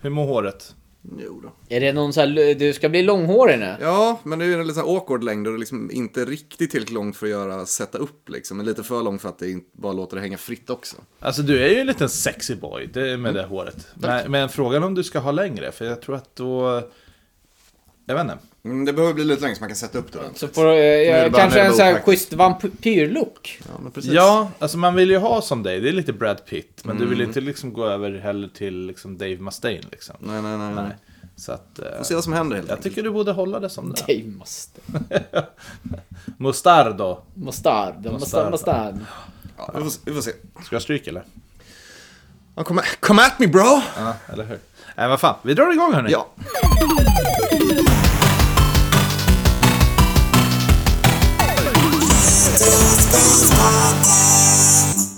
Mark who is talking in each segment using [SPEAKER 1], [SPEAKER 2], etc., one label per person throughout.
[SPEAKER 1] Hur mår håret?
[SPEAKER 2] Jo då.
[SPEAKER 3] Är det någon så här, du ska bli långhårig nu?
[SPEAKER 2] Ja, men det är ju en lite sån här awkward längd och det är liksom inte riktigt tillräckligt långt för att göra sätta upp liksom. Men lite för lång för att det inte bara låter det hänga fritt också.
[SPEAKER 1] Alltså du är ju en liten sexy boy det, med det håret. Men, men frågan om du ska ha längre, för jag tror att då... Jag vet inte.
[SPEAKER 2] Mm, det behöver bli lite längre så man kan sätta upp det ordentligt.
[SPEAKER 3] Så får, eh, jag,
[SPEAKER 2] bara
[SPEAKER 3] kanske
[SPEAKER 2] nere
[SPEAKER 3] en
[SPEAKER 2] på
[SPEAKER 3] så här
[SPEAKER 2] pack.
[SPEAKER 3] schysst vampyrlook.
[SPEAKER 2] Ja, men precis.
[SPEAKER 1] Ja, alltså man vill ju ha som dig. Det är lite Brad Pitt. Men du vill inte liksom gå över heller till liksom Dave Mustaine liksom.
[SPEAKER 2] Nej, nej, nej. nej.
[SPEAKER 1] Nej. Så att... eh,
[SPEAKER 2] Får se vad som händer helt
[SPEAKER 1] jag
[SPEAKER 2] enkelt.
[SPEAKER 1] tycker du borde hålla det som det.
[SPEAKER 3] Nej, måste.
[SPEAKER 1] Mustardo.
[SPEAKER 3] Mustard. Mustard.
[SPEAKER 1] Mustard.
[SPEAKER 3] Mustard.
[SPEAKER 2] Ja, vi, får, se- vi får se.
[SPEAKER 1] Ska jag stryka eller?
[SPEAKER 2] Ja, come, come at me bro!
[SPEAKER 1] Ja, eller hur? Nej, vad fan. Vi drar igång hörni.
[SPEAKER 2] Ja.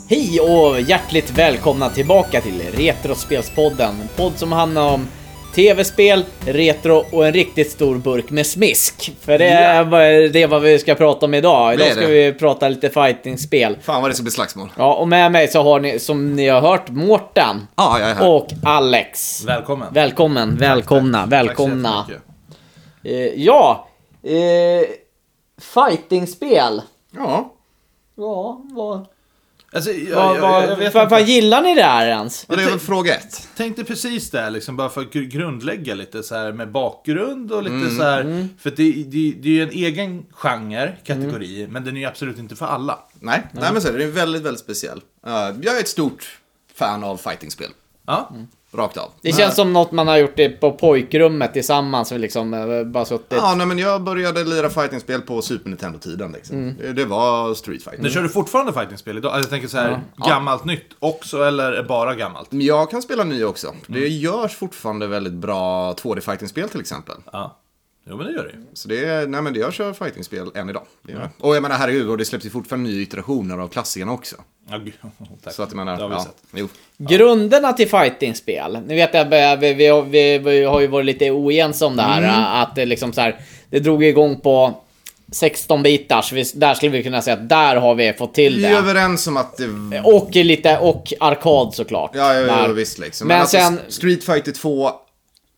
[SPEAKER 3] Hej och hjärtligt välkomna tillbaka till Retrospelspodden. En podd som handlar om tv-spel, retro och en riktigt stor burk med smisk. För det är vad- det är vad vi ska prata om idag. Idag
[SPEAKER 2] är
[SPEAKER 3] ska
[SPEAKER 2] det.
[SPEAKER 3] vi prata lite fightingspel.
[SPEAKER 2] Fan vad det ska bli slagsmål.
[SPEAKER 3] Ja, och med mig så har ni, som ni har hört, Mårten
[SPEAKER 2] Ja, jag är här.
[SPEAKER 3] och Alex.
[SPEAKER 1] Välkommen.
[SPEAKER 3] Välkommen, välkomna, välkomna.
[SPEAKER 1] Tack så jättemycket.
[SPEAKER 3] Eh, ja, eh, fightingspel.
[SPEAKER 2] Ja.
[SPEAKER 3] Ja, vad...
[SPEAKER 1] Alltså, jag,
[SPEAKER 3] vad,
[SPEAKER 1] jag, jag,
[SPEAKER 3] vad,
[SPEAKER 1] jag vet
[SPEAKER 3] vad,
[SPEAKER 1] inte.
[SPEAKER 3] vad gillar ni det här ens?
[SPEAKER 2] Och det är väl fråga ett.
[SPEAKER 1] tänkte precis det, här, liksom, bara för att gr- grundlägga lite så här med bakgrund och lite
[SPEAKER 3] Mm,
[SPEAKER 1] så här. För att det, det, det är ju en egen genre, kategori,
[SPEAKER 3] Mm.
[SPEAKER 1] men den är ju absolut inte för alla.
[SPEAKER 2] Nej, nej men så är det. Det är väldigt, väldigt speciell. Eh, jag är ett stort fan av fightingspel.
[SPEAKER 1] Ja,
[SPEAKER 3] Mm.
[SPEAKER 2] Rakt av.
[SPEAKER 3] Det känns som något man har gjort det på pojkrummet tillsammans. Liksom, eh, bara suttit.
[SPEAKER 2] Ja, nej men jag började lira fightingspel på Super Nintendo-tiden liksom.
[SPEAKER 3] Mm.
[SPEAKER 2] Det, det var Street Fighter.
[SPEAKER 1] Men kör du fortfarande fightingspel idag? Alltså, jag tänker så här, gammalt nytt också eller är bara gammalt?
[SPEAKER 2] Men Jag kan spela nya också.
[SPEAKER 3] Mm.
[SPEAKER 2] Det görs fortfarande väldigt bra 2D-fightingspel till exempel.
[SPEAKER 1] Ja. Jo men det gör det ju.
[SPEAKER 2] Så det är, nej men det- jag kör fightingspel än idag. Det
[SPEAKER 3] Mm.
[SPEAKER 2] gör jag. Och jag menar herregud, och det släpps ju fortfarande nya iterationer av klassikerna också.
[SPEAKER 1] Ja, gud, tack.
[SPEAKER 2] Så att jag menar,
[SPEAKER 1] det har vi
[SPEAKER 2] ja,
[SPEAKER 1] sett.
[SPEAKER 2] jo.
[SPEAKER 3] Grunderna till fightingspel. Ni vet, jag, börjar- vi, vi, har- vi, vi har ju varit lite oense om det här.
[SPEAKER 1] Mm.
[SPEAKER 3] eh, Att det, liksom så här, det drog igång på 16 bitars. Vi- Där skulle vi kunna säga att där har vi fått till
[SPEAKER 2] Vi
[SPEAKER 3] det.
[SPEAKER 2] är överens om att det...
[SPEAKER 3] Och lite, och arkad såklart.
[SPEAKER 2] Ja, ja, ja
[SPEAKER 3] Där.
[SPEAKER 2] visst liksom.
[SPEAKER 3] Men,
[SPEAKER 2] Men, alltså,
[SPEAKER 3] sen...
[SPEAKER 2] Street Fighter 2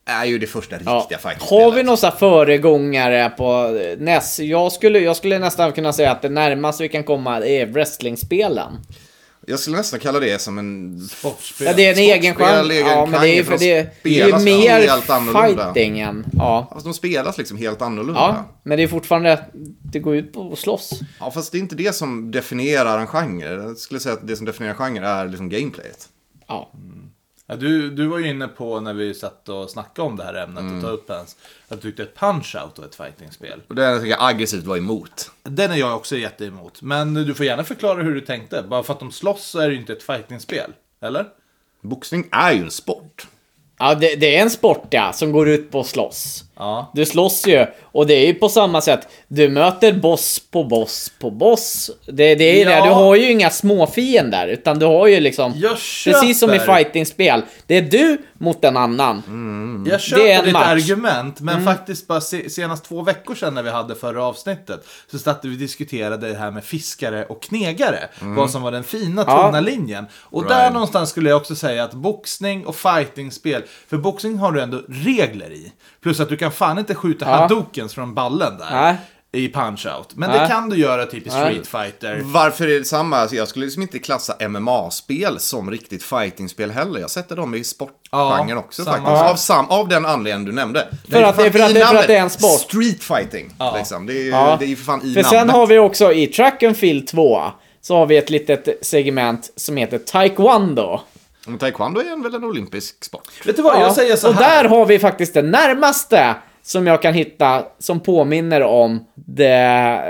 [SPEAKER 2] är ju det första
[SPEAKER 3] Ja.
[SPEAKER 2] riktiga fightingspelet.
[SPEAKER 3] Har vi några så här föregångare på eh, NES? Jag skulle, jag skulle nästan kunna säga att det närmaste vi kan komma är wrestlingspelen.
[SPEAKER 2] Jag skulle nästan kalla det som en...
[SPEAKER 1] Sportspel.
[SPEAKER 3] Ja, det är en egen
[SPEAKER 2] Sportspel,
[SPEAKER 3] genre.
[SPEAKER 2] egen
[SPEAKER 3] Ja, men det är,
[SPEAKER 2] genre
[SPEAKER 3] ju-
[SPEAKER 2] för
[SPEAKER 3] för
[SPEAKER 2] att
[SPEAKER 3] det, det är ju
[SPEAKER 2] spelas helt
[SPEAKER 3] mer
[SPEAKER 2] annorlunda.
[SPEAKER 3] fighting än... Ja.
[SPEAKER 2] Fast de spelas liksom helt annorlunda.
[SPEAKER 3] ja, men det är fortfarande... Det går ut på att slåss.
[SPEAKER 2] Ja, fast det är inte det som definierar en genre. Jag skulle säga att det som definierar en genre är liksom gameplayet.
[SPEAKER 3] Ja.
[SPEAKER 1] Ja, du, du var ju inne på när vi satt och snackade om det här ämnet
[SPEAKER 3] Mm.
[SPEAKER 1] och tog upp ens. Att du tyckte att Punch-Out var ett fightingspel.
[SPEAKER 2] Och det är jag tycker aggressivt var emot.
[SPEAKER 1] Den är jag också jätte emot. Men du får gärna förklara hur du tänkte. Bara för att de slåss så är det ju inte ett fightingspel. Eller?
[SPEAKER 2] Boxning är ju en sport.
[SPEAKER 3] Ja, det, det är en sport ja, som går ut på att slåss.
[SPEAKER 1] Ja.
[SPEAKER 3] Du slåss ju, och det är ju på samma sätt. Du möter boss på boss på boss. Det, det är
[SPEAKER 1] Ja.
[SPEAKER 3] ju det, du har ju inga småfiender, utan du har ju liksom...
[SPEAKER 1] Jag
[SPEAKER 3] Precis som i
[SPEAKER 1] köper.
[SPEAKER 3] fightingspel. Det är du mot en annan.
[SPEAKER 2] Mm,
[SPEAKER 1] Mm. Jag
[SPEAKER 3] Det är
[SPEAKER 1] köper
[SPEAKER 3] en
[SPEAKER 1] ditt
[SPEAKER 3] match. Mm.
[SPEAKER 1] argument, men faktiskt bara se, senast två veckor sedan när vi hade förra avsnittet så satt vi och diskuterade det här med fiskare och knegare.
[SPEAKER 3] Mm.
[SPEAKER 1] Vad som var den fina tunna linjen. Och där
[SPEAKER 2] Right.
[SPEAKER 1] någonstans skulle jag också säga att boxning och fightingspel, för boxning har du ändå regler i. Plus att du kan fan inte skjuta hadokens från ballen där.
[SPEAKER 3] Nej.
[SPEAKER 1] I punch-out. Men
[SPEAKER 3] Nej.
[SPEAKER 1] det kan du göra typ i Street Fighter.
[SPEAKER 2] Varför är det samma? Alltså, jag skulle liksom inte klassa MMA-spel som riktigt fightingspel heller. Jag sätter dem i sportgenren
[SPEAKER 1] Ja,
[SPEAKER 2] också
[SPEAKER 1] samma.
[SPEAKER 2] faktiskt. Av, sam, av den anledningen du nämnde. Det
[SPEAKER 3] att
[SPEAKER 2] fan
[SPEAKER 3] det- för att
[SPEAKER 2] i
[SPEAKER 3] det- för att
[SPEAKER 2] namnet.
[SPEAKER 3] det är en sport.
[SPEAKER 2] Street fighting, liksom. Det är ju
[SPEAKER 3] Ja.
[SPEAKER 2] det är ju för fan i
[SPEAKER 3] För
[SPEAKER 2] namnet.
[SPEAKER 3] sen har vi också i Track and Field 2 så har vi ett litet segment som heter Taekwondo.
[SPEAKER 2] Men Taekwondo är en- väl en olympisk sport?
[SPEAKER 1] Vet du vad, jag säger så
[SPEAKER 3] och
[SPEAKER 1] här.
[SPEAKER 3] där har vi faktiskt det närmaste som jag kan hitta som påminner om det,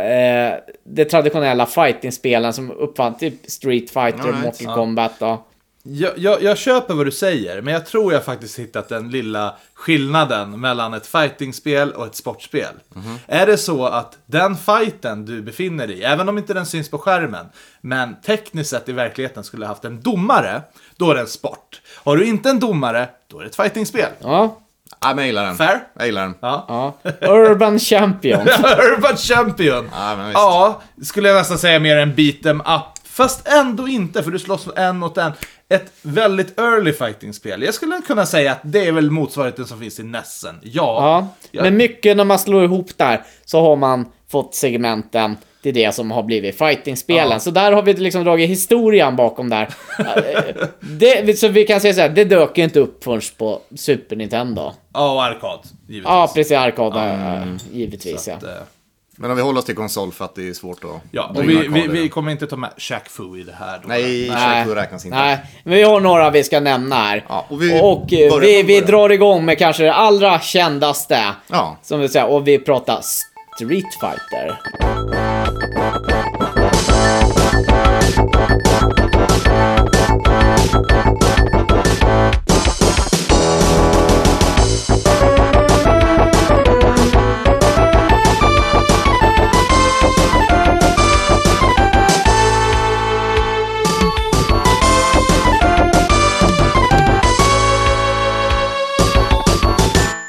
[SPEAKER 3] eh, det traditionella fightingspelen som uppfann typ Street Fighter,
[SPEAKER 2] Alright.
[SPEAKER 3] Mortal Kombat och...
[SPEAKER 1] Jag, jag, jag köper vad du säger, men jag tror jag faktiskt hittat den lilla skillnaden mellan ett fightingspel och ett sportspel.
[SPEAKER 3] Mhm.
[SPEAKER 1] Är det så att den fighten du befinner dig i, även om inte den syns på skärmen, men tekniskt sett i verkligheten skulle ha haft en domare, då är det en sport. Har du inte en domare, då är det ett fightingspel.
[SPEAKER 3] Ja,
[SPEAKER 2] Nej, men jag gillar den.
[SPEAKER 1] Fair?
[SPEAKER 2] Jag gillar den.
[SPEAKER 1] Ja.
[SPEAKER 3] ja. Urban Champion.
[SPEAKER 1] Urban Champion!
[SPEAKER 2] Ja, men visst.
[SPEAKER 1] Ja, skulle jag nästan säga mer en beat em up Fast ändå inte, för du slåss en mot en. Ett väldigt early fighting-spel. Jag skulle kunna säga att det är väl motsvarigheten som finns i Nessen. Ja.
[SPEAKER 3] Ja,
[SPEAKER 1] Jag-
[SPEAKER 3] men mycket när man slår ihop där så har man fått segmenten till det som har blivit fighting-spelen.
[SPEAKER 1] Ja.
[SPEAKER 3] Så där har vi liksom dragit historien bakom där. Eh, det, så vi kan säga så här, det dök ju inte upp förrän på Super Nintendo.
[SPEAKER 1] Ja, och arkad, givetvis.
[SPEAKER 3] Ja, precis, arkad, eh,
[SPEAKER 2] mm.
[SPEAKER 3] givetvis ja.
[SPEAKER 1] Att, eh,
[SPEAKER 2] Men om vi håller oss till konsol för att det är svårt att...
[SPEAKER 1] Ja, och
[SPEAKER 2] dra in
[SPEAKER 1] vi, vi,
[SPEAKER 2] arkader.
[SPEAKER 1] vi kommer inte ta med Shaq Fu i det här. Då.
[SPEAKER 2] Nej,
[SPEAKER 3] Nej.
[SPEAKER 2] Shakur räknas inte.
[SPEAKER 3] Nej, men vi har några vi ska nämna här.
[SPEAKER 2] Ja,
[SPEAKER 3] och
[SPEAKER 2] och
[SPEAKER 3] vi,
[SPEAKER 2] vi börjar
[SPEAKER 3] eh, vi,
[SPEAKER 2] från
[SPEAKER 3] vi
[SPEAKER 2] början.
[SPEAKER 3] drar igång med kanske det allra kändaste.
[SPEAKER 2] Ja.
[SPEAKER 3] Som vi säger, och vi pratar Street Fighter.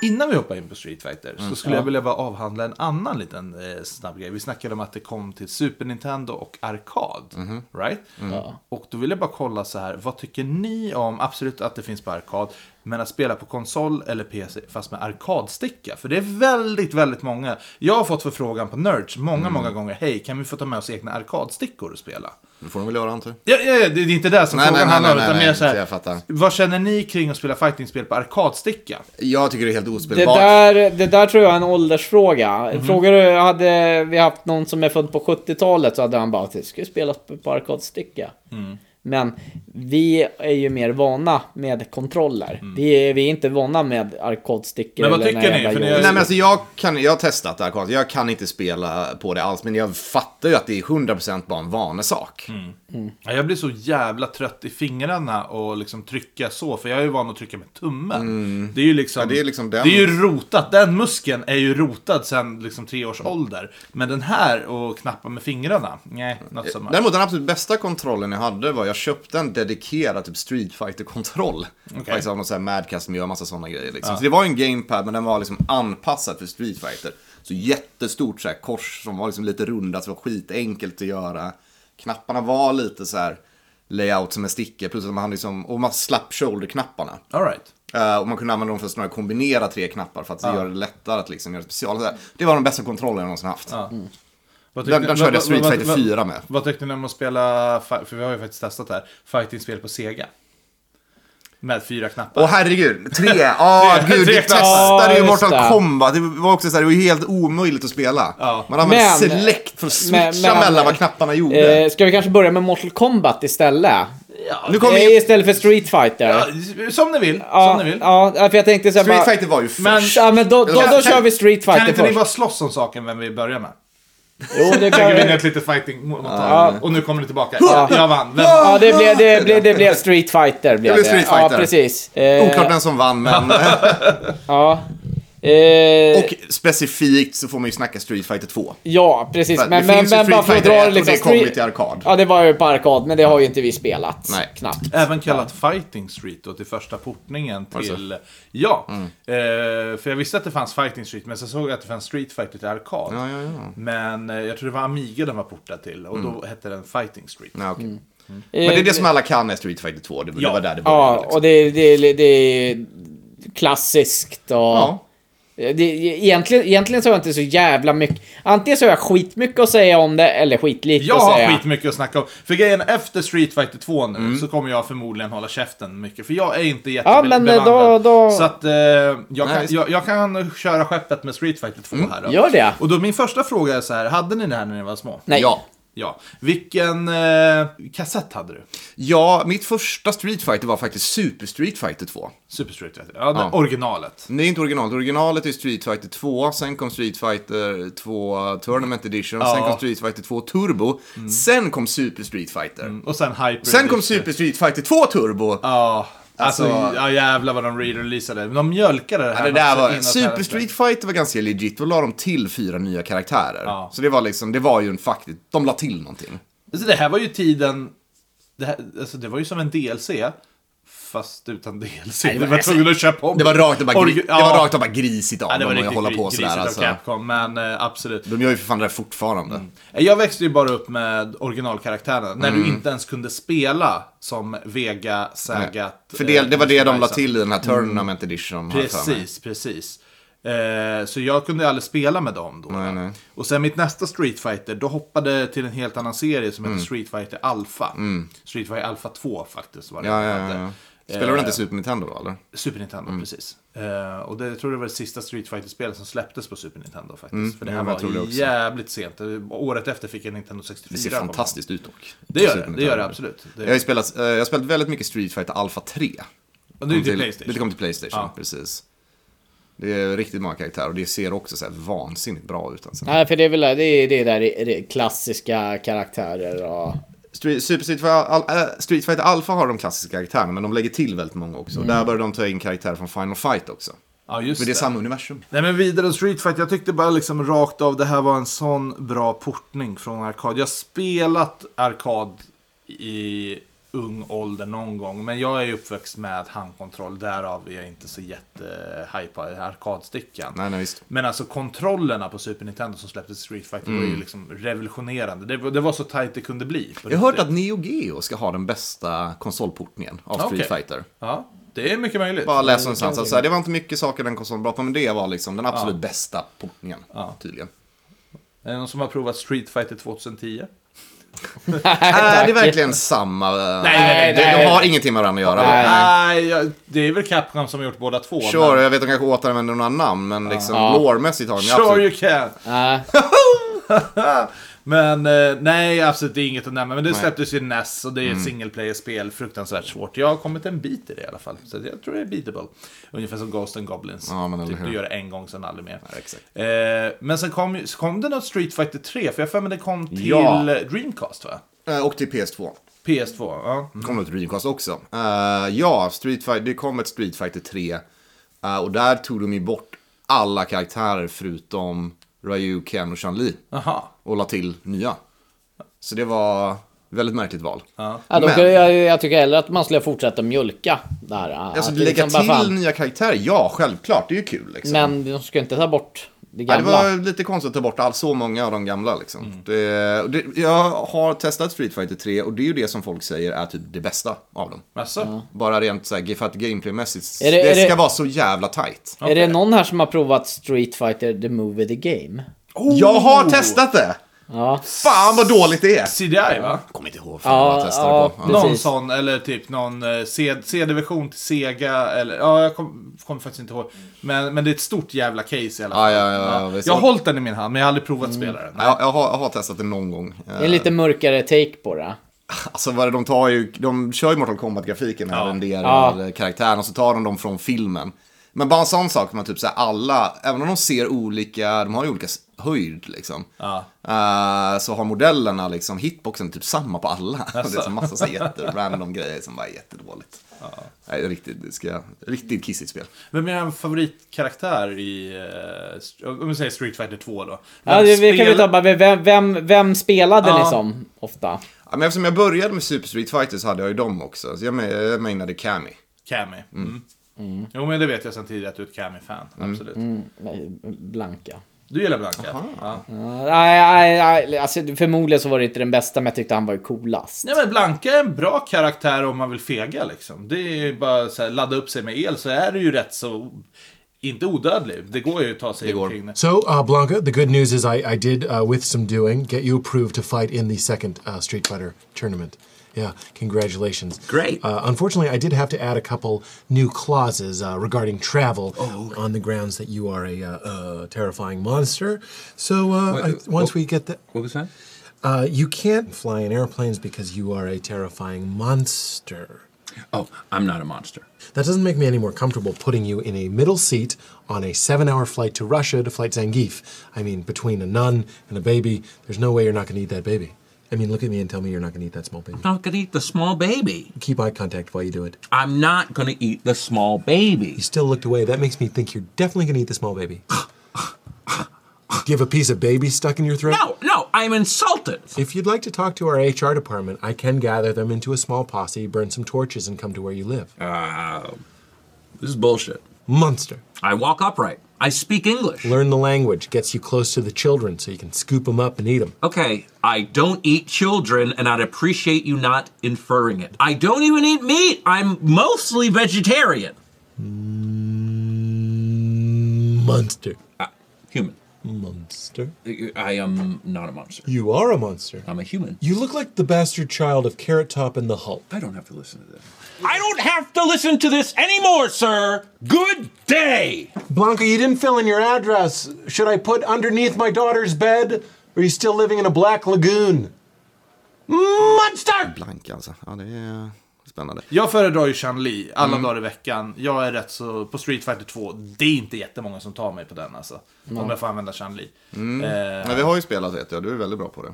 [SPEAKER 1] Innan vi hoppar in på Street Fighter
[SPEAKER 2] Mm.
[SPEAKER 1] så skulle jag vilja bara avhandla en annan liten eh, snabb grej. Vi snackade om att det kom till Super Nintendo och Arkad.
[SPEAKER 2] Mhm.
[SPEAKER 1] Right?
[SPEAKER 2] Mm.
[SPEAKER 3] Ja.
[SPEAKER 1] Och då vill jag bara kolla så här, vad tycker ni om, absolut att det finns på Arkad, men att spela på konsol eller PC fast med arkadsticka? För det är väldigt, väldigt många. Jag har fått förfrågan på Nerds många,
[SPEAKER 2] Mm.
[SPEAKER 1] många gånger. Hej, kan vi få ta med oss egna arkadstickor och spela?
[SPEAKER 2] Det får de väl göra antar jag.
[SPEAKER 1] Ja, ja, ja, det är inte det som
[SPEAKER 2] Nej,
[SPEAKER 1] frågan
[SPEAKER 2] nej, nej,
[SPEAKER 1] handlar om,
[SPEAKER 2] nej,
[SPEAKER 1] utan
[SPEAKER 2] nej,
[SPEAKER 1] mer så här,
[SPEAKER 2] jag fattar.
[SPEAKER 1] vad känner ni kring att spela fightingspel på arkadsticka?
[SPEAKER 2] Jag tycker det är helt
[SPEAKER 3] Det
[SPEAKER 2] ospelbart.
[SPEAKER 3] där, det där tror jag är en åldersfråga.
[SPEAKER 2] Mhm.
[SPEAKER 3] Frågar du, hade vi haft någon som är född på 70-talet så hade han bara det skulle spelas på- på arkadsticka.
[SPEAKER 2] Mm.
[SPEAKER 3] Men vi är ju mer vana med kontroller.
[SPEAKER 2] Mm.
[SPEAKER 3] Vi, är, vi är inte vana med arkadstickor.
[SPEAKER 1] Men vad
[SPEAKER 3] eller
[SPEAKER 1] tycker
[SPEAKER 3] den här
[SPEAKER 1] ni?
[SPEAKER 3] jävla
[SPEAKER 1] För ni
[SPEAKER 3] jojo.
[SPEAKER 1] har-
[SPEAKER 2] Nej men alltså jag, kan, jag har testat det här Karl. jag kan inte spela på det alls. Men jag fattar ju att det är 100% bara en vanesak.
[SPEAKER 1] Ja, Jag blir så jävla trött i fingrarna och liksom trycka så, för jag är ju van att trycka med tummen. Det är ju liksom,
[SPEAKER 2] Mm. Ja, det är liksom den-
[SPEAKER 1] det är ju rotat, den muskeln är ju rotad sedan liksom tre års ålder. Men den här och knappa med fingrarna, nej, not so much.
[SPEAKER 2] Däremot den absolut bästa kontrollen jag hade var jag köpte en dedikerad typ Street fighter kontroll Faktiskt av någon sån här Madcast som gör massa sådana grejer. Liksom. Så det var en gamepad men den var liksom anpassad för Street Fighter. Så jättestort så här kors som var liksom lite rundat, så det var skitenkelt att göra. Knapparna var lite så här layout som en sticka, plus att man hade liksom, och man slapp shoulder-knapparna.
[SPEAKER 1] All right.
[SPEAKER 2] Eh, och man kunde använda dem för att snarare kombinera tre knappar för att göra det lättare att liksom göra special. Så här, Det var den bästa kontrollen jag någonsin haft.
[SPEAKER 1] Vad
[SPEAKER 2] Den- den körde
[SPEAKER 1] vad-
[SPEAKER 2] jag Street
[SPEAKER 1] vad-
[SPEAKER 2] Fighter
[SPEAKER 1] vad-
[SPEAKER 2] 4 med.
[SPEAKER 1] Vad tyckte ni om att spela, fi- för vi har ju faktiskt testat det här, fighting-spel på Sega? Med fyra knappar.
[SPEAKER 2] Åh herregud, tre! Ja,
[SPEAKER 1] Tre-
[SPEAKER 2] gud,
[SPEAKER 1] tre
[SPEAKER 2] vi
[SPEAKER 1] knappar.
[SPEAKER 2] testade
[SPEAKER 3] Ja,
[SPEAKER 2] ju
[SPEAKER 3] just det.
[SPEAKER 2] Mortal Kombat. Det var också så här, det var ju helt omöjligt att spela.
[SPEAKER 1] Ja.
[SPEAKER 2] Man använde
[SPEAKER 3] Men-
[SPEAKER 2] select för att switcha
[SPEAKER 3] men- men-
[SPEAKER 2] mellan vad knapparna gjorde.
[SPEAKER 3] Eh, ska vi kanske börja med Mortal Kombat istället?
[SPEAKER 1] Ja,
[SPEAKER 2] nu kommer
[SPEAKER 3] Eh,
[SPEAKER 2] ju...
[SPEAKER 3] Istället för Street Fighter.
[SPEAKER 1] ja, som ni vill,
[SPEAKER 3] ja,
[SPEAKER 1] som ni vill.
[SPEAKER 3] ja, för jag tänkte så här
[SPEAKER 2] Street
[SPEAKER 3] bara-
[SPEAKER 2] Fighter var ju
[SPEAKER 1] Men-
[SPEAKER 2] först.
[SPEAKER 3] Ja, men då, då, då,
[SPEAKER 2] Kan- kan-
[SPEAKER 3] kör vi Street Fighter
[SPEAKER 1] Kan inte ni
[SPEAKER 3] först.
[SPEAKER 1] bara slåss om saken, vem vi börjar med?
[SPEAKER 3] Jo, det kan
[SPEAKER 1] Lägger vi
[SPEAKER 3] vi.
[SPEAKER 1] ner ett litet fighting mot
[SPEAKER 3] Ja.
[SPEAKER 1] Och nu kommer det tillbaka.
[SPEAKER 3] Ja.
[SPEAKER 1] Jag vann. Vem
[SPEAKER 3] Ja, det blev, det, blev, det blev Street Fighter. Blev det
[SPEAKER 2] Det blev Street Fighter.
[SPEAKER 3] Ja, precis. Eh,
[SPEAKER 2] Oklart vem som vann, men...
[SPEAKER 3] Ja. Eh,
[SPEAKER 2] och specifikt så får man ju snacka Street Fighter 2.
[SPEAKER 3] ja, precis.
[SPEAKER 2] För att
[SPEAKER 3] Men,
[SPEAKER 2] det
[SPEAKER 3] men,
[SPEAKER 2] finns ju
[SPEAKER 3] men
[SPEAKER 2] Street
[SPEAKER 3] bara för att
[SPEAKER 2] Fighter
[SPEAKER 3] dra
[SPEAKER 2] 1 och
[SPEAKER 3] liksom...
[SPEAKER 2] det kom ju
[SPEAKER 3] Street-
[SPEAKER 2] till arkad.
[SPEAKER 3] Ja, det var ju på arkad, men det har ju inte vi spelat.
[SPEAKER 2] Nej.
[SPEAKER 3] Knappt.
[SPEAKER 1] Även kallat Fighting Street då, till första portningen till... Ja, eh, för jag visste att det fanns Fighting Street, men så såg jag att det fanns Street Fighter till arkad.
[SPEAKER 2] Ja, ja, ja.
[SPEAKER 1] Men eh, jag tror det var Amiga den var portad till, och då hette den Fighting Street.
[SPEAKER 2] Nej, okej.
[SPEAKER 3] Eh,
[SPEAKER 2] Men det är det som alla kan är Street Fighter 2. Det,
[SPEAKER 1] Ja.
[SPEAKER 2] det var där det började.
[SPEAKER 3] Ja,
[SPEAKER 2] liksom.
[SPEAKER 3] och det, det, det, det är klassiskt och...
[SPEAKER 2] Ja.
[SPEAKER 3] Eh, Det, e- egentligen, egentligen så har jag inte så jävla mycket... Antingen så har jag skitmycket att säga om det, eller skitlite
[SPEAKER 1] Jag
[SPEAKER 3] att säga. Mm.
[SPEAKER 1] har skitmycket att snacka om. För grejen efter Street Fighter 2 nu så kommer jag förmodligen hålla käften mycket. För jag är inte
[SPEAKER 3] Ja, men, eh,
[SPEAKER 1] jättebevandrad.
[SPEAKER 3] då- då-
[SPEAKER 1] Så att eh, jag,
[SPEAKER 2] Nej,
[SPEAKER 1] kan,
[SPEAKER 2] visst.
[SPEAKER 1] jag, jag kan köra skeppet med Street Fighter 2 här då.
[SPEAKER 3] Mm. Gör det.
[SPEAKER 1] Och då min första fråga är så här, hade ni det här när ni var små?
[SPEAKER 3] Nej.
[SPEAKER 2] Ja.
[SPEAKER 1] Ja. Vilken eh, kassett hade du?
[SPEAKER 2] Ja, mitt första Street Fighter var faktiskt Super Street Fighter 2.
[SPEAKER 1] Super Street Fighter. Ja, det-
[SPEAKER 2] Ja.
[SPEAKER 1] originalet.
[SPEAKER 2] Det är inte originalet. Originalet är Street Fighter 2, sen kom Street Fighter 2 Tournament Edition,
[SPEAKER 1] Ja. Mm.
[SPEAKER 2] sen kom Street Fighter 2 Turbo, sen kom Super Street Fighter.
[SPEAKER 1] Och sen Hyper
[SPEAKER 2] Sen kom
[SPEAKER 1] Edition.
[SPEAKER 2] Super Street Fighter 2 Turbo.
[SPEAKER 1] Mm, Ja. Alltså,
[SPEAKER 2] Alltså-
[SPEAKER 1] ja jävlar vad de re-releasade. De mjölkade det här.
[SPEAKER 2] det där
[SPEAKER 1] något
[SPEAKER 2] var,
[SPEAKER 1] inåt
[SPEAKER 2] Super
[SPEAKER 1] helvete.
[SPEAKER 2] Street Fighter var ganska legit, då la de till fyra nya karaktärer.
[SPEAKER 1] Ja.
[SPEAKER 2] Så det var liksom, det var ju en faktiskt, de la till någonting.
[SPEAKER 1] Alltså det här var ju tiden, det, här, alltså det var ju som en DLC Fast utan DLC.
[SPEAKER 3] Nej, det
[SPEAKER 1] det
[SPEAKER 3] var-
[SPEAKER 1] var, var tvungen att köpa om
[SPEAKER 2] Det var rakt och bara,
[SPEAKER 1] Orgi-
[SPEAKER 2] gri- det var rakt och bara grisigt av
[SPEAKER 1] Ja, det var
[SPEAKER 2] dem att
[SPEAKER 1] riktigt
[SPEAKER 2] hålla på
[SPEAKER 1] grisigt
[SPEAKER 2] sådär.
[SPEAKER 1] av
[SPEAKER 2] Alltså.
[SPEAKER 1] Capcom, men eh, absolut.
[SPEAKER 2] De gör ju för fan det där fortfarande.
[SPEAKER 1] Mm. Jag växte ju bara upp med originalkaraktärerna, när
[SPEAKER 2] Mm.
[SPEAKER 1] du inte ens kunde spela som Vega, Sagat...
[SPEAKER 2] För det,
[SPEAKER 1] eh,
[SPEAKER 2] det var det de la
[SPEAKER 1] Kaiser.
[SPEAKER 2] till i den här Tournament Edition. har jag för mig.
[SPEAKER 1] Precis, precis. Eh, så jag kunde aldrig spela med dem då.
[SPEAKER 2] Nej, nej.
[SPEAKER 1] Och sen mitt nästa Street Fighter, då hoppade jag till en helt annan serie som
[SPEAKER 2] Mm.
[SPEAKER 1] heter Street Fighter Alpha. Street Fighter Alpha 2 faktiskt var det
[SPEAKER 2] Ja,
[SPEAKER 1] den
[SPEAKER 2] ja, Mm.
[SPEAKER 1] hette.
[SPEAKER 2] ja. Spelar du inte Super Nintendo då eller?
[SPEAKER 1] Super Nintendo, precis. Eh, och det, jag tror det var det sista Street Fighter-spelet som släpptes på Super Nintendo faktiskt. För det här
[SPEAKER 2] Mm. jag tror det
[SPEAKER 1] var
[SPEAKER 2] också.
[SPEAKER 1] jävligt sent. Det var- Året efter fick jag Nintendo 64.
[SPEAKER 2] Det ser
[SPEAKER 1] kom.
[SPEAKER 2] fantastiskt ut dock.
[SPEAKER 1] Det gör
[SPEAKER 2] Super
[SPEAKER 1] det, det gör det
[SPEAKER 2] Nintendo.
[SPEAKER 1] absolut. Det,
[SPEAKER 2] Jag har, ju spelat, eh, jag har spelat väldigt mycket Street Fighter Alpha 3.
[SPEAKER 1] och det är ju
[SPEAKER 2] Kom
[SPEAKER 1] till Playstation.
[SPEAKER 2] Det kom till Playstation,
[SPEAKER 1] Ja.
[SPEAKER 2] precis. Det är riktigt många karaktärer och det ser också så här vansinnigt bra ut. Alltså.
[SPEAKER 3] Nej, för det är väl det, är, det är där det är det klassiska karaktärer och...
[SPEAKER 2] Street, Super Street Fighter, Al- äh, Street Fighter Alpha har de klassiska karaktärerna men de lägger till väldigt många också. Och Där börjar de ta in karaktärer från Final Fight också.
[SPEAKER 1] Ja, Mm. just
[SPEAKER 2] Men det är samma universum.
[SPEAKER 1] Nej men vidare om Street Fighter, jag tyckte bara liksom rakt av det här var en sån bra portning från arkad. Jag har spelat arkad i ung ålder någon gång, men jag är ju uppväxt med handkontroll, därav är jag inte så jättehypad i arkadstickan.
[SPEAKER 2] Nej, nej visst.
[SPEAKER 1] Men alltså kontrollerna på Super Nintendo som släpptes i Street Fighter var ju liksom revolutionerande. Det, var- det var så tajt det kunde bli. på
[SPEAKER 2] Mm. Jag har hört
[SPEAKER 1] riktigt.
[SPEAKER 2] att Neo Geo ska ha den bästa konsolportningen av Street
[SPEAKER 1] Okej.
[SPEAKER 2] Fighter.
[SPEAKER 1] Ja, det är mycket
[SPEAKER 3] Typ.
[SPEAKER 1] möjligt.
[SPEAKER 2] Bara läsa någonstans att så här, det var inte mycket saker den konsolen var bra på, men det var liksom den absolut bästa portningen. Tydligen.
[SPEAKER 1] Är det någon som har provat Street Fighter 2010?
[SPEAKER 2] Är
[SPEAKER 3] Äh, Tack.
[SPEAKER 2] Äh, det verkligen samma?
[SPEAKER 1] nej,
[SPEAKER 2] de,
[SPEAKER 3] nej.
[SPEAKER 2] de har ingenting med varandra att göra.
[SPEAKER 3] Nej.
[SPEAKER 1] Nej, jag- det är väl Capcom som har gjort båda två.
[SPEAKER 2] Sure, jag vet att de kanske återanvänder några namn, men liksom
[SPEAKER 3] Ja.
[SPEAKER 2] lårmässigt har de ju
[SPEAKER 1] Sure
[SPEAKER 2] absolut...
[SPEAKER 1] you can!
[SPEAKER 3] Nej.
[SPEAKER 1] Men eh, nej, absolut det är inget att nämna. Men det släpptes ju NES och det är ett
[SPEAKER 2] Mm.
[SPEAKER 1] single player-spel. Fruktansvärt svårt. Jag har kommit en bit i det i alla fall. Så jag tror det är beatable. Ungefär som Ghost and Goblins.
[SPEAKER 2] Ja, men eller
[SPEAKER 1] typ,
[SPEAKER 2] hur.
[SPEAKER 1] du gör det en gång, sen aldrig mer.
[SPEAKER 2] exakt.
[SPEAKER 1] Eh, men sen kom, ju- så kom det något Street Fighter 3, för jag har för mig det kom till
[SPEAKER 2] Ja.
[SPEAKER 1] Dreamcast va?
[SPEAKER 2] Eh, Och till PS2.
[SPEAKER 1] PS2, ja.
[SPEAKER 2] Det kom ut Dreamcast också. Eh, ja, Street Fighter, det kom ett Street Fighter 3. eh, och där tog de ju bort alla karaktärer förutom Ryu, Ken och Chun-Li.
[SPEAKER 1] Jaha.
[SPEAKER 2] Och la till nya. Så det var väldigt märkligt val.
[SPEAKER 3] Ja, de
[SPEAKER 2] Men-
[SPEAKER 3] kunde, jag, jag tycker hellre att man skulle fortsätta mjölka där.
[SPEAKER 2] Alltså
[SPEAKER 3] Att
[SPEAKER 2] lägga
[SPEAKER 3] liksom bara
[SPEAKER 2] till
[SPEAKER 3] fan-
[SPEAKER 2] nya karaktärer, ja självklart, det är ju kul liksom.
[SPEAKER 3] Men de ska inte ta bort det
[SPEAKER 2] Ja, det
[SPEAKER 3] gamla.
[SPEAKER 2] var lite konstigt att ta bort all så många av de gamla liksom. Det, och det, jag har testat Street Fighter 3 och det är ju det som folk säger är typ det bästa av dem.
[SPEAKER 1] Jaså?
[SPEAKER 2] Bara rent så här, för att gameplaymässigt,
[SPEAKER 3] Är
[SPEAKER 2] det,
[SPEAKER 3] det- är det-
[SPEAKER 2] ska vara så jävla tight.
[SPEAKER 3] Är det någon här som har provat Street Fighter The Movie The Game?
[SPEAKER 1] Oh!
[SPEAKER 2] Jag har testat det!
[SPEAKER 3] Ja.
[SPEAKER 2] Fan vad dåligt det är!
[SPEAKER 1] CDI va?
[SPEAKER 2] Kommer inte ihåg
[SPEAKER 3] Ja,
[SPEAKER 2] fan vad jag testade
[SPEAKER 3] ja,
[SPEAKER 2] på.
[SPEAKER 3] precis.
[SPEAKER 1] Någon sån, eller typ någon eh, C- CD-version till Sega, eller ja, jag kom- kommer faktiskt inte ihåg. Men, men det är ett stort jävla case i alla
[SPEAKER 2] Ja,
[SPEAKER 1] fall.
[SPEAKER 2] ja, ja, ja, visst.
[SPEAKER 1] jag har hållit den i min hand, men jag har aldrig provat
[SPEAKER 3] Mm.
[SPEAKER 1] att spela den.
[SPEAKER 2] Jag, jag, har, jag har testat det någon gång. Eh,
[SPEAKER 3] En lite mörkare take på det.
[SPEAKER 2] Alltså vad det, de tar ju, de kör ju Mortal Kombat-grafiken med
[SPEAKER 1] Ja.
[SPEAKER 2] renderade karaktären och så tar de dem från filmen. Men bara en sån sak, man typ så här, alla, även om de ser olika, de har ju olika s- höjd liksom.
[SPEAKER 1] Ja.
[SPEAKER 2] Eh, så har modellerna liksom, hitboxen är typ samma på alla.
[SPEAKER 1] Jaså?
[SPEAKER 2] Det är så massa så här jätterandom grejer som bara är jättedåligt. Nej, riktigt, det ska, riktigt kissigt spel.
[SPEAKER 1] Vem är din favoritkaraktär i, eh, st- om vi säger Street Fighter 2 då?
[SPEAKER 3] Ja,
[SPEAKER 1] Vem
[SPEAKER 3] det, vi kan
[SPEAKER 1] spelar-
[SPEAKER 3] väl ta bara, vem, vem, vem spelade
[SPEAKER 1] Ja.
[SPEAKER 3] liksom ofta?
[SPEAKER 2] Ja, men eftersom jag började med Super Street Fighter så hade jag ju dem också. Så jag, men- jag menade Cammy.
[SPEAKER 1] Cammy. Mm. Jo, men det vet jag sedan tidigare att du är ett Cammy-fan.
[SPEAKER 3] Mm.
[SPEAKER 1] Absolut.
[SPEAKER 3] Nej, Blanka.
[SPEAKER 1] Du gillar Blanka? Ja.
[SPEAKER 3] Ja, Nej, nej, nej, alltså, förmodligen så var det inte den bästa, men jag tyckte han var ju coolast.
[SPEAKER 1] Nej men Blanka är en bra karaktär om man vill fega liksom. Det är ju bara så här, ladda upp sig med el så är det ju rätt så, inte odödlig. Det går ju att ta sig
[SPEAKER 2] går.
[SPEAKER 1] omkring.
[SPEAKER 4] So, uh, Blanca, the good news is I, I did, uh, with some doing, get you approved to fight in the second uh, Street Fighter tournament. Yeah, congratulations.
[SPEAKER 2] Great.
[SPEAKER 4] Uh, unfortunately, I did have to add a couple new clauses uh, regarding travel on the grounds that you are a uh, uh, terrifying monster. So, uh, I, once
[SPEAKER 5] Wait, what-
[SPEAKER 4] we get that,
[SPEAKER 5] What was that?
[SPEAKER 4] uh, you can't fly in airplanes because you are a terrifying monster.
[SPEAKER 5] Oh, I'm not a monster.
[SPEAKER 4] That doesn't make me any more comfortable putting you in a middle seat on a seven hour flight to Russia to flight Zangief. I mean, between a nun and a baby, there's no way you're not going to eat that baby. I mean, look at me and tell me you're not going to eat that small baby.
[SPEAKER 5] I'm not gonna eat the small baby.
[SPEAKER 4] Keep eye contact while you do it.
[SPEAKER 5] I'm not gonna eat the small baby.
[SPEAKER 4] You still looked away. That makes me think you're definitely going to eat the small baby. do you have a piece of baby stuck in your throat?
[SPEAKER 5] No, no, I'm insulted.
[SPEAKER 4] If you'd like to talk to our HR department, I can gather them into a small posse, burn some torches, and come to where you live.
[SPEAKER 5] This is bullshit.
[SPEAKER 4] Monster.
[SPEAKER 5] I walk upright. I speak English.
[SPEAKER 4] Learn the language, gets you close to the children so you can scoop them up and eat them.
[SPEAKER 5] Okay, I don't eat children, and I'd appreciate you not inferring it. I don't even eat meat. I'm mostly vegetarian.
[SPEAKER 4] Monster.
[SPEAKER 5] Human.
[SPEAKER 4] Monster.
[SPEAKER 5] I am not a monster.
[SPEAKER 4] You are a monster.
[SPEAKER 5] I'm a human.
[SPEAKER 4] You look like the bastard child of Carrot Top and the Hulk.
[SPEAKER 5] I don't have to listen to this. I don't have to listen to this anymore, sir. Good day.
[SPEAKER 4] Blanca, you didn't fill in your address. Should I put underneath my daughter's bed? Or are you still living in a black lagoon? Monster!
[SPEAKER 2] Blank alltså. Ja, det är spännande.
[SPEAKER 1] Jag föredrar ju Chan Li alla
[SPEAKER 2] Mm.
[SPEAKER 1] dagar i veckan. Jag är rätt så, på Street Fighter 2, det är inte jättemånga som tar mig på den alltså. Om jag får använda Chan Li.
[SPEAKER 2] Mm.
[SPEAKER 1] Eh,
[SPEAKER 2] Men vi har ju spelat vet jag, du är väldigt bra på det.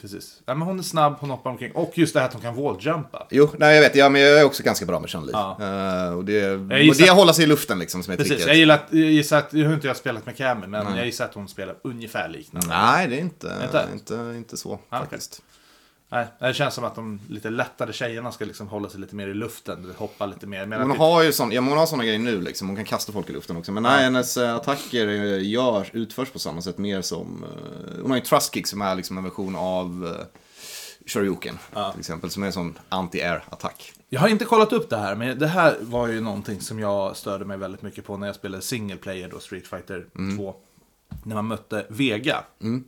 [SPEAKER 1] precis. Ja, men hon är snabb, hon hoppar omkring. Och just det här att hon kan walljumpa.
[SPEAKER 2] Jo, nej jag vet, ja, men jag är också ganska bra med Chun-Li. Eh, och det, och
[SPEAKER 1] gissar-
[SPEAKER 2] det håller sig i luften liksom som jag
[SPEAKER 1] Precis,
[SPEAKER 2] tycker.
[SPEAKER 1] jag gillar att, jag gissar att, jag har inte jag spelat med Cammy, men jag gissar att hon spelar ungefär liknande.
[SPEAKER 2] Nej, det är inte,
[SPEAKER 1] Inte?
[SPEAKER 2] inte. Inte, så
[SPEAKER 1] Ah,
[SPEAKER 2] faktiskt.
[SPEAKER 1] Nej, det känns som att de lite lättare tjejerna ska liksom hålla sig lite mer i luften, du vet, hoppa lite mer. Medan
[SPEAKER 2] Hon
[SPEAKER 1] typ-
[SPEAKER 2] har ju sån, ja, men hon har såna grejer nu liksom, hon kan kasta folk i luften också. Men nej, hennes eh, attacker eh, görs, utförs på samma sätt mer som, eh, hon har ju Trust Kick som är liksom en version av uh, Shoryuken till exempel, som är en sån anti-air attack.
[SPEAKER 1] Jag har inte kollat upp det här, men det här var ju någonting som jag störde mig väldigt mycket på när jag spelade single player då, Street Fighter
[SPEAKER 2] Mm.
[SPEAKER 1] 2. När man mötte Vega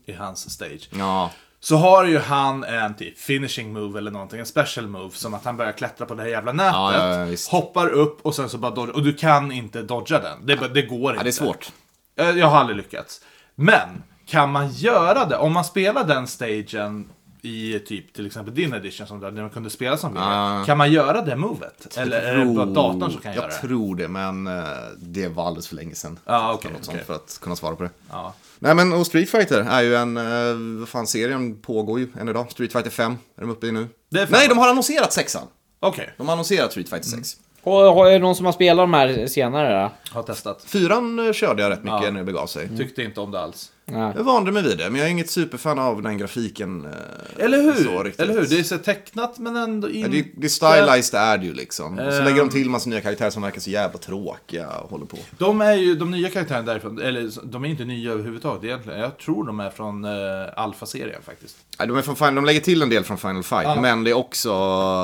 [SPEAKER 1] i hans stage.
[SPEAKER 2] Ja,
[SPEAKER 1] Så har ju han en typ finishing move eller någonting, en special move. Som att han börjar klättra på det här jävla nätet,
[SPEAKER 2] Ja, ja, ja, visst.
[SPEAKER 1] hoppar upp och sen så bara dodgar. Och du kan inte dodga den. Det, det går inte.
[SPEAKER 2] ja det är svårt.
[SPEAKER 1] Eh, Jag har aldrig lyckats. Men kan man göra det? Om man spelar den stagen i typ till exempel din edition som där man kunde spela som uh. Kan man göra det movet? Eller är det bara datorn som kan
[SPEAKER 2] Ah. Mm, jag
[SPEAKER 1] göra det?
[SPEAKER 2] tror det, men eh, det var alldeles för länge sedan.
[SPEAKER 1] Ja,
[SPEAKER 2] För
[SPEAKER 1] okej,
[SPEAKER 2] något sånt
[SPEAKER 1] okej.
[SPEAKER 2] För att kunna svara på det.
[SPEAKER 1] Ja.
[SPEAKER 2] Nej men, och Street Fighter är ju en, eh, vad fan serien pågår ju än idag. Street Fighter 5 är de uppe i nu.
[SPEAKER 1] Det är fem.
[SPEAKER 2] Nej, de har annonserat sexan.
[SPEAKER 1] Okej,
[SPEAKER 2] De har annonserat Street Fighter 6.
[SPEAKER 1] Mm.
[SPEAKER 3] Och har jag någon som har spelat de här senare då?
[SPEAKER 1] har testat.
[SPEAKER 2] Fyran eh, körde jag rätt mycket när det begav sig.
[SPEAKER 1] Tyckte inte om det alls.
[SPEAKER 2] Jag vande mig vid det, men jag är inget superfan av den grafiken. eh,
[SPEAKER 1] Eller
[SPEAKER 2] Så
[SPEAKER 1] hur?
[SPEAKER 2] riktigt.
[SPEAKER 1] Eller hur? Det är så tecknat men ändå inte...
[SPEAKER 2] Det, det stylized är det ju liksom.
[SPEAKER 1] Eh.
[SPEAKER 2] Så lägger de till massa nya karaktärer som verkar så jävla tråkiga och håller på.
[SPEAKER 1] De är ju de nya karaktärerna därifrån, eller de är inte nya överhuvudtaget egentligen. Jag tror de är från eh, Alpha-serien faktiskt.
[SPEAKER 2] Nej, De, är från Final, de lägger till en del från Final Fight, men det är också...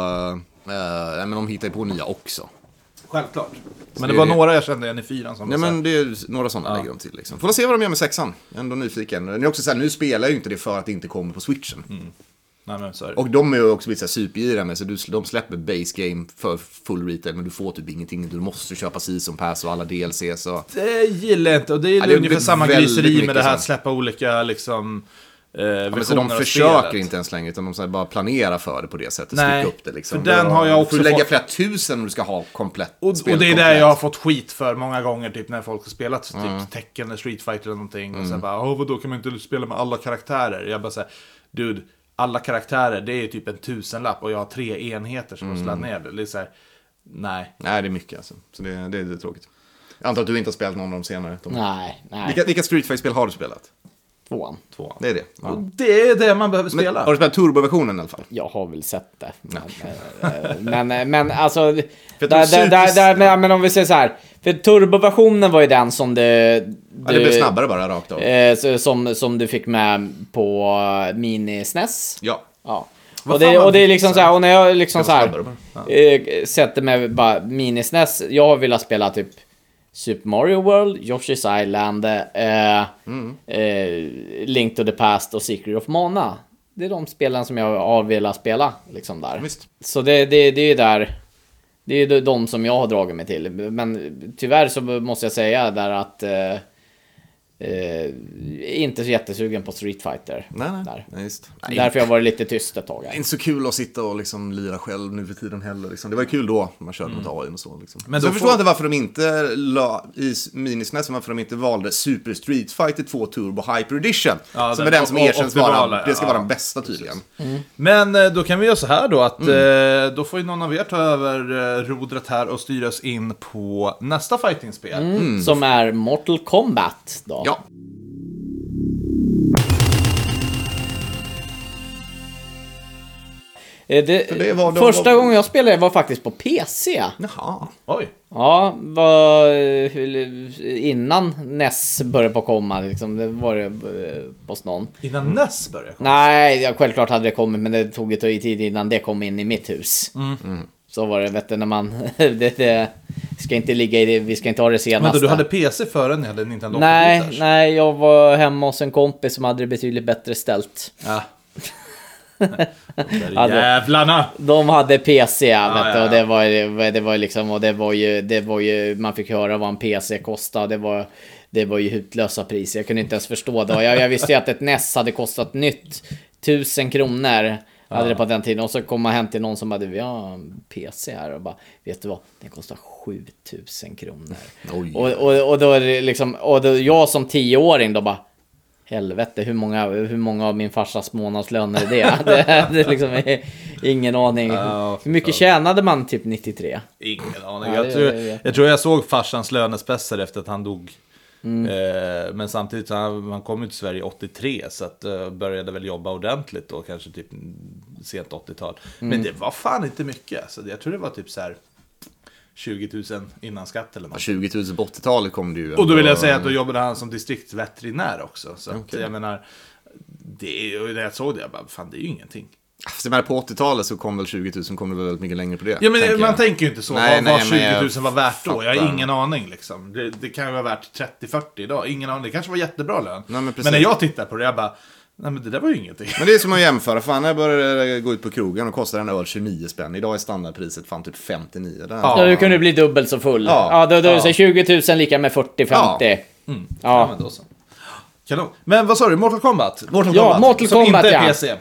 [SPEAKER 2] eh, nej, men de hittar ju på nya också.
[SPEAKER 1] Självklart. Men
[SPEAKER 2] det
[SPEAKER 1] det var
[SPEAKER 2] är det-
[SPEAKER 1] några jag kände igen i fyran som
[SPEAKER 2] Nej
[SPEAKER 1] var så här-
[SPEAKER 2] men det är några sådana lägger de till liksom. Får se vad de gör med sexan. Jag är Ändå nyfiken. Det är också så här, nu spelar jag ju inte det för att det inte kommer på switchen.
[SPEAKER 1] Mm. Nej, men så är det.
[SPEAKER 2] Och de är ju också lite så här supergiriga med så du, de släpper base game för full retail men du får typ ingenting. Du måste köpa season pass och alla DLCs och...
[SPEAKER 1] Det gillar jag inte. Och det är
[SPEAKER 2] det har
[SPEAKER 1] ungefär
[SPEAKER 2] blivit
[SPEAKER 1] samma
[SPEAKER 2] väldigt
[SPEAKER 1] griseri med
[SPEAKER 2] mycket
[SPEAKER 1] det här att
[SPEAKER 2] sånt.
[SPEAKER 1] släppa olika liksom... Eh,
[SPEAKER 2] Men så
[SPEAKER 1] versioner
[SPEAKER 2] de
[SPEAKER 1] av
[SPEAKER 2] försöker
[SPEAKER 1] spelet.
[SPEAKER 2] inte ens längre utan de så här bara planerar för det på det sättet.
[SPEAKER 1] Nej,
[SPEAKER 2] stycka upp det liksom.
[SPEAKER 1] för den har jag också
[SPEAKER 2] Du får lägga
[SPEAKER 1] fått-
[SPEAKER 2] flera tusen om du ska ha komplett
[SPEAKER 1] Och, och
[SPEAKER 2] spelet
[SPEAKER 1] det är
[SPEAKER 2] komplett.
[SPEAKER 1] det jag har fått skit för många gånger, typ när folk har spelat så typ
[SPEAKER 2] Mm.
[SPEAKER 1] Tekken eller Street Fighter eller någonting. Och sen bara, åh vadå, kan man inte spela med alla karaktärer? Jag bara säger dude, alla karaktärer, det är typ en tusenlapp och jag har tre enheter som
[SPEAKER 2] Mm.
[SPEAKER 1] måste ladda ner det. Det är så här, nej.
[SPEAKER 2] Nej det är mycket alltså. Så det, det är lite tråkigt. Jag antar att du inte har spelat någon av de senare. Tom.
[SPEAKER 3] Nej, nej.
[SPEAKER 2] Vilka, vilka Street Fighter-spel har du spelat?
[SPEAKER 3] Tvåan.
[SPEAKER 1] Tvåan.
[SPEAKER 2] Det är det.
[SPEAKER 1] Och det är det man behöver
[SPEAKER 2] Men,
[SPEAKER 1] spela.
[SPEAKER 2] har du spelat turboversionen i alla fall?
[SPEAKER 3] Jag har väl sett det. Men, eh, men, eh, men alltså... Där,
[SPEAKER 2] att de
[SPEAKER 3] där, där,
[SPEAKER 2] psykiskt-
[SPEAKER 3] där, men, men om vi säger så här. För turboversionen var ju den som du...
[SPEAKER 2] Ja, det blev snabbare bara rakt av.
[SPEAKER 3] Eh, så- som, som du fick med på eh, Mini SNES.
[SPEAKER 2] Ja.
[SPEAKER 3] Ja.
[SPEAKER 1] Vad
[SPEAKER 3] Och
[SPEAKER 1] fan
[SPEAKER 3] det,
[SPEAKER 1] man
[SPEAKER 3] och det är
[SPEAKER 1] fick
[SPEAKER 3] liksom
[SPEAKER 1] så
[SPEAKER 3] så här, och när jag liksom så
[SPEAKER 2] Ska vara
[SPEAKER 3] här, eh, sätter mig bara minisnäs, jag har velat spela typ Super Mario World, Yoshi's Island, eh, eh, Link to the Past och Secret of Mana. Det är de spelen som jag har velat spela liksom där.
[SPEAKER 2] Visst.
[SPEAKER 3] Så det, det, det är ju där, det är ju de som jag har dragit mig till. Men tyvärr så måste jag säga där att eh, eh, inte så jättesugen på Street Fighter.
[SPEAKER 2] Nej, nej.
[SPEAKER 3] Där.
[SPEAKER 2] nej just. Nej,
[SPEAKER 3] Därför har jag varit lite tyst ett tag. Här.
[SPEAKER 2] Inte så kul att sitta och liksom lira själv nu för tiden heller. Liksom. Det var ju kul då, man körde
[SPEAKER 3] Mm.
[SPEAKER 2] mot AI och så. Liksom.
[SPEAKER 1] Men
[SPEAKER 2] Men
[SPEAKER 1] då
[SPEAKER 2] så jag förstår
[SPEAKER 1] får-
[SPEAKER 2] inte varför de inte la i s- minisnäsen, varför de inte valde Super Street Fighter 2 Turbo Hyper Edition.
[SPEAKER 1] Ja,
[SPEAKER 2] som
[SPEAKER 1] den-
[SPEAKER 2] är den som
[SPEAKER 1] och- och-
[SPEAKER 2] erkänns
[SPEAKER 1] optimala,
[SPEAKER 2] vara, det ska
[SPEAKER 1] ja.
[SPEAKER 2] vara den bästa tydligen.
[SPEAKER 1] Men eh, då kan vi göra så här då att
[SPEAKER 3] Mm.
[SPEAKER 1] eh, då får ju någon av er ta över eh, rodret här och styra oss in på nästa fightingspel.
[SPEAKER 3] Som är Mortal Kombat då.
[SPEAKER 2] Ja.
[SPEAKER 3] Eh, Det,
[SPEAKER 2] det var- de
[SPEAKER 3] första
[SPEAKER 2] var-
[SPEAKER 3] gången jag spelade var faktiskt på PC.
[SPEAKER 2] Jaha.
[SPEAKER 1] Oj.
[SPEAKER 3] Ja, var, eh, innan NES började på komma. Liksom, det var det eh, hos någon.
[SPEAKER 1] Innan NES började komma.
[SPEAKER 3] Nej, ja, självklart hade det kommit, men det tog ett tag i tid innan det kom in i mitt hus.
[SPEAKER 1] Mm.
[SPEAKER 2] Mm.
[SPEAKER 3] Så var det, vet du, när man... det, det ska inte ligga i det, vi ska inte ha det senaste.
[SPEAKER 1] Vänta, du hade PC före ni hade Nintendo
[SPEAKER 3] Nej,
[SPEAKER 1] 8-bitars?
[SPEAKER 3] nej, jag var hemma hos en kompis som hade det betydligt bättre ställt.
[SPEAKER 1] Ja. De där
[SPEAKER 3] Ja, det-
[SPEAKER 1] jävlarna!
[SPEAKER 3] De hade PC, vet du,
[SPEAKER 1] ja,
[SPEAKER 3] och det var, ju- det var ju liksom, och det var ju, det var ju, man fick höra vad en PC kostade, det var, det var ju hutlösa priser, jag kunde inte ens förstå det. Och Jag, jag visste ju att ett NES hade kostat nytt, tusen kronor. Hade det på den tiden och så kom man hem till någon som hade vi har en PC här och bara Vet du vad? Den kostar 7000 kronor. Och, och, och då är det liksom Och då, jag som tioåring då bara Helvete, hur många, hur många av min farsas månadslöner är det? det, det är liksom, ingen aning.
[SPEAKER 1] Ja,
[SPEAKER 3] hur mycket tjänade man typ 93?
[SPEAKER 1] Ingen aning.
[SPEAKER 3] Ja, det-
[SPEAKER 1] jag, tror,
[SPEAKER 3] det vet
[SPEAKER 1] jag tror jag såg farsans lönespecier efter att han dog.
[SPEAKER 3] Mm.
[SPEAKER 1] Eh, men samtidigt, så han, han kom ju till Sverige 83, så att, eh, började väl jobba ordentligt då, kanske typ sent 80-tal.
[SPEAKER 3] Mm.
[SPEAKER 1] Men det var fan inte mycket. Så det- jag tror det var typ så här 20 000 innan skatt eller
[SPEAKER 2] Ja,
[SPEAKER 1] något.
[SPEAKER 2] 20 000 på 80-talet kom det ju.
[SPEAKER 1] Och då vill
[SPEAKER 2] ändå-
[SPEAKER 1] jag säga att då jobbade han som distriktsveterinär också. Så att, jag menar, det, är- och när jag såg det, jag bara, fan det är ju ingenting.
[SPEAKER 2] Fast jag menar, på 80-talet så kom väl 20 000 kom det väl väldigt mycket längre på det.
[SPEAKER 1] Ja men man
[SPEAKER 2] jag.
[SPEAKER 1] tänker ju inte så.
[SPEAKER 2] Nej,
[SPEAKER 1] vad vad
[SPEAKER 2] nej, men jag
[SPEAKER 1] 20 000 var värt då? Jag har
[SPEAKER 2] fattar.
[SPEAKER 1] ingen aning liksom. Det, det kan ju vara värt 30-40 idag. Ingen aning. Det kanske var jättebra lön.
[SPEAKER 2] Nej, men precis.
[SPEAKER 1] när jag tittar på det, jag bara, nej men det där var ju ingenting.
[SPEAKER 2] Men det är som att jämföra. Fan, när jag började gå ut på krogen och kostade en öl 29 spänn. Idag är standardpriset fan typ 59. Den
[SPEAKER 1] Ja.
[SPEAKER 3] Ja, du kunde bli dubbelt så full. Ja,
[SPEAKER 2] Ja.
[SPEAKER 3] då, då är det så
[SPEAKER 1] Ja.
[SPEAKER 3] 20 000 lika med 40-50. Ja,
[SPEAKER 2] Ja. Mm.
[SPEAKER 1] Ja, men då så. Kanon. Men vad sa du? Mortal Kombat? Mortal
[SPEAKER 3] Ja, Mortal
[SPEAKER 1] Som
[SPEAKER 3] Kombat,
[SPEAKER 1] inte är
[SPEAKER 3] ja.
[SPEAKER 1] PC.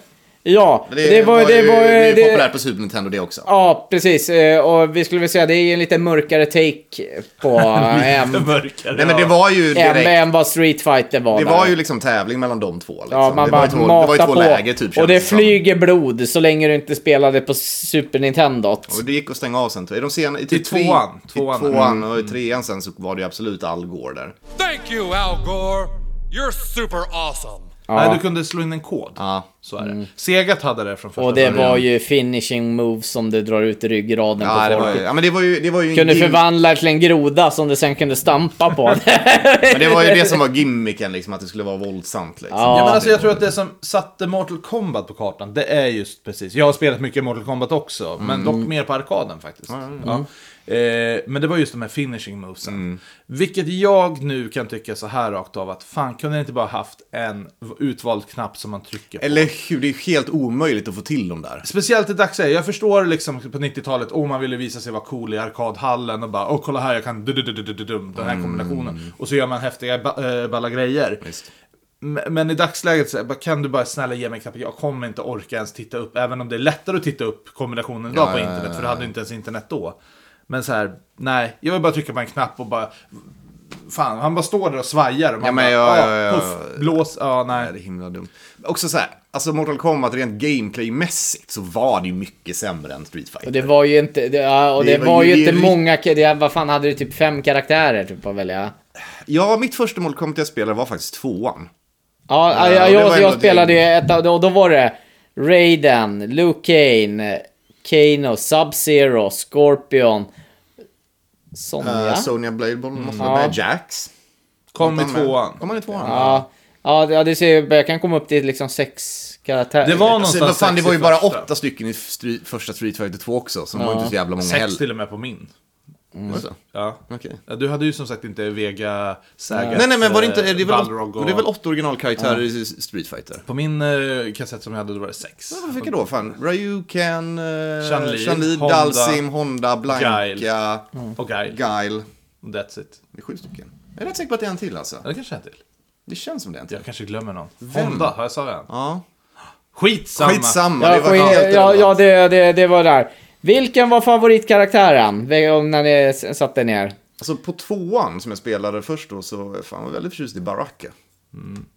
[SPEAKER 3] ja
[SPEAKER 2] Det, var, ju,
[SPEAKER 3] det var,
[SPEAKER 2] det är ju
[SPEAKER 3] det-
[SPEAKER 2] populärt på Super Nintendo det också.
[SPEAKER 3] Ja, precis. Eh, Och vi skulle väl säga det är ju en lite mörkare take på M.
[SPEAKER 1] Det mörkare.
[SPEAKER 2] Nej men det var ju
[SPEAKER 3] M,
[SPEAKER 2] direkt.
[SPEAKER 3] M vad Street Fighter var.
[SPEAKER 2] Det
[SPEAKER 3] där.
[SPEAKER 2] var ju liksom tävling mellan de två. Liksom.
[SPEAKER 3] Ja, man
[SPEAKER 2] det,
[SPEAKER 3] bara
[SPEAKER 2] var ju två, det
[SPEAKER 3] matar
[SPEAKER 2] var ju två
[SPEAKER 3] på.
[SPEAKER 2] läger typ.
[SPEAKER 3] och det
[SPEAKER 2] kändes som.
[SPEAKER 3] flyger blod så länge du inte spelade på Super Nintendo.
[SPEAKER 2] Och det gick att stänga av sen. tror jag. I, de sena, i, typ
[SPEAKER 1] I
[SPEAKER 2] tre-
[SPEAKER 1] tvåan.
[SPEAKER 2] I
[SPEAKER 1] Tvåan. Mm.
[SPEAKER 2] tvåan, och i trean sen så var det ju absolut Al Gore där.
[SPEAKER 6] Thank you, Al Gore. You're super awesome.
[SPEAKER 1] Nej, du kunde slå in en kod.
[SPEAKER 2] Ja.
[SPEAKER 1] Så är det. Segat hade det från första
[SPEAKER 3] Och det
[SPEAKER 2] alltså,
[SPEAKER 1] början.
[SPEAKER 3] var ju finishing moves som du drar ut ryggraden
[SPEAKER 2] Ja, det
[SPEAKER 3] på
[SPEAKER 2] var
[SPEAKER 3] folk.
[SPEAKER 2] ju, ja men det var ju, det var ju en
[SPEAKER 3] Kunde
[SPEAKER 2] gim-
[SPEAKER 3] förvandla till en groda som du sen kunde stampa på.
[SPEAKER 2] Men det var ju det som var gimmicken liksom, att det skulle vara våldsamt liksom.
[SPEAKER 3] Ja.
[SPEAKER 1] Ja, men alltså, jag tror att det som satte Mortal Kombat på kartan, det är just precis. Jag har spelat mycket Mortal Kombat också, men dock mer på arkaden faktiskt. Mm. Ja. Mm. Eh, men det var just de här finishing movesen. Vilket jag nu kan tycka så här rakt av att fan, kunde jag inte bara haft en utvald knapp som man trycker på?
[SPEAKER 2] Eller hur, det är ju helt omöjligt att få till dem där.
[SPEAKER 1] Speciellt i dagsläget. Jag förstår liksom på 90-talet, om man ville visa sig vara cool i arkadhallen och bara åh kolla här jag kan du- du- du- du- du- du- dum den här
[SPEAKER 2] Mm.
[SPEAKER 1] kombinationen. Och så gör man häftiga ba- eh, balla grejer. M- Men i dagsläget så är det bara, kan du bara snälla ge mig knappen, jag kommer inte orka ens titta upp. Även om det är lättare att titta upp kombinationen idag på internet, för du hade inte ens internet då. Men så här, nej, jag vill bara trycka på en knapp och bara... Fan, han bara står där och svajar och man
[SPEAKER 2] Ja, men
[SPEAKER 1] bara,
[SPEAKER 2] ja,
[SPEAKER 1] "Ah,
[SPEAKER 2] ja, ja,
[SPEAKER 1] puff, blås, ja nej.
[SPEAKER 2] Nej, det är himla dumt. Också så här, alltså Mortal Kombat rent gameplaymässigt så var det ju mycket sämre än Street Fighter.
[SPEAKER 3] Och det var ju inte, det, ja, och
[SPEAKER 2] Det
[SPEAKER 3] det, var,
[SPEAKER 2] var
[SPEAKER 3] ju
[SPEAKER 2] ju
[SPEAKER 3] inte
[SPEAKER 2] ri-
[SPEAKER 3] många, det, vad fan hade du typ fem karaktärer typ att välja?
[SPEAKER 2] Ja, mitt första Mortal Kombat jag spelade var faktiskt tvåan.
[SPEAKER 3] Ja, ja,
[SPEAKER 2] det
[SPEAKER 3] jag,
[SPEAKER 2] var
[SPEAKER 3] jag,
[SPEAKER 2] ändå
[SPEAKER 3] spelade ju ett av, och då var det Raiden, Luke Kane, Kano, Sub-Zero, Scorpion,
[SPEAKER 2] Eh,
[SPEAKER 3] Sonja.
[SPEAKER 2] Sonya Bladeball måste vara
[SPEAKER 3] Ja.
[SPEAKER 2] med. Jax.
[SPEAKER 1] Kom i
[SPEAKER 2] Var med.
[SPEAKER 1] tvåan.
[SPEAKER 2] Kom han i tvåan?
[SPEAKER 3] ja, ja, det- ja, det ser ju, jag kan komma upp till liksom sex karaktärer.
[SPEAKER 1] Det var
[SPEAKER 2] Alltså,
[SPEAKER 1] någonstans
[SPEAKER 2] vad fan, det
[SPEAKER 1] sex
[SPEAKER 2] var
[SPEAKER 1] i
[SPEAKER 2] ju bara
[SPEAKER 1] första.
[SPEAKER 2] åtta stycken i stry- första Street Fighter 2 också, så de var inte så jävla många
[SPEAKER 1] Sex
[SPEAKER 2] heller.
[SPEAKER 1] till och med på min.
[SPEAKER 3] Mm.
[SPEAKER 2] Alltså.
[SPEAKER 1] Ja.
[SPEAKER 2] Okej.
[SPEAKER 1] Ja, Du hade ju som sagt inte Vega, Sagat,
[SPEAKER 2] Nej, nej, men var det inte...
[SPEAKER 1] eh,
[SPEAKER 2] är Det väl åt-
[SPEAKER 1] Balrog
[SPEAKER 2] det är väl åtta originalkaraktärer i Street Fighter?
[SPEAKER 1] På min eh, kassett som jag hade då var det sex.
[SPEAKER 2] Ja, Vilka då? Fan, Ryuken, eh,
[SPEAKER 1] Chun-Li,
[SPEAKER 2] Chun-Li,
[SPEAKER 1] Honda,
[SPEAKER 2] Dalsim, Honda, Blanka,
[SPEAKER 1] Guile. Och Guile.
[SPEAKER 2] Guile.
[SPEAKER 1] That's it.
[SPEAKER 2] Det är sju stycken. Jag är rätt säker på att det är en till alltså.
[SPEAKER 1] Eller kanske en till.
[SPEAKER 2] Det känns som det är en till.
[SPEAKER 1] Jag kanske glömmer någon. Honda, har jag sagt en?
[SPEAKER 2] Ja.
[SPEAKER 1] Skitsamma!
[SPEAKER 2] Skitsamma,
[SPEAKER 3] Ja,
[SPEAKER 2] det var
[SPEAKER 3] skit-
[SPEAKER 2] helt
[SPEAKER 3] ja,
[SPEAKER 2] relevant.
[SPEAKER 3] ja det, det, det var där. Vilken var favoritkaraktären? Ve- om När ni s- satte ner.
[SPEAKER 2] Alltså på tvåan som jag spelade först då så fan, var jag väldigt förtjust i Baraka.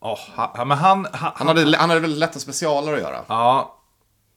[SPEAKER 1] Åh, ha- ha- men han... ha-
[SPEAKER 2] Han hade, han hade väldigt lätta specialer att göra.
[SPEAKER 1] Ja.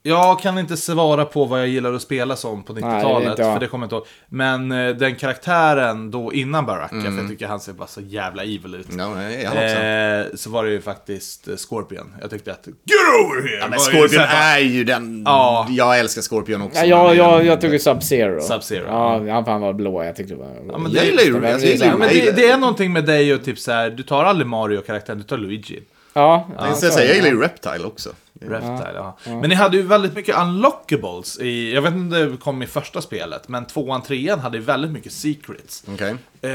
[SPEAKER 1] Jag kan inte svara på vad jag gillar att spela som på
[SPEAKER 3] Nej,
[SPEAKER 1] 90-talet,
[SPEAKER 3] det är inte jag.
[SPEAKER 1] för det kommer jag inte ihåg. Men eh, den karaktären då innan Baraka, för jag tycker han ser bara så jävla evil ut.
[SPEAKER 2] Mm. Ja, nej, jag har också.
[SPEAKER 1] Eh, så var det ju faktiskt eh, Scorpion. Jag tyckte att Get over here!
[SPEAKER 2] Men
[SPEAKER 1] var ju
[SPEAKER 2] Scorpion
[SPEAKER 1] så här
[SPEAKER 2] är ju den...
[SPEAKER 1] Ja.
[SPEAKER 2] Jag älskar Scorpion också.
[SPEAKER 3] Ja, jag,
[SPEAKER 2] men-
[SPEAKER 3] jag, jag tog ju Sub-Zero.
[SPEAKER 1] Sub-Zero.
[SPEAKER 3] Ja, han fan var blå. Jag tyckte det var...
[SPEAKER 1] bara- men
[SPEAKER 2] Jag
[SPEAKER 1] det-
[SPEAKER 2] gillar ju...
[SPEAKER 3] det är
[SPEAKER 2] Jag gillar ju...
[SPEAKER 1] Ja, men
[SPEAKER 2] jag
[SPEAKER 1] det,
[SPEAKER 2] gillar-
[SPEAKER 1] det är någonting med dig och typ så här, du tar aldrig Mario-karaktären, du tar Luigi.
[SPEAKER 3] ja,
[SPEAKER 2] Jag ska säga, jag gillar ju Reptile också.
[SPEAKER 1] Reptile, ja. Men ni hade ju väldigt mycket unlockables i, jag vet inte om det kom i första spelet, men tvåan, trean hade ju väldigt mycket secrets.
[SPEAKER 2] Okej.
[SPEAKER 1] Eh,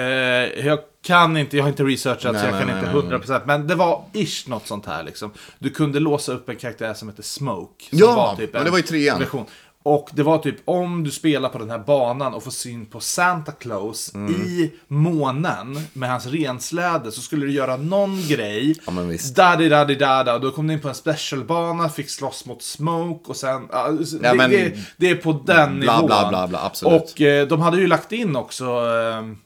[SPEAKER 1] jag kan inte, jag har inte researchat
[SPEAKER 2] Nej,
[SPEAKER 1] så jag
[SPEAKER 2] nej,
[SPEAKER 1] kan
[SPEAKER 2] nej,
[SPEAKER 1] inte
[SPEAKER 2] nej.
[SPEAKER 1] 100% men det var ish något sånt här liksom. Du kunde låsa upp en karaktär som hette Smoke. Som typ
[SPEAKER 2] Ja, men
[SPEAKER 1] en
[SPEAKER 2] det var ju trean.
[SPEAKER 1] version. Och det var typ om du spelar på den här banan och får syn på Santa Claus
[SPEAKER 2] Mm.
[SPEAKER 1] i månen med hans rensläde så skulle du göra någon grej.
[SPEAKER 2] Ja, men visst.
[SPEAKER 1] Daddy, daddy, dada. Och då kom du in på en specialbana, fick slåss mot Smoke och sen... ja, det,
[SPEAKER 2] men-
[SPEAKER 1] det, det är på den
[SPEAKER 2] Bla,
[SPEAKER 1] nivån.
[SPEAKER 2] bla, bla, bla, absolut.
[SPEAKER 1] Och eh, de hade ju lagt in också... ehm,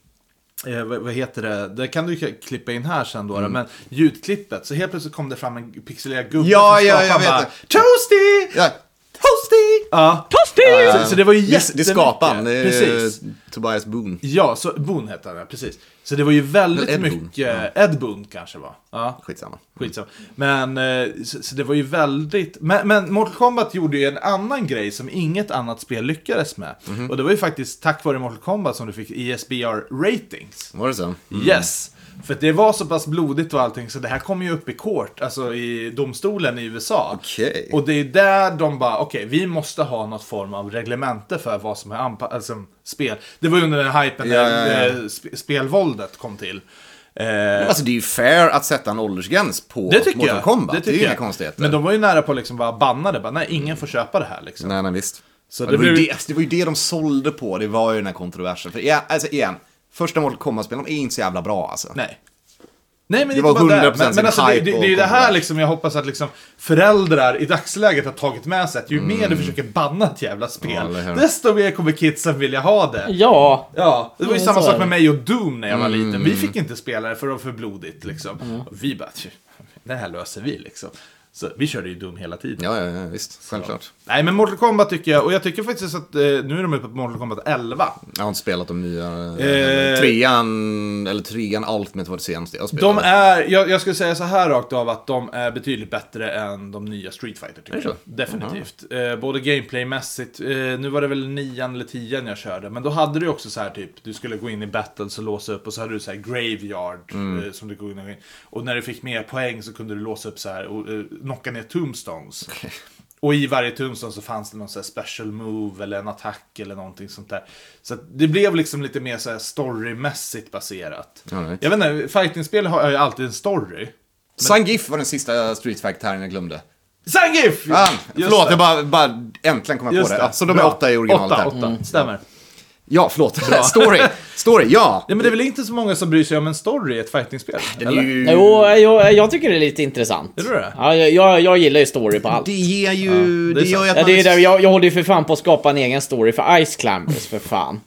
[SPEAKER 1] Eh, vad, vad heter det? Det kan du ju klippa in här sen då.
[SPEAKER 2] Mm.
[SPEAKER 1] Men ljudklippet. Så helt plötsligt kom det fram en pixelerad gubbe
[SPEAKER 2] Ja,
[SPEAKER 1] som
[SPEAKER 2] ja,
[SPEAKER 1] skapade
[SPEAKER 2] jag vet
[SPEAKER 1] bara,
[SPEAKER 2] det.
[SPEAKER 1] Toasty!
[SPEAKER 2] Ja. Toasty!
[SPEAKER 1] Ja. Toasty! Så, så det var ju
[SPEAKER 2] Det, det
[SPEAKER 1] jättemycket.
[SPEAKER 2] är skaparen. Det är
[SPEAKER 1] Precis.
[SPEAKER 2] Tobias Boone.
[SPEAKER 1] Ja, så Boon hette han ja, precis. Så det var ju väldigt
[SPEAKER 2] Ed Boon,
[SPEAKER 1] mycket... Ed Boon kanske var. Ja.
[SPEAKER 2] Skitsamma.
[SPEAKER 1] Skitsamma. Men, eh, så, så det var ju väldigt... Men, men Mortal Kombat gjorde ju en annan grej som inget annat spel lyckades med.
[SPEAKER 2] Mhm.
[SPEAKER 1] Och det var ju faktiskt tack vare Mortal Kombat som du fick E ESBR-ratings.
[SPEAKER 2] Var det så?
[SPEAKER 1] Yes! För att det var så pass blodigt och allting så det här kom ju upp i court, alltså i domstolen i USA.
[SPEAKER 2] Okej.
[SPEAKER 1] Och det är där de bara, okej, vi måste ha något form av reglemente för vad som är anpa- alltså, spel. Det var ju under den hypen
[SPEAKER 2] Ja,
[SPEAKER 1] när
[SPEAKER 2] ja, ja.
[SPEAKER 1] eh, sp- spelvåldet kom till. Eh,
[SPEAKER 2] Alltså det är ju fair att sätta en åldersgräns på
[SPEAKER 1] det tycker
[SPEAKER 2] Mortal
[SPEAKER 1] jag.
[SPEAKER 2] Kombat. Det,
[SPEAKER 1] tycker
[SPEAKER 2] är ju
[SPEAKER 1] jag.
[SPEAKER 2] inga konstigheter. Mm.
[SPEAKER 1] Men de var ju nära på att liksom bara banna det. Bara, nej, ingen får köpa det här liksom.
[SPEAKER 2] Nej, nej visst.
[SPEAKER 1] Så
[SPEAKER 2] Ja,
[SPEAKER 1] det
[SPEAKER 2] det, var ju
[SPEAKER 1] blev-
[SPEAKER 2] det, det var ju det de sålde på, det var ju den här kontroversen. För ja, alltså igen, första Mortal Kombat-spelen är inte så jävla bra alltså.
[SPEAKER 1] Nej. Nej, men
[SPEAKER 2] Det
[SPEAKER 1] inte
[SPEAKER 2] var
[SPEAKER 1] bara där.
[SPEAKER 2] 100%
[SPEAKER 1] Men, men alltså, det,
[SPEAKER 2] hype
[SPEAKER 1] det,
[SPEAKER 2] och
[SPEAKER 1] det är ju det här
[SPEAKER 2] kontrovers.
[SPEAKER 1] liksom jag hoppas att liksom föräldrar i dagsläget har tagit med sig. Att ju mer du försöker banna ett jävla
[SPEAKER 2] Mm. Ja,
[SPEAKER 1] spel,
[SPEAKER 2] eller hur.
[SPEAKER 1] desto mer kommer kidsen vilja ha det.
[SPEAKER 3] Ja,
[SPEAKER 1] Ja, det var ju
[SPEAKER 3] Ja,
[SPEAKER 1] samma
[SPEAKER 3] så är
[SPEAKER 1] sak
[SPEAKER 3] det.
[SPEAKER 1] med mig och Doom när jag var
[SPEAKER 2] Mm.
[SPEAKER 1] liten. Vi fick inte spela det för det var för blodigt liksom. Och vi bara, "Tju, det här löser vi liksom. Så vi körde ju Doom hela tiden.
[SPEAKER 2] Ja, ja, ja visst. Självklart.
[SPEAKER 1] Nej, men Mortal Kombat tycker jag, och jag tycker faktiskt att eh, nu är de uppe på Mortal Kombat 11.
[SPEAKER 2] Jag har inte spelat de nya.
[SPEAKER 1] Eh.
[SPEAKER 2] Eh... Trean, eller trean Ultimate var det senaste jag spelade.
[SPEAKER 1] De är, jag, jag skulle säga så här rakt av att de är betydligt bättre än de nya Street Fighter tycker
[SPEAKER 2] Är det
[SPEAKER 1] jag.
[SPEAKER 2] så?
[SPEAKER 1] Definitivt. Eh, både gameplaymässigt, eh, nu var det väl nian eller tian jag körde, men då hade du också så här typ, du skulle gå in i battles och låsa upp och så hade du så här graveyard
[SPEAKER 2] Mm.
[SPEAKER 1] eh, som du kunde gå in i. Och när du fick mer poäng så kunde du låsa upp så här och eh, knocka ner tombstones. Och i varje tombstone så fanns det någon så här special move eller en attack eller någonting sånt där. Så att det blev liksom lite mer så här storymässigt baserat.
[SPEAKER 2] All right.
[SPEAKER 1] Jag vet inte, fightingspel har ju alltid en story.
[SPEAKER 2] Zangief var den sista Street Fighter-termen jag glömde.
[SPEAKER 1] Zangief!
[SPEAKER 2] Fan,
[SPEAKER 1] Ah, Just
[SPEAKER 2] Ah, förlåt,
[SPEAKER 1] det.
[SPEAKER 2] jag bara, bara äntligen kom jag
[SPEAKER 1] Just
[SPEAKER 2] på det. Ja, Så de är
[SPEAKER 1] Bra.
[SPEAKER 2] åtta i originalet
[SPEAKER 1] Åtta,
[SPEAKER 2] här. Mm.
[SPEAKER 1] åtta. Stämmer.
[SPEAKER 2] Ja, förlåt. story. Story, ja.
[SPEAKER 1] Ja, men det är väl inte så många som bryr sig om en story i ett fightingspel?
[SPEAKER 2] Den är ju...
[SPEAKER 3] Jo, jag, jag tycker det är lite intressant.
[SPEAKER 1] Är det det?
[SPEAKER 3] Ja, jag, jag, jag gillar ju story på allt.
[SPEAKER 2] Det ger ju...
[SPEAKER 1] det är
[SPEAKER 2] det gör ju
[SPEAKER 1] sant.
[SPEAKER 2] att
[SPEAKER 3] ja,
[SPEAKER 2] man...
[SPEAKER 3] det är där, jag, jag håller ju för fan på att skapa en egen story för Ice Climbers, för fan.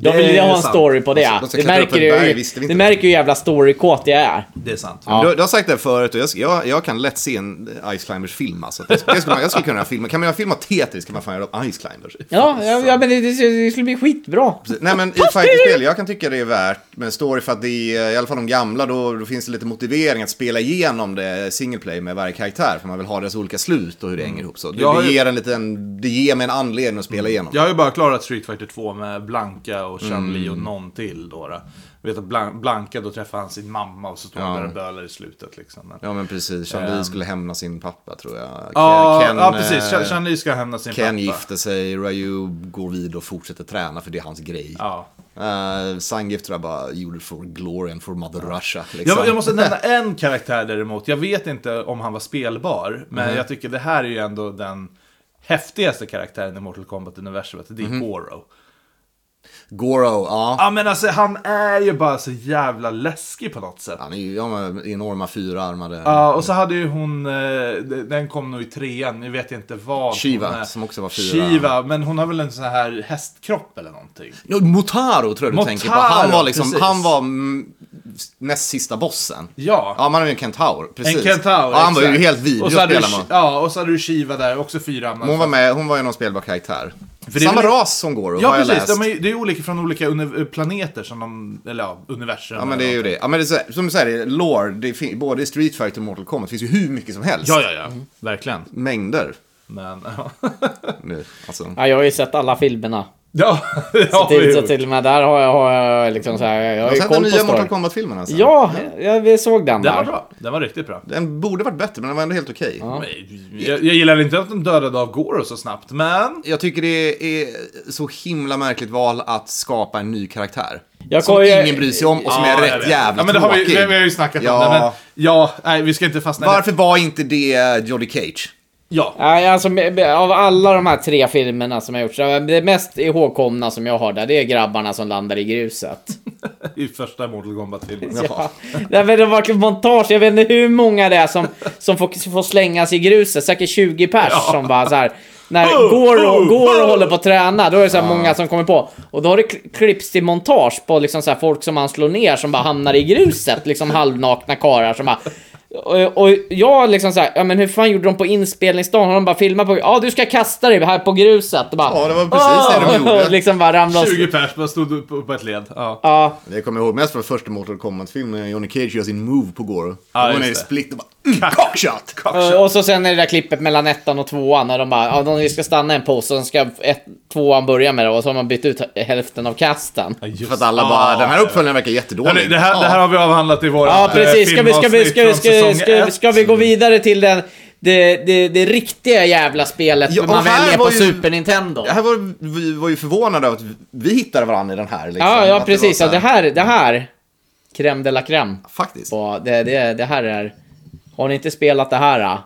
[SPEAKER 3] Jag vill ju
[SPEAKER 1] är
[SPEAKER 3] ha en
[SPEAKER 1] sant.
[SPEAKER 3] story på
[SPEAKER 2] De
[SPEAKER 3] det.
[SPEAKER 2] ska- de ska
[SPEAKER 3] Det
[SPEAKER 2] klättra upp
[SPEAKER 3] märker
[SPEAKER 2] ett berg,
[SPEAKER 3] ju
[SPEAKER 2] visste vi
[SPEAKER 3] det
[SPEAKER 2] inte.
[SPEAKER 3] märker ju hur jävla storykåt jag är.
[SPEAKER 1] Det är sant.
[SPEAKER 3] Ja.
[SPEAKER 2] Du, du har sagt det här förut och jag, jag, jag kan lätt se en Ice Climbers-film alltså. Det, det skulle man, jag skulle kunna göra filma. Kan man göra filma Tetris kan man fan göra Ice Climbers.
[SPEAKER 3] Ja, ja, ja men det, det, det skulle bli skitbra.
[SPEAKER 2] Nej men i fightingspel, jag kan tycka det är värt med en story för att det är, i alla fall de gamla, då, då finns det lite motivering att spela igenom det single play med varje karaktär. För man vill ha deras olika slut och hur det hänger ihop. Så det,
[SPEAKER 1] Mm. Jag har
[SPEAKER 2] det
[SPEAKER 1] ju- Mm.
[SPEAKER 2] ger en liten, det ger mig en anledning att spela igenom.
[SPEAKER 1] Jag har ju bara klarat Street Fighter 2 med Blanka och Chun-Li
[SPEAKER 2] Mm.
[SPEAKER 1] och någon till då. då. Jag vet att Blan- Blanka, då träffar han sin mamma och så står han
[SPEAKER 2] Ja.
[SPEAKER 1] där och bölar i slutet liksom. Men...
[SPEAKER 2] Ja men precis, Chandli skulle hämna sin pappa tror jag. Ken,
[SPEAKER 1] Ja,
[SPEAKER 2] Ken,
[SPEAKER 1] ja, precis.
[SPEAKER 2] eh,
[SPEAKER 1] Chun- Chun-Li ska hämna sin
[SPEAKER 2] Ken
[SPEAKER 1] pappa.
[SPEAKER 2] gifter sig, Ryu går vidare och fortsätter träna för det är hans grej.
[SPEAKER 1] Ja.
[SPEAKER 2] Uh, Zangief tror jag bara gjorde for glory and for mother Russia. Liksom.
[SPEAKER 1] Jag, jag måste nämna en karaktär däremot. Jag vet inte om han var spelbar, men
[SPEAKER 2] Mhm.
[SPEAKER 1] jag tycker det här är ju ändå den häftigaste karaktären i Mortal Kombat-universumet. Det är
[SPEAKER 2] Mhm.
[SPEAKER 1] Goro.
[SPEAKER 2] Goro, ja.
[SPEAKER 1] Ja, men alltså han är ju bara så jävla läskig på något sätt.
[SPEAKER 2] Han är ju ja, men enorma fyrarmade.
[SPEAKER 1] Ja, och så hade ju hon, eh, den kom nog i trean, nu vet jag inte vad.
[SPEAKER 2] Shiva,
[SPEAKER 1] hon är.
[SPEAKER 2] som också var fyra.
[SPEAKER 1] Shiva, men hon har väl en sån här hästkropp eller någonting.
[SPEAKER 2] No, Motaro tror jag du
[SPEAKER 1] Motaro,
[SPEAKER 2] tänker på. Han var, liksom,
[SPEAKER 1] precis.
[SPEAKER 2] han var mm, näst sista bossen.
[SPEAKER 1] Ja.
[SPEAKER 2] Ja, man har ju en kentaur. Precis.
[SPEAKER 1] En kentaur.
[SPEAKER 2] Ja, han var ju
[SPEAKER 1] exakt.
[SPEAKER 2] helt vidrig
[SPEAKER 1] och
[SPEAKER 2] att
[SPEAKER 1] så hade du,
[SPEAKER 2] spela med.
[SPEAKER 1] Ja, och så hade du Shiva där, också fyra.
[SPEAKER 2] Men Hon var med, hon var ju någon spelbar karaktär.
[SPEAKER 1] För det är
[SPEAKER 2] Samma
[SPEAKER 1] väl-
[SPEAKER 2] ras som Goro,
[SPEAKER 1] Ja,
[SPEAKER 2] har jag
[SPEAKER 1] precis.
[SPEAKER 2] läst.
[SPEAKER 1] De är, ju- det är olika från olika uni- planeter som de, eller ja, universum.
[SPEAKER 2] Ja men det är ju det. Ja, men det är, så- som du säger, det är lore, det fin- både i Street Fighter och Mortal Kombat finns ju hur mycket som helst.
[SPEAKER 1] Ja, ja, ja.
[SPEAKER 3] Mm.
[SPEAKER 1] Verkligen.
[SPEAKER 2] Mängder.
[SPEAKER 1] Men, ja.
[SPEAKER 2] Nu, alltså.
[SPEAKER 3] Ja, jag har ju sett alla filmerna.
[SPEAKER 1] ja, det
[SPEAKER 3] Så
[SPEAKER 1] har vi
[SPEAKER 3] till, så
[SPEAKER 1] gjort.
[SPEAKER 3] till och med där har jag, har jag liksom så här, jag har
[SPEAKER 2] Har
[SPEAKER 3] ju
[SPEAKER 2] du sett Alltså, den
[SPEAKER 3] koll på
[SPEAKER 2] nya Mortal
[SPEAKER 3] story.
[SPEAKER 2] Kombat-filmen alltså?
[SPEAKER 3] Ja, jag, vi såg den
[SPEAKER 1] Den var
[SPEAKER 3] där.
[SPEAKER 1] bra. Den var riktigt bra.
[SPEAKER 2] Den borde varit bättre, men den var ändå helt okej.
[SPEAKER 1] Men Jag, jag gillar inte att de dödade av Goro så snabbt, men...
[SPEAKER 2] Jag tycker det är så himla märkligt val att skapa en ny karaktär.
[SPEAKER 3] Jag
[SPEAKER 2] som
[SPEAKER 3] kommer- jag-
[SPEAKER 2] ingen bryr sig om och som
[SPEAKER 1] Ja,
[SPEAKER 2] är
[SPEAKER 1] jag
[SPEAKER 2] rätt
[SPEAKER 1] vet.
[SPEAKER 2] jävla
[SPEAKER 1] ja, men det har vi,
[SPEAKER 2] tråkig.
[SPEAKER 1] vi, vi har ju snackat om
[SPEAKER 2] Ja.
[SPEAKER 1] det, men... Ja, nej, vi ska inte fastna i det.
[SPEAKER 2] Varför var inte det Jolly Cage?
[SPEAKER 1] Ja.
[SPEAKER 3] Nej, alltså med- med- av alla de här tre filmerna som har gjorts, det mest ihågkomna som jag har där, det är grabbarna som landar i gruset.
[SPEAKER 1] I första Mortal Kombat-filmen.
[SPEAKER 3] Ja. Nej, men det var verkligen montage, jag vet inte hur många det är som, som får, får slängas i gruset, säkert 20 pers som bara så här.
[SPEAKER 2] Oh,
[SPEAKER 3] När går och, går och håller på att träna, då är det så här många som kommer på. Och då har det kli- klippts till montage på liksom så här folk som han slår ner som bara hamnar i gruset, liksom halvnakna karlar som bara... Och, och jag liksom såhär, ja men hur fan gjorde de på inspelningsdagen? Har de bara filmat på, ja du ska kasta dig här på gruset. Och bara,
[SPEAKER 2] Ja, det var precis det de gjorde.
[SPEAKER 3] Och liksom bara ramlade
[SPEAKER 1] 20 pers bara stod upp, upp på ett led. Ja.
[SPEAKER 3] Ja,
[SPEAKER 2] Det jag kommer ihåg mest från första Mortal Kombat-filmen när Johnny Cage gör sin move på Goro.
[SPEAKER 1] Ja,
[SPEAKER 2] Ah,
[SPEAKER 1] just
[SPEAKER 2] hon är i
[SPEAKER 1] det.
[SPEAKER 2] split och bara mm, cockshot!
[SPEAKER 3] Och- Och så sen är det där klippet mellan ettan och tvåan när de bara, ja de ska stanna en pose och sen ska ett, tvåan börja med det och så har man bytt ut hälften av kasten.
[SPEAKER 1] Ja, just-
[SPEAKER 2] För att alla bara,
[SPEAKER 1] Ja.
[SPEAKER 2] den här uppföljningen verkar
[SPEAKER 1] Ja,
[SPEAKER 2] jättedålig.
[SPEAKER 1] Ah. det, det, här, det här har vi avhandlat i eh, våra
[SPEAKER 3] Ja precis, ska vi, ska, vi, ska, vi, ska, vi- ska, vi- ska vi gå vidare till den, det, det, det riktiga jävla spelet
[SPEAKER 2] Ja, och
[SPEAKER 3] man
[SPEAKER 2] här
[SPEAKER 3] väljer på
[SPEAKER 2] var ju-
[SPEAKER 3] Super Nintendo?
[SPEAKER 2] Det här var, vi var ju förvånade över att vi hittade varandra i den här. Liksom.
[SPEAKER 3] Ja,
[SPEAKER 2] Att
[SPEAKER 3] ja
[SPEAKER 2] var
[SPEAKER 3] precis,
[SPEAKER 2] så
[SPEAKER 3] ja,
[SPEAKER 2] här-
[SPEAKER 3] det här, det här, crème de la crème.
[SPEAKER 2] Faktiskt.
[SPEAKER 3] Ja, det, det, det här är, har ni inte spelat det här? Då?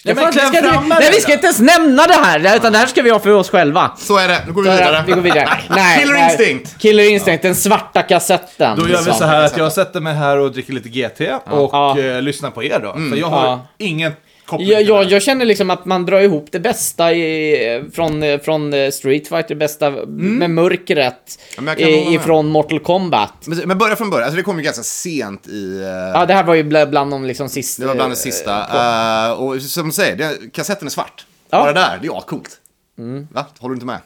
[SPEAKER 3] Ska
[SPEAKER 1] Ja, men
[SPEAKER 3] fan-
[SPEAKER 1] kläm
[SPEAKER 3] ska
[SPEAKER 1] fram
[SPEAKER 3] vi,
[SPEAKER 1] med
[SPEAKER 3] nej,
[SPEAKER 1] det
[SPEAKER 3] vi ska
[SPEAKER 1] då.
[SPEAKER 3] inte ens nämna det här, utan det här ska vi ha för oss själva.
[SPEAKER 2] Så är det, nu går vi
[SPEAKER 3] Ja,
[SPEAKER 2] vidare.
[SPEAKER 3] Vi går vidare. Nej,
[SPEAKER 2] Killer
[SPEAKER 3] nej.
[SPEAKER 2] Instinct!
[SPEAKER 3] Killer Instinct, den svarta kassetten.
[SPEAKER 1] Då gör vi
[SPEAKER 3] liksom.
[SPEAKER 1] så här att jag sätter mig här och dricker lite GT och
[SPEAKER 3] Ja. Mm.
[SPEAKER 1] Eh, lyssnar på er då. För jag har
[SPEAKER 3] Ja.
[SPEAKER 1] ingen koppling
[SPEAKER 3] Jag,
[SPEAKER 1] till
[SPEAKER 3] jag,
[SPEAKER 1] det.
[SPEAKER 3] jag känner liksom att man drar ihop det bästa i, från, från eh, Street Fighter, det bästa med mörkret
[SPEAKER 2] Mm. men jag kan hålla
[SPEAKER 3] i,
[SPEAKER 2] med.
[SPEAKER 3] ifrån Mortal Kombat.
[SPEAKER 2] Men- Men börja från början, alltså det kom ju ganska sent i... eh,
[SPEAKER 3] Ja, det här var ju bla- bland de liksom sista...
[SPEAKER 2] Det var bland det sista. Eh, och som du säger, det, kassetten är svart.
[SPEAKER 3] Ja. Mm.
[SPEAKER 2] Bara där, det är ascoolt. Va? Håller du inte med?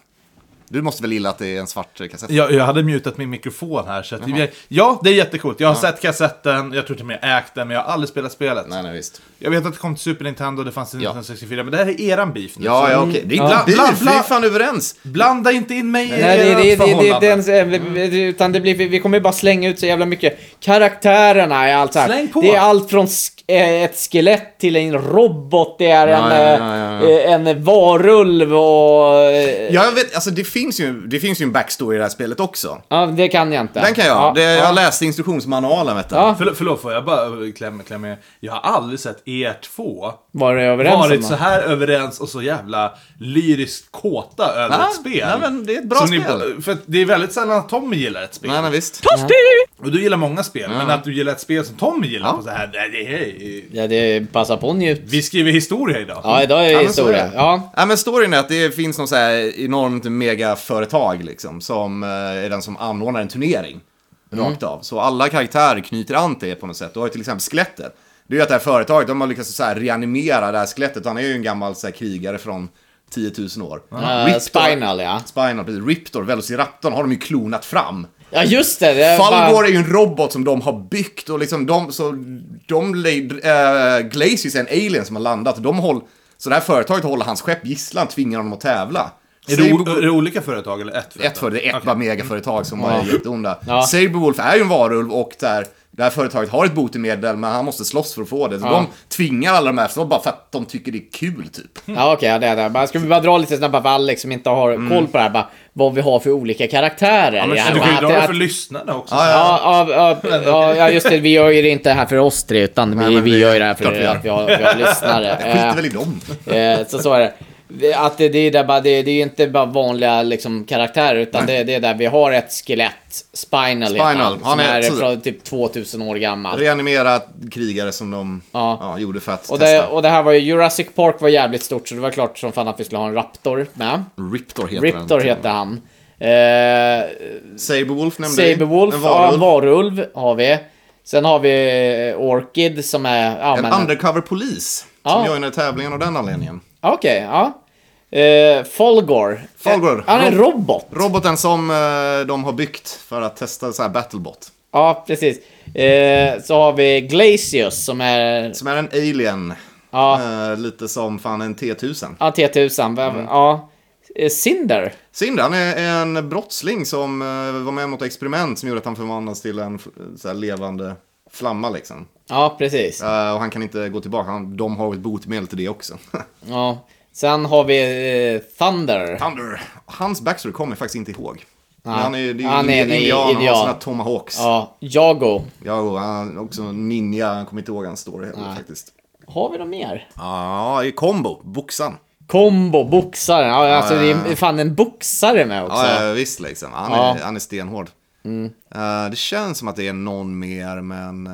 [SPEAKER 2] Du måste väl gilla att det är en svart eh, kassett?
[SPEAKER 1] Jag, jag hade mutat min mikrofon här. Så att jag, ja, det är jättecoolt. Jag har sett kassetten, jag tror till och med jag ägt den, men jag har aldrig spelat spelet.
[SPEAKER 2] Nej, nej visst.
[SPEAKER 1] Jag vet att det kom till Super Nintendo, det fanns till 1964, men det här är eran beef nu.
[SPEAKER 2] Ja,
[SPEAKER 1] så
[SPEAKER 2] ja, okej. Det är
[SPEAKER 1] Ja.
[SPEAKER 2] bla, bla,
[SPEAKER 1] Beef,
[SPEAKER 2] bla.
[SPEAKER 1] vi
[SPEAKER 2] Vi
[SPEAKER 1] är
[SPEAKER 2] är fan överens.
[SPEAKER 1] Blanda inte in mig i
[SPEAKER 3] Nej, det,
[SPEAKER 1] ert
[SPEAKER 3] det, det, det,
[SPEAKER 1] förhållande.
[SPEAKER 3] det,
[SPEAKER 2] Mm.
[SPEAKER 3] det, det, utan det blir, vi vi kommer ju bara slänga ut så jävla mycket. Karaktärerna är allt så här.
[SPEAKER 1] Släng på.
[SPEAKER 3] Det är allt från sk- eh, ett skelett till en robot, det är
[SPEAKER 2] Ja,
[SPEAKER 3] en,
[SPEAKER 2] ja,
[SPEAKER 3] eh,
[SPEAKER 2] ja,
[SPEAKER 3] eh, en varulv och... eh,
[SPEAKER 2] Ja, jag vet, alltså det finns ju, det finns ju en backstory i det här spelet också.
[SPEAKER 3] Ja, det kan jag inte.
[SPEAKER 2] Den kan jag.
[SPEAKER 3] Ja,
[SPEAKER 2] det,
[SPEAKER 3] ja.
[SPEAKER 2] Jag läste instruktionsmanualen, vet du.
[SPEAKER 3] Ja.
[SPEAKER 1] Förlåt, förlåt, får jag bara klämma kläm Jag har aldrig sett er två
[SPEAKER 3] Var det överens om
[SPEAKER 1] varit
[SPEAKER 3] det?
[SPEAKER 1] så här överens och så jävla lyriskt kåta över
[SPEAKER 2] Ja,
[SPEAKER 1] ett spel.
[SPEAKER 2] nej, men det är ett bra
[SPEAKER 1] Som
[SPEAKER 2] spel.
[SPEAKER 1] för att det är väldigt sällan att Tommy gillar ett spel.
[SPEAKER 2] Nej, nej, visst.
[SPEAKER 1] Och du gillar många spel, men att du gillar ett spel som Tommy gillar. Och så här, nej, det är,
[SPEAKER 3] Ja, det passar på att njut.
[SPEAKER 1] vi skriver historia idag.
[SPEAKER 3] Ja, idag är det
[SPEAKER 2] Ja, men så är
[SPEAKER 3] historia.
[SPEAKER 2] det.
[SPEAKER 3] Ja.
[SPEAKER 2] Ja, men storyn är att det finns något så här enormt megaföretag liksom, som eh, är den som anordnar en turnering. Rakt av. Så alla karaktärer knyter an till det på något sätt. Du har ju till exempel skelettet. Det är ju att det här företaget, de har lyckats så här reanimera det här skelettet. Han är ju en gammal så här, krigare från 10 000 år.
[SPEAKER 3] Eh, Spinal, ja.
[SPEAKER 2] Spinal, precis. Riptor, Velociraptorn har de ju klonat fram.
[SPEAKER 3] Ja, just det. det
[SPEAKER 2] Falgor
[SPEAKER 3] var-
[SPEAKER 2] är ju en robot som de har byggt och liksom de, så de, äh, Glacius är en alien som har landat. De håll, så det här företaget håller hans skepp gisslan, tvingar honom att tävla.
[SPEAKER 1] Är det, o- är det olika företag eller ett företag?
[SPEAKER 2] ett för det är ett bara megaföretag som bara är jätteonda.
[SPEAKER 3] Ja.
[SPEAKER 2] Saberwolf är ju en varulv och där, det här företaget har ett botemedel men han måste slåss för att få det. Så de tvingar alla de här för bara för att de tycker det är kul typ.
[SPEAKER 3] Ja, okej, ja, det är det. Bara, Ska vi bara dra lite snabbt för Alex som inte har
[SPEAKER 2] Mm.
[SPEAKER 3] koll på det här, bara, vad vi har för olika karaktärer. Ja,
[SPEAKER 1] Men,
[SPEAKER 3] här,
[SPEAKER 1] du
[SPEAKER 3] bara,
[SPEAKER 1] kan ju dra
[SPEAKER 3] att-
[SPEAKER 1] det
[SPEAKER 3] att-
[SPEAKER 1] för lyssnarna också.
[SPEAKER 3] Ja, ja, ja, ja, ja, just det. Vi gör ju det inte här för oss tre, utan vi,
[SPEAKER 2] men
[SPEAKER 3] vi
[SPEAKER 2] vi-
[SPEAKER 3] gör ju det här för
[SPEAKER 2] klart vi gör.
[SPEAKER 3] att vi har, vi har lyssnare.
[SPEAKER 2] Skiter
[SPEAKER 3] Eh,
[SPEAKER 2] väl i dem.
[SPEAKER 3] Eh, så så är det. Det- Att det, det, är där bara, det, det är ju inte bara vanliga liksom, karaktärer utan det, det är där vi har ett skelett, Spinal, heter
[SPEAKER 2] Spinal,
[SPEAKER 3] han,
[SPEAKER 2] han
[SPEAKER 3] som
[SPEAKER 2] är-
[SPEAKER 3] är,
[SPEAKER 2] så-
[SPEAKER 3] från typ 2000 år gammal.
[SPEAKER 2] Reanimera krigare som de
[SPEAKER 3] Ja.
[SPEAKER 2] ja. gjorde för att
[SPEAKER 3] Och
[SPEAKER 2] testa.
[SPEAKER 3] det, och det här var ju, Jurassic Park var jävligt stort så det var klart som fan att vi skulle ha en Raptor med.
[SPEAKER 2] Riptor heter
[SPEAKER 3] Riptor
[SPEAKER 2] den.
[SPEAKER 3] heter han. Eh,
[SPEAKER 2] Saberwolf nämnde vi.
[SPEAKER 3] Saberwolf,
[SPEAKER 2] En
[SPEAKER 3] varulv.
[SPEAKER 2] varulv.
[SPEAKER 3] Ja, varulv har vi. Sen har vi Orchid som är... Ja,
[SPEAKER 2] En
[SPEAKER 3] men-
[SPEAKER 2] undercover polis. Som
[SPEAKER 3] Ja.
[SPEAKER 2] joinar tävlingen av den anledningen.
[SPEAKER 3] Okej, ja. Eh, Folgor.
[SPEAKER 2] Folgor.
[SPEAKER 3] Eh, Han är en robot.
[SPEAKER 2] Roboten som eh, de har byggt för att testa så här battlebot.
[SPEAKER 3] Ja, precis. Eh, så har vi Glacius som är...
[SPEAKER 2] Som är en alien.
[SPEAKER 3] Ja.
[SPEAKER 2] Eh, lite som fan en T-1000.
[SPEAKER 3] Ja, T1000. Vem-
[SPEAKER 2] Mm.
[SPEAKER 3] Ja. Eh, Cinder.
[SPEAKER 2] Cinder, han är en brottsling som eh, var med om något experiment som gjorde att han förvandlades till en f- så här, levande flamma liksom.
[SPEAKER 3] Ja, precis. Ja.
[SPEAKER 2] Eh, och han kan inte gå tillbaka, han, de har ett botemedel till det också.
[SPEAKER 3] Sen har vi eh, Thunder.
[SPEAKER 2] Thunder, hans backstory kommer jag faktiskt inte ihåg. Men
[SPEAKER 3] Nej.
[SPEAKER 2] han är ju det är ju
[SPEAKER 3] Han är en
[SPEAKER 2] indian, han
[SPEAKER 3] indian.
[SPEAKER 2] har sina tomahawks. Ja.
[SPEAKER 3] Ja, Jago.
[SPEAKER 2] och han är också ninja, han kommer inte ihåg hans story heller faktiskt.
[SPEAKER 3] Har vi något mer?
[SPEAKER 2] Ja, i kombo, boxan.
[SPEAKER 3] Combo, boxaren. Ja, alltså det är fan en boxare med också.
[SPEAKER 2] Ja, ja, visst liksom. Han,
[SPEAKER 3] Ja. Mm.
[SPEAKER 2] är, han är stenhård. Eh, det känns som att det är någon mer, men... eh,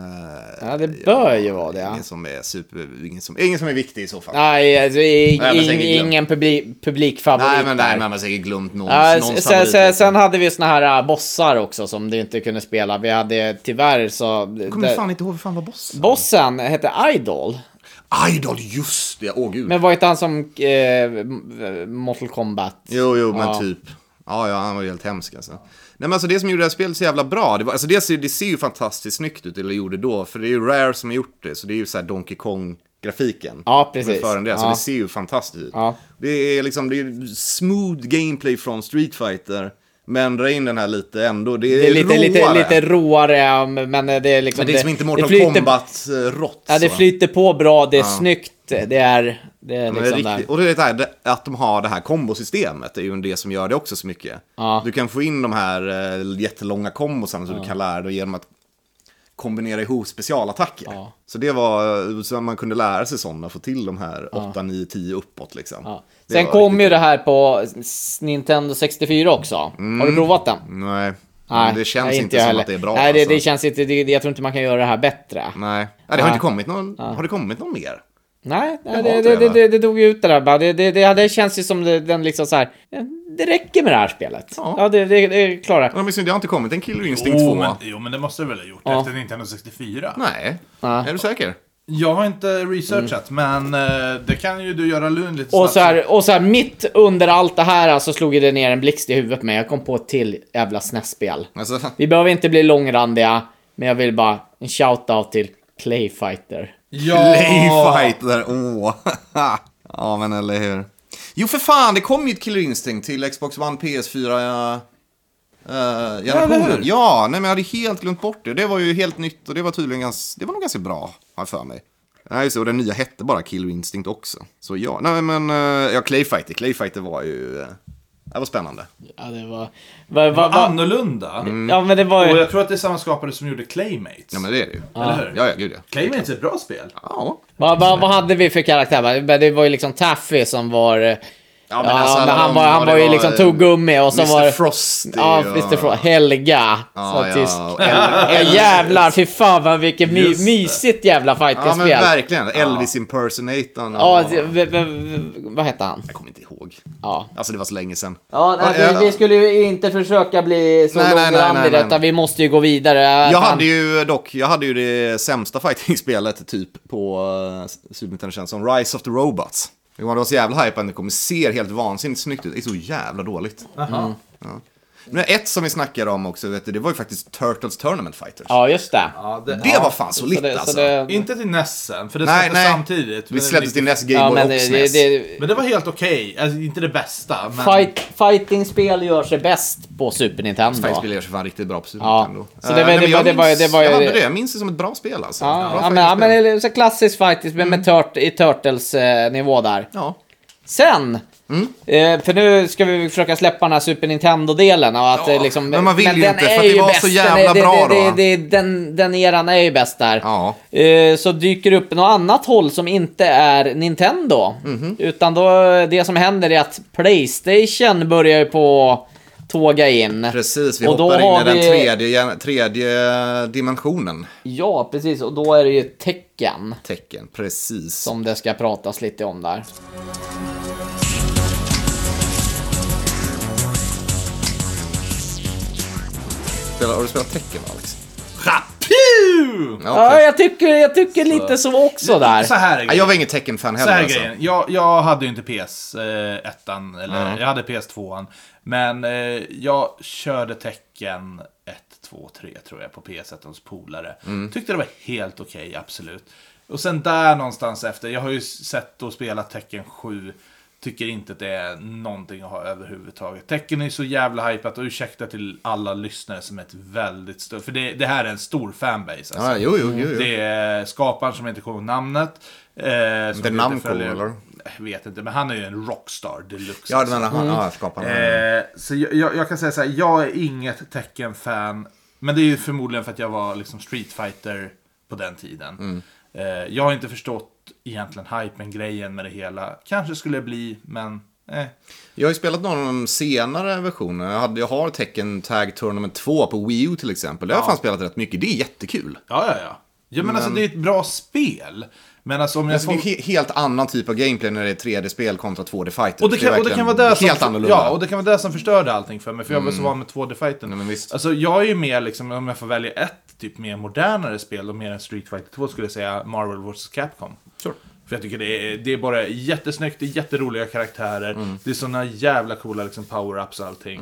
[SPEAKER 3] Ja, det bör ju vara det. Ja.
[SPEAKER 2] Ingen som är super... Ingen som, ingen som är viktig i så fall.
[SPEAKER 3] Nej, alltså, i,
[SPEAKER 2] Nej, men
[SPEAKER 3] ing,
[SPEAKER 2] säkert glömt.
[SPEAKER 3] ingen publi, publikfavorit
[SPEAKER 2] nej, men nej,
[SPEAKER 3] där.
[SPEAKER 2] men man har säkert glömt någon,
[SPEAKER 3] Ja,
[SPEAKER 2] någon
[SPEAKER 3] s- sen,
[SPEAKER 2] favorit,
[SPEAKER 3] sen,
[SPEAKER 2] liksom.
[SPEAKER 3] sen hade vi såna här äh, bossar också som du inte kunde spela. Vi hade tyvärr så...
[SPEAKER 2] Jag kommer
[SPEAKER 3] det-
[SPEAKER 2] fan inte ihåg hur fan var bossen.
[SPEAKER 3] Bossen hette Idol.
[SPEAKER 2] Idol, just det! Åh gud.
[SPEAKER 3] Men var inte han som eh, m- Mortal Kombat?
[SPEAKER 2] Jo, jo, men
[SPEAKER 3] Ja.
[SPEAKER 2] typ. Ja, ja, han var ju helt hemsk alltså. Nej, men alltså det som gjorde det här spelet så jävla bra, det, var, alltså det, ser, det ser ju fantastiskt snyggt ut, eller gjorde då, för det är ju Rare som har gjort det, så det är ju så här Donkey Kong-grafiken.
[SPEAKER 3] Ja, precis.
[SPEAKER 2] Före det, så
[SPEAKER 3] Ja.
[SPEAKER 2] det ser ju fantastiskt ut.
[SPEAKER 3] Ja.
[SPEAKER 2] Det är liksom, det är smooth gameplay från Street Fighter, men dra in den här lite ändå, det är,
[SPEAKER 3] Det är lite, lite,
[SPEAKER 2] råare.
[SPEAKER 3] lite råare, ja, men det är liksom...
[SPEAKER 2] men det är liksom inte Mortal
[SPEAKER 3] flyter-
[SPEAKER 2] Kombat-rått.
[SPEAKER 3] Ja, det
[SPEAKER 2] så.
[SPEAKER 3] flyter på bra, det är snyggt, det är... Det är
[SPEAKER 2] Men det är
[SPEAKER 3] liksom där.
[SPEAKER 2] riktigt, och det är det här, det- att de har det här kombosystemet är ju det som gör det också så mycket.
[SPEAKER 3] Ja.
[SPEAKER 2] Du kan få in de här eh, jättelånga kombosarna som du kan lära dig genom att kombinera ihop specialattacker. Så det var, eh, så man kunde lära sig sådana, få till de här 8, 9, 10 uppåt liksom.
[SPEAKER 3] Ja.
[SPEAKER 2] Det
[SPEAKER 3] Sen
[SPEAKER 2] var
[SPEAKER 3] kom
[SPEAKER 2] riktigt-
[SPEAKER 3] ju det här på s- Nintendo 64 också. Har du provat den?
[SPEAKER 2] Nej, Men Mm. det känns inte
[SPEAKER 3] jag
[SPEAKER 2] som
[SPEAKER 3] heller.
[SPEAKER 2] att det är bra.
[SPEAKER 3] Nej, det,
[SPEAKER 2] alltså.
[SPEAKER 3] det känns inte... Det, jag tror inte man kan göra det här bättre.
[SPEAKER 2] Nej, ja, det har
[SPEAKER 3] Nej.
[SPEAKER 2] inte kommit någon, har det kommit någon mer?
[SPEAKER 3] Nej, nej
[SPEAKER 2] har
[SPEAKER 3] det,
[SPEAKER 2] inte
[SPEAKER 3] det,
[SPEAKER 2] det,
[SPEAKER 3] det,
[SPEAKER 2] va?
[SPEAKER 3] det, det dog ju ut det där. bara. Det, det, det, det känns ju som det, den liksom så här. Det räcker med det här spelet. Ja,
[SPEAKER 2] Ja.
[SPEAKER 3] det, det, det klarar
[SPEAKER 2] Jag minns inte, det har inte kommit en Killer Instinct 2.
[SPEAKER 1] Jo Oh, men, jo, men det måste du väl ha gjort?
[SPEAKER 3] Ja.
[SPEAKER 1] Efter Nintendo 64?
[SPEAKER 2] Nej,
[SPEAKER 3] Ja.
[SPEAKER 2] är du säker?
[SPEAKER 1] Jag har inte researchat, men eh, det kan ju du göra Lund lite
[SPEAKER 3] och
[SPEAKER 1] snabbt.
[SPEAKER 3] så, här, och så här mitt under allt det här så alltså, slog ju det ner en blixt i huvudet med. Jag kom på ett till jävla SNES-spel.
[SPEAKER 2] Alltså,
[SPEAKER 3] Vi behöver inte bli långrandiga, men jag vill bara en shout-out till Playfighter.
[SPEAKER 1] Ja!
[SPEAKER 2] Playfighter, åh. ja, men eller hur. Jo, för fan, det kom ju ett Killer Instinct till Xbox One, PS4, eh, eh,
[SPEAKER 1] Ja, eller
[SPEAKER 2] generationen.
[SPEAKER 1] hur?
[SPEAKER 2] Ja, nej men jag hade helt glömt bort det. Det var ju helt nytt och det var tydligen ganska, det var nog ganska bra, har jag för mig. Nej, just det, och den nya hette bara Killer Instinct också. Så ja, nej men, eh, ja, Clayfighter, Clayfighter var ju, eh, det var spännande.
[SPEAKER 3] Ja, det var... Va, va,
[SPEAKER 1] Vad
[SPEAKER 3] va,
[SPEAKER 1] annorlunda.
[SPEAKER 3] ja, men det var
[SPEAKER 1] Och
[SPEAKER 3] ju...
[SPEAKER 1] Oh, jag tror att det är samma skapare som gjorde Claymates.
[SPEAKER 2] Ja, men det är det ju.
[SPEAKER 1] Eller hur?
[SPEAKER 2] Ja, ja, gud ja.
[SPEAKER 1] Claymates är ett bra spel.
[SPEAKER 2] Ja.
[SPEAKER 3] Vad va, vad hade vi för karaktär? va? Det var ju liksom Taffy som var... eh,
[SPEAKER 2] Ja,
[SPEAKER 3] Ja,
[SPEAKER 2] alltså,
[SPEAKER 3] men
[SPEAKER 2] alla
[SPEAKER 3] han
[SPEAKER 2] de-
[SPEAKER 3] var,
[SPEAKER 2] ja,
[SPEAKER 3] han
[SPEAKER 2] det
[SPEAKER 3] var ju liksom
[SPEAKER 2] eh,
[SPEAKER 3] tuggummi och så
[SPEAKER 2] Mr.
[SPEAKER 3] var
[SPEAKER 2] Frosty
[SPEAKER 3] Ja,
[SPEAKER 2] och-
[SPEAKER 3] Mr. Frosty. Helga.
[SPEAKER 2] Ja,
[SPEAKER 3] så
[SPEAKER 2] ja,
[SPEAKER 3] tysk.
[SPEAKER 2] och
[SPEAKER 3] Ja, jävlar, fy fan vad vilket my,
[SPEAKER 1] Just det.
[SPEAKER 3] mysigt jävla
[SPEAKER 2] Ja men
[SPEAKER 3] fightingspel. Ja,
[SPEAKER 2] verkligen, Elvis impersonatorn.
[SPEAKER 3] ja,
[SPEAKER 2] och-
[SPEAKER 3] det- v- v- vad hette han?
[SPEAKER 2] Jag kommer inte ihåg.
[SPEAKER 3] Ja.
[SPEAKER 2] Alltså det var så länge sedan.
[SPEAKER 3] Ja, nej,
[SPEAKER 2] Ja,
[SPEAKER 3] vi,
[SPEAKER 2] ja.
[SPEAKER 3] vi skulle ju inte försöka bli så
[SPEAKER 2] Nej, nej, nej, nej,
[SPEAKER 3] långrandiga
[SPEAKER 2] nej.
[SPEAKER 3] utan vi måste ju gå vidare.
[SPEAKER 2] Jag
[SPEAKER 3] Fan.
[SPEAKER 2] hade ju dock, jag hade ju det sämsta fighting-spelet typ på uh, Super Nintendo känns som Rise of the Robots. Det var det var så jävla hype att det kommer ser helt vansinnigt snyggt ut. Det är så jävla dåligt. Mm.
[SPEAKER 1] Jaha.
[SPEAKER 2] Men ett som vi snackade om också, vet du, det var ju faktiskt Turtles Tournament Fighters.
[SPEAKER 3] Ja, just det.
[SPEAKER 1] Ja, det,
[SPEAKER 2] Det
[SPEAKER 1] ja.
[SPEAKER 2] var fan solitt
[SPEAKER 3] Så det- så
[SPEAKER 2] alltså.
[SPEAKER 3] det-
[SPEAKER 1] Inte till Nessen, för det
[SPEAKER 2] Nej,
[SPEAKER 1] släpptes
[SPEAKER 2] nej.
[SPEAKER 1] samtidigt.
[SPEAKER 2] Vi
[SPEAKER 1] men-
[SPEAKER 2] släpptes till näst Game
[SPEAKER 3] Ja,
[SPEAKER 2] Boy
[SPEAKER 3] men
[SPEAKER 2] och
[SPEAKER 3] det, det,
[SPEAKER 2] SNES.
[SPEAKER 3] det,
[SPEAKER 1] Men det var helt okej. Alltså, inte det bästa, men...
[SPEAKER 3] fight, fightingspel gör sig bäst på Super Nintendo.
[SPEAKER 2] Fighting-spel gör sig fan riktigt bra på Super
[SPEAKER 3] Ja.
[SPEAKER 2] Nintendo.
[SPEAKER 3] Så det var-
[SPEAKER 2] Eh, nej,
[SPEAKER 3] det
[SPEAKER 2] men jag
[SPEAKER 3] var- det var-
[SPEAKER 2] minns-
[SPEAKER 3] det var ju-
[SPEAKER 2] jag hade det, jag minns det som ett bra spel alltså. Bra
[SPEAKER 3] Ja, ja, men, ja,
[SPEAKER 2] fighting-spel. Mm.
[SPEAKER 3] men det är så klassiskt faktiskt, men med tört, i Turtles-nivå där.
[SPEAKER 2] ja.
[SPEAKER 3] Sen,
[SPEAKER 2] Mm.
[SPEAKER 3] eh, för nu ska vi försöka släppa den här Super Nintendo-delen. Och att,
[SPEAKER 2] Ja,
[SPEAKER 3] eh, liksom,
[SPEAKER 2] men man vill ju
[SPEAKER 3] den
[SPEAKER 2] inte, för
[SPEAKER 3] är
[SPEAKER 2] att det
[SPEAKER 3] ju
[SPEAKER 2] var så jävla
[SPEAKER 3] den, är-
[SPEAKER 2] bra
[SPEAKER 3] det, det,
[SPEAKER 2] då.
[SPEAKER 3] Det, det, den, den eran är ju bäst där.
[SPEAKER 2] Ja.
[SPEAKER 3] Eh, så dyker det upp något annat håll som inte är Nintendo.
[SPEAKER 2] Mhm.
[SPEAKER 3] Utan då, det som händer är att Playstation börjar ju på tåga in.
[SPEAKER 2] Precis, vi
[SPEAKER 3] Och då
[SPEAKER 2] hoppar in
[SPEAKER 3] har
[SPEAKER 2] i den
[SPEAKER 3] vi-
[SPEAKER 2] tredje, tredje dimensionen.
[SPEAKER 3] Ja, precis. Och då är det ju tecken
[SPEAKER 2] Tecken, precis.
[SPEAKER 3] som det ska pratas lite om där.
[SPEAKER 2] Spelar, har du spelat tecken Alex?
[SPEAKER 1] Rapiu! Woo!
[SPEAKER 2] Ja,
[SPEAKER 3] Ja,
[SPEAKER 2] okej.
[SPEAKER 3] jag tycker, jag tycker lite så också där.
[SPEAKER 1] Så här är
[SPEAKER 2] Ja,
[SPEAKER 1] grejen.
[SPEAKER 2] jag var ingen Tekken-fan
[SPEAKER 1] Så
[SPEAKER 2] heller.
[SPEAKER 1] här är
[SPEAKER 2] Alltså.
[SPEAKER 1] grejen. Jag, jag hade ju inte PS1, eller jag hade PS2. Men eh, jag körde tecken 1, 2, 3 tror jag på PS1 hos polare.
[SPEAKER 2] Mm.
[SPEAKER 1] Tyckte det var helt okej, absolut. Och sen där någonstans efter, jag har ju sett och spelat tecken 7. Tycker inte att det är någonting att ha överhuvudtaget. Tecken är ju så jävla hypat och ursäkta till alla lyssnare som är ett väldigt stort... För det, det här är en stor fanbase. Alltså.
[SPEAKER 2] Ja, jo, jo, jo. jo.
[SPEAKER 1] Det är skaparen som inte kommer ihåg namnet. Eh, som
[SPEAKER 2] The
[SPEAKER 1] inte
[SPEAKER 2] Namco,
[SPEAKER 1] följer-
[SPEAKER 2] eller?
[SPEAKER 1] Jag vet inte, men han är ju en rockstar deluxe.
[SPEAKER 2] Ja,
[SPEAKER 1] alltså.
[SPEAKER 2] det menar
[SPEAKER 3] Mm.
[SPEAKER 2] han. Ja, skaparen.
[SPEAKER 1] Eh, så jag, jag, jag kan säga så här, jag är inget Tekken-fan. Men det är ju förmodligen för att jag var liksom Street Fighter på den tiden.
[SPEAKER 2] Mm.
[SPEAKER 1] Eh, jag har inte förstått egentligen hypen, grejen med det hela. Kanske skulle jag bli, men... Eh.
[SPEAKER 2] Jag har ju spelat någon av de senare versionerna. Jag, hade, jag har Tekken Tag Tournament 2 på Wii U till exempel. Det har jag fan spelat rätt mycket. Det är jättekul.
[SPEAKER 1] Ja, ja, ja. Ja, men, alltså det är ett bra spel. Men alltså om jag
[SPEAKER 2] Alltså, det är
[SPEAKER 1] får...
[SPEAKER 2] ju he- helt annan typ av gameplay när det är 3D-spel kontra 2D-fighter.
[SPEAKER 1] Och det, kan, och, det kan vara det som,
[SPEAKER 2] Helt annorlunda. Mm.
[SPEAKER 1] ja, och det kan vara det som förstörde allting för mig, för jag var så van med 2D-fighten.
[SPEAKER 2] men visst.
[SPEAKER 1] Alltså, jag är ju mer, liksom, om jag får välja ett typ mer modernare spel, och mer än Street Fighter 2, skulle jag säga Marvel vs. Capcom.
[SPEAKER 2] Sure.
[SPEAKER 1] För jag tycker det är, det är bara jättesnyggt, det är jätteroliga karaktärer,
[SPEAKER 2] Mm.
[SPEAKER 1] det är såna jävla coola liksom, power-ups och allting.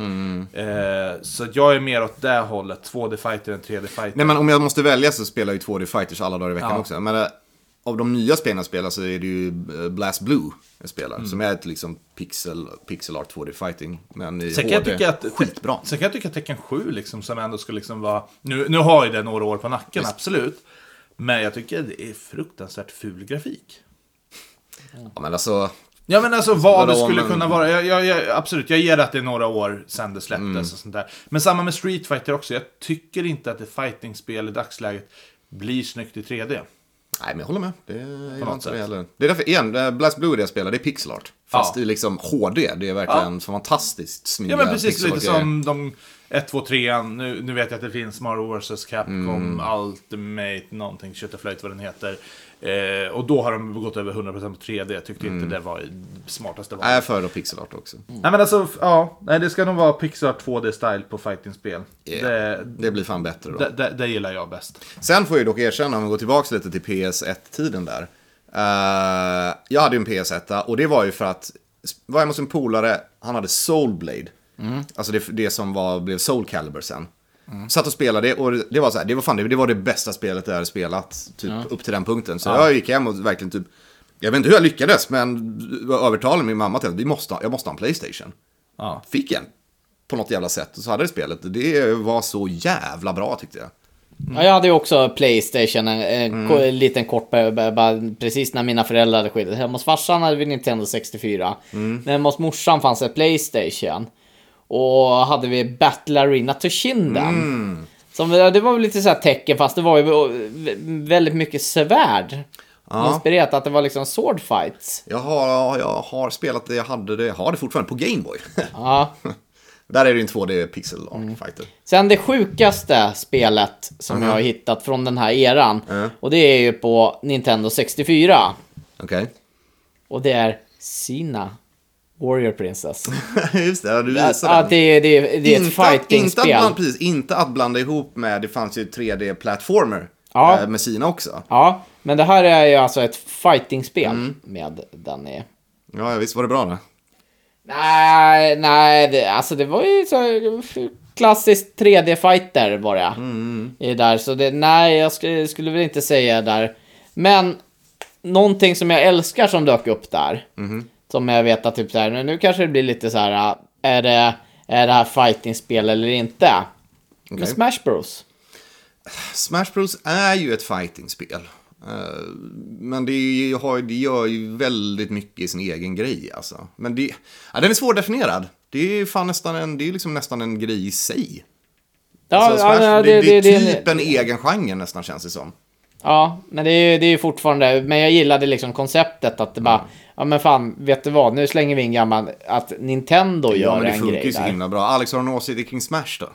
[SPEAKER 1] Eh, så att jag är mer åt det hållet, 2D-fighter än 3D-fighter.
[SPEAKER 2] Nej, men om jag måste välja så spelar jag ju 2D-fighters alla dagar i veckan
[SPEAKER 1] Ja.
[SPEAKER 2] också. Men eh, av de nya spelen jag spelar så är det ju eh, Blast Blue jag spelar.
[SPEAKER 1] Mm.
[SPEAKER 2] Som är ett liksom pixel, pixel art 2D-fighting. Men i
[SPEAKER 1] Sen kan,
[SPEAKER 2] HD.
[SPEAKER 1] jag tycka att,
[SPEAKER 2] Skitbra.
[SPEAKER 1] sen kan jag tycka att Tekken 7 liksom, som ändå ska liksom vara... Nu, nu har ju det några år på nacken, absolut. Men jag tycker det är fruktansvärt ful grafik.
[SPEAKER 2] Ja, men alltså...
[SPEAKER 1] Ja men alltså vad
[SPEAKER 2] vadå,
[SPEAKER 1] det skulle
[SPEAKER 2] men-
[SPEAKER 1] kunna vara. Jag, jag, jag, absolut, jag ger att det är några år sedan det släpptes
[SPEAKER 2] Mm.
[SPEAKER 1] och sånt där. Men samma med Street Fighter också. Jag tycker inte att ett fightingspel i dagsläget blir snyggt i 3D.
[SPEAKER 2] Nej, men jag håller med. Det är,
[SPEAKER 1] något
[SPEAKER 2] inte det,
[SPEAKER 1] sätt.
[SPEAKER 2] heller. det är därför, igen, eh, Blast Blue det jag spelar, det är pixel art. Fast
[SPEAKER 1] Ja.
[SPEAKER 2] i liksom HD, det är verkligen fantastiskt snygga
[SPEAKER 1] Ja men precis,
[SPEAKER 2] pixel
[SPEAKER 1] lite
[SPEAKER 2] art-grejer.
[SPEAKER 1] som de 1, 2, 3 nu, nu vet jag att det finns Marvel vs Capcom Ultimate någonting, kött och flöjt vad den heter. Eh, och då har de gått över 100% på 3D. Jag tyckte inte det var det smartaste valet.
[SPEAKER 2] Nej, jag föredrar pixel art också.
[SPEAKER 1] Nej men alltså, f- ja. Nej, det ska nog vara Pixar 2D-style på fighting-spel.
[SPEAKER 2] Yeah.
[SPEAKER 1] Det,
[SPEAKER 2] Det blir fan bättre då.
[SPEAKER 1] det, det, det gillar jag bäst.
[SPEAKER 2] Sen får jag dock erkänna, om vi går tillbaka lite till PS1-tiden där. Eh, jag hade ju en PS1 och det var ju för att, var jag hos en polare, han hade Soulblade. Alltså det, det som var, blev Soul Calibur sen. Mm. Satt och spelade det och det var så här, det var fan det, det var det bästa spelet jag hade spelat typ upp till den punkten. Så jag gick hem och verkligen typ, jag vet inte hur jag lyckades men jag övertalade min mamma till att vi måste, ha- jag måste ha en Playstation.
[SPEAKER 1] Ja.
[SPEAKER 2] Fick en. På något jävla sätt. Och så hade jag det spelet. Det var så jävla bra tyckte jag.
[SPEAKER 3] Mm. Ja, jag hade ju också Playstation, en, en, ko- en liten kort, pe- pe- bara precis när mina föräldrar hade skilt Hemma hos farsan hade vi Nintendo 64. Men hemma hos morsan fanns det Playstation. Och hade vi Battle Arena Toshinden. Som, det var väl lite så här tecken, fast det var ju vä- väldigt mycket svärd. Inspirerat att det var liksom sword fights.
[SPEAKER 2] Jag har, jag har spelat det, jag hade det, jag har det fortfarande på Gameboy.
[SPEAKER 3] Ja.
[SPEAKER 2] Där är det ju en 2D pixel art
[SPEAKER 3] Mm.
[SPEAKER 2] fighter.
[SPEAKER 3] Sen det sjukaste spelet som jag har hittat från den här eran. Och det är ju på Nintendo 64.
[SPEAKER 2] Okej.
[SPEAKER 3] Och det är Sina Warrior Princess.
[SPEAKER 2] Just det, du
[SPEAKER 3] Att,
[SPEAKER 2] visade
[SPEAKER 3] att det, är- det, är- det är ett
[SPEAKER 2] Inte att- inte, att
[SPEAKER 3] fighting-spel.
[SPEAKER 2] blanda, precis, inte att blanda ihop med, det fanns ju 3D-platformer
[SPEAKER 3] Ja.
[SPEAKER 2] eh, med sina också.
[SPEAKER 3] Ja, men det här är ju alltså ett fighting-spel
[SPEAKER 2] Mm.
[SPEAKER 3] med Danny.
[SPEAKER 2] Ja, visst var det bra då?
[SPEAKER 3] Nej, nej, det, alltså det var ju så här klassiskt 3D-fighter var
[SPEAKER 2] Mm,
[SPEAKER 3] det. I där, så det, nej, jag skulle, skulle väl inte säga där. Men någonting som jag älskar som dök upp där.
[SPEAKER 2] Mm-hmm.
[SPEAKER 3] Som jag vet att typ så här, nu kanske det blir lite så här, äh, är det, är det här fighting-spel eller inte? Men
[SPEAKER 2] Okej.
[SPEAKER 3] Smash Bros.
[SPEAKER 2] Smash Bros är ju ett fighting-spel. Eh, Men det, är ju- har, ju- det gör ju väldigt mycket i sin egen grej alltså. Men det, ja, den är svårdefinierad. Det är ju fan nästan en, det är ju liksom nästan en grej i sig.
[SPEAKER 3] Ja,
[SPEAKER 2] Alltså, Smash,
[SPEAKER 3] ja, ja,
[SPEAKER 2] det, det är
[SPEAKER 3] det-
[SPEAKER 2] typ en egen genre nästan känns det som.
[SPEAKER 3] Ja, men det är ju det är ju fortfarande, men jag gillade liksom konceptet att det
[SPEAKER 2] Mm.
[SPEAKER 3] bara, ja men fan, vet du vad, nu slänger vi in gammal, att Nintendo
[SPEAKER 2] Ja,
[SPEAKER 3] gör
[SPEAKER 2] men det
[SPEAKER 3] en
[SPEAKER 2] funkar
[SPEAKER 3] grej
[SPEAKER 2] ju så
[SPEAKER 3] där.
[SPEAKER 2] himla bra. Alex, har du någon åsikt kring Smash då?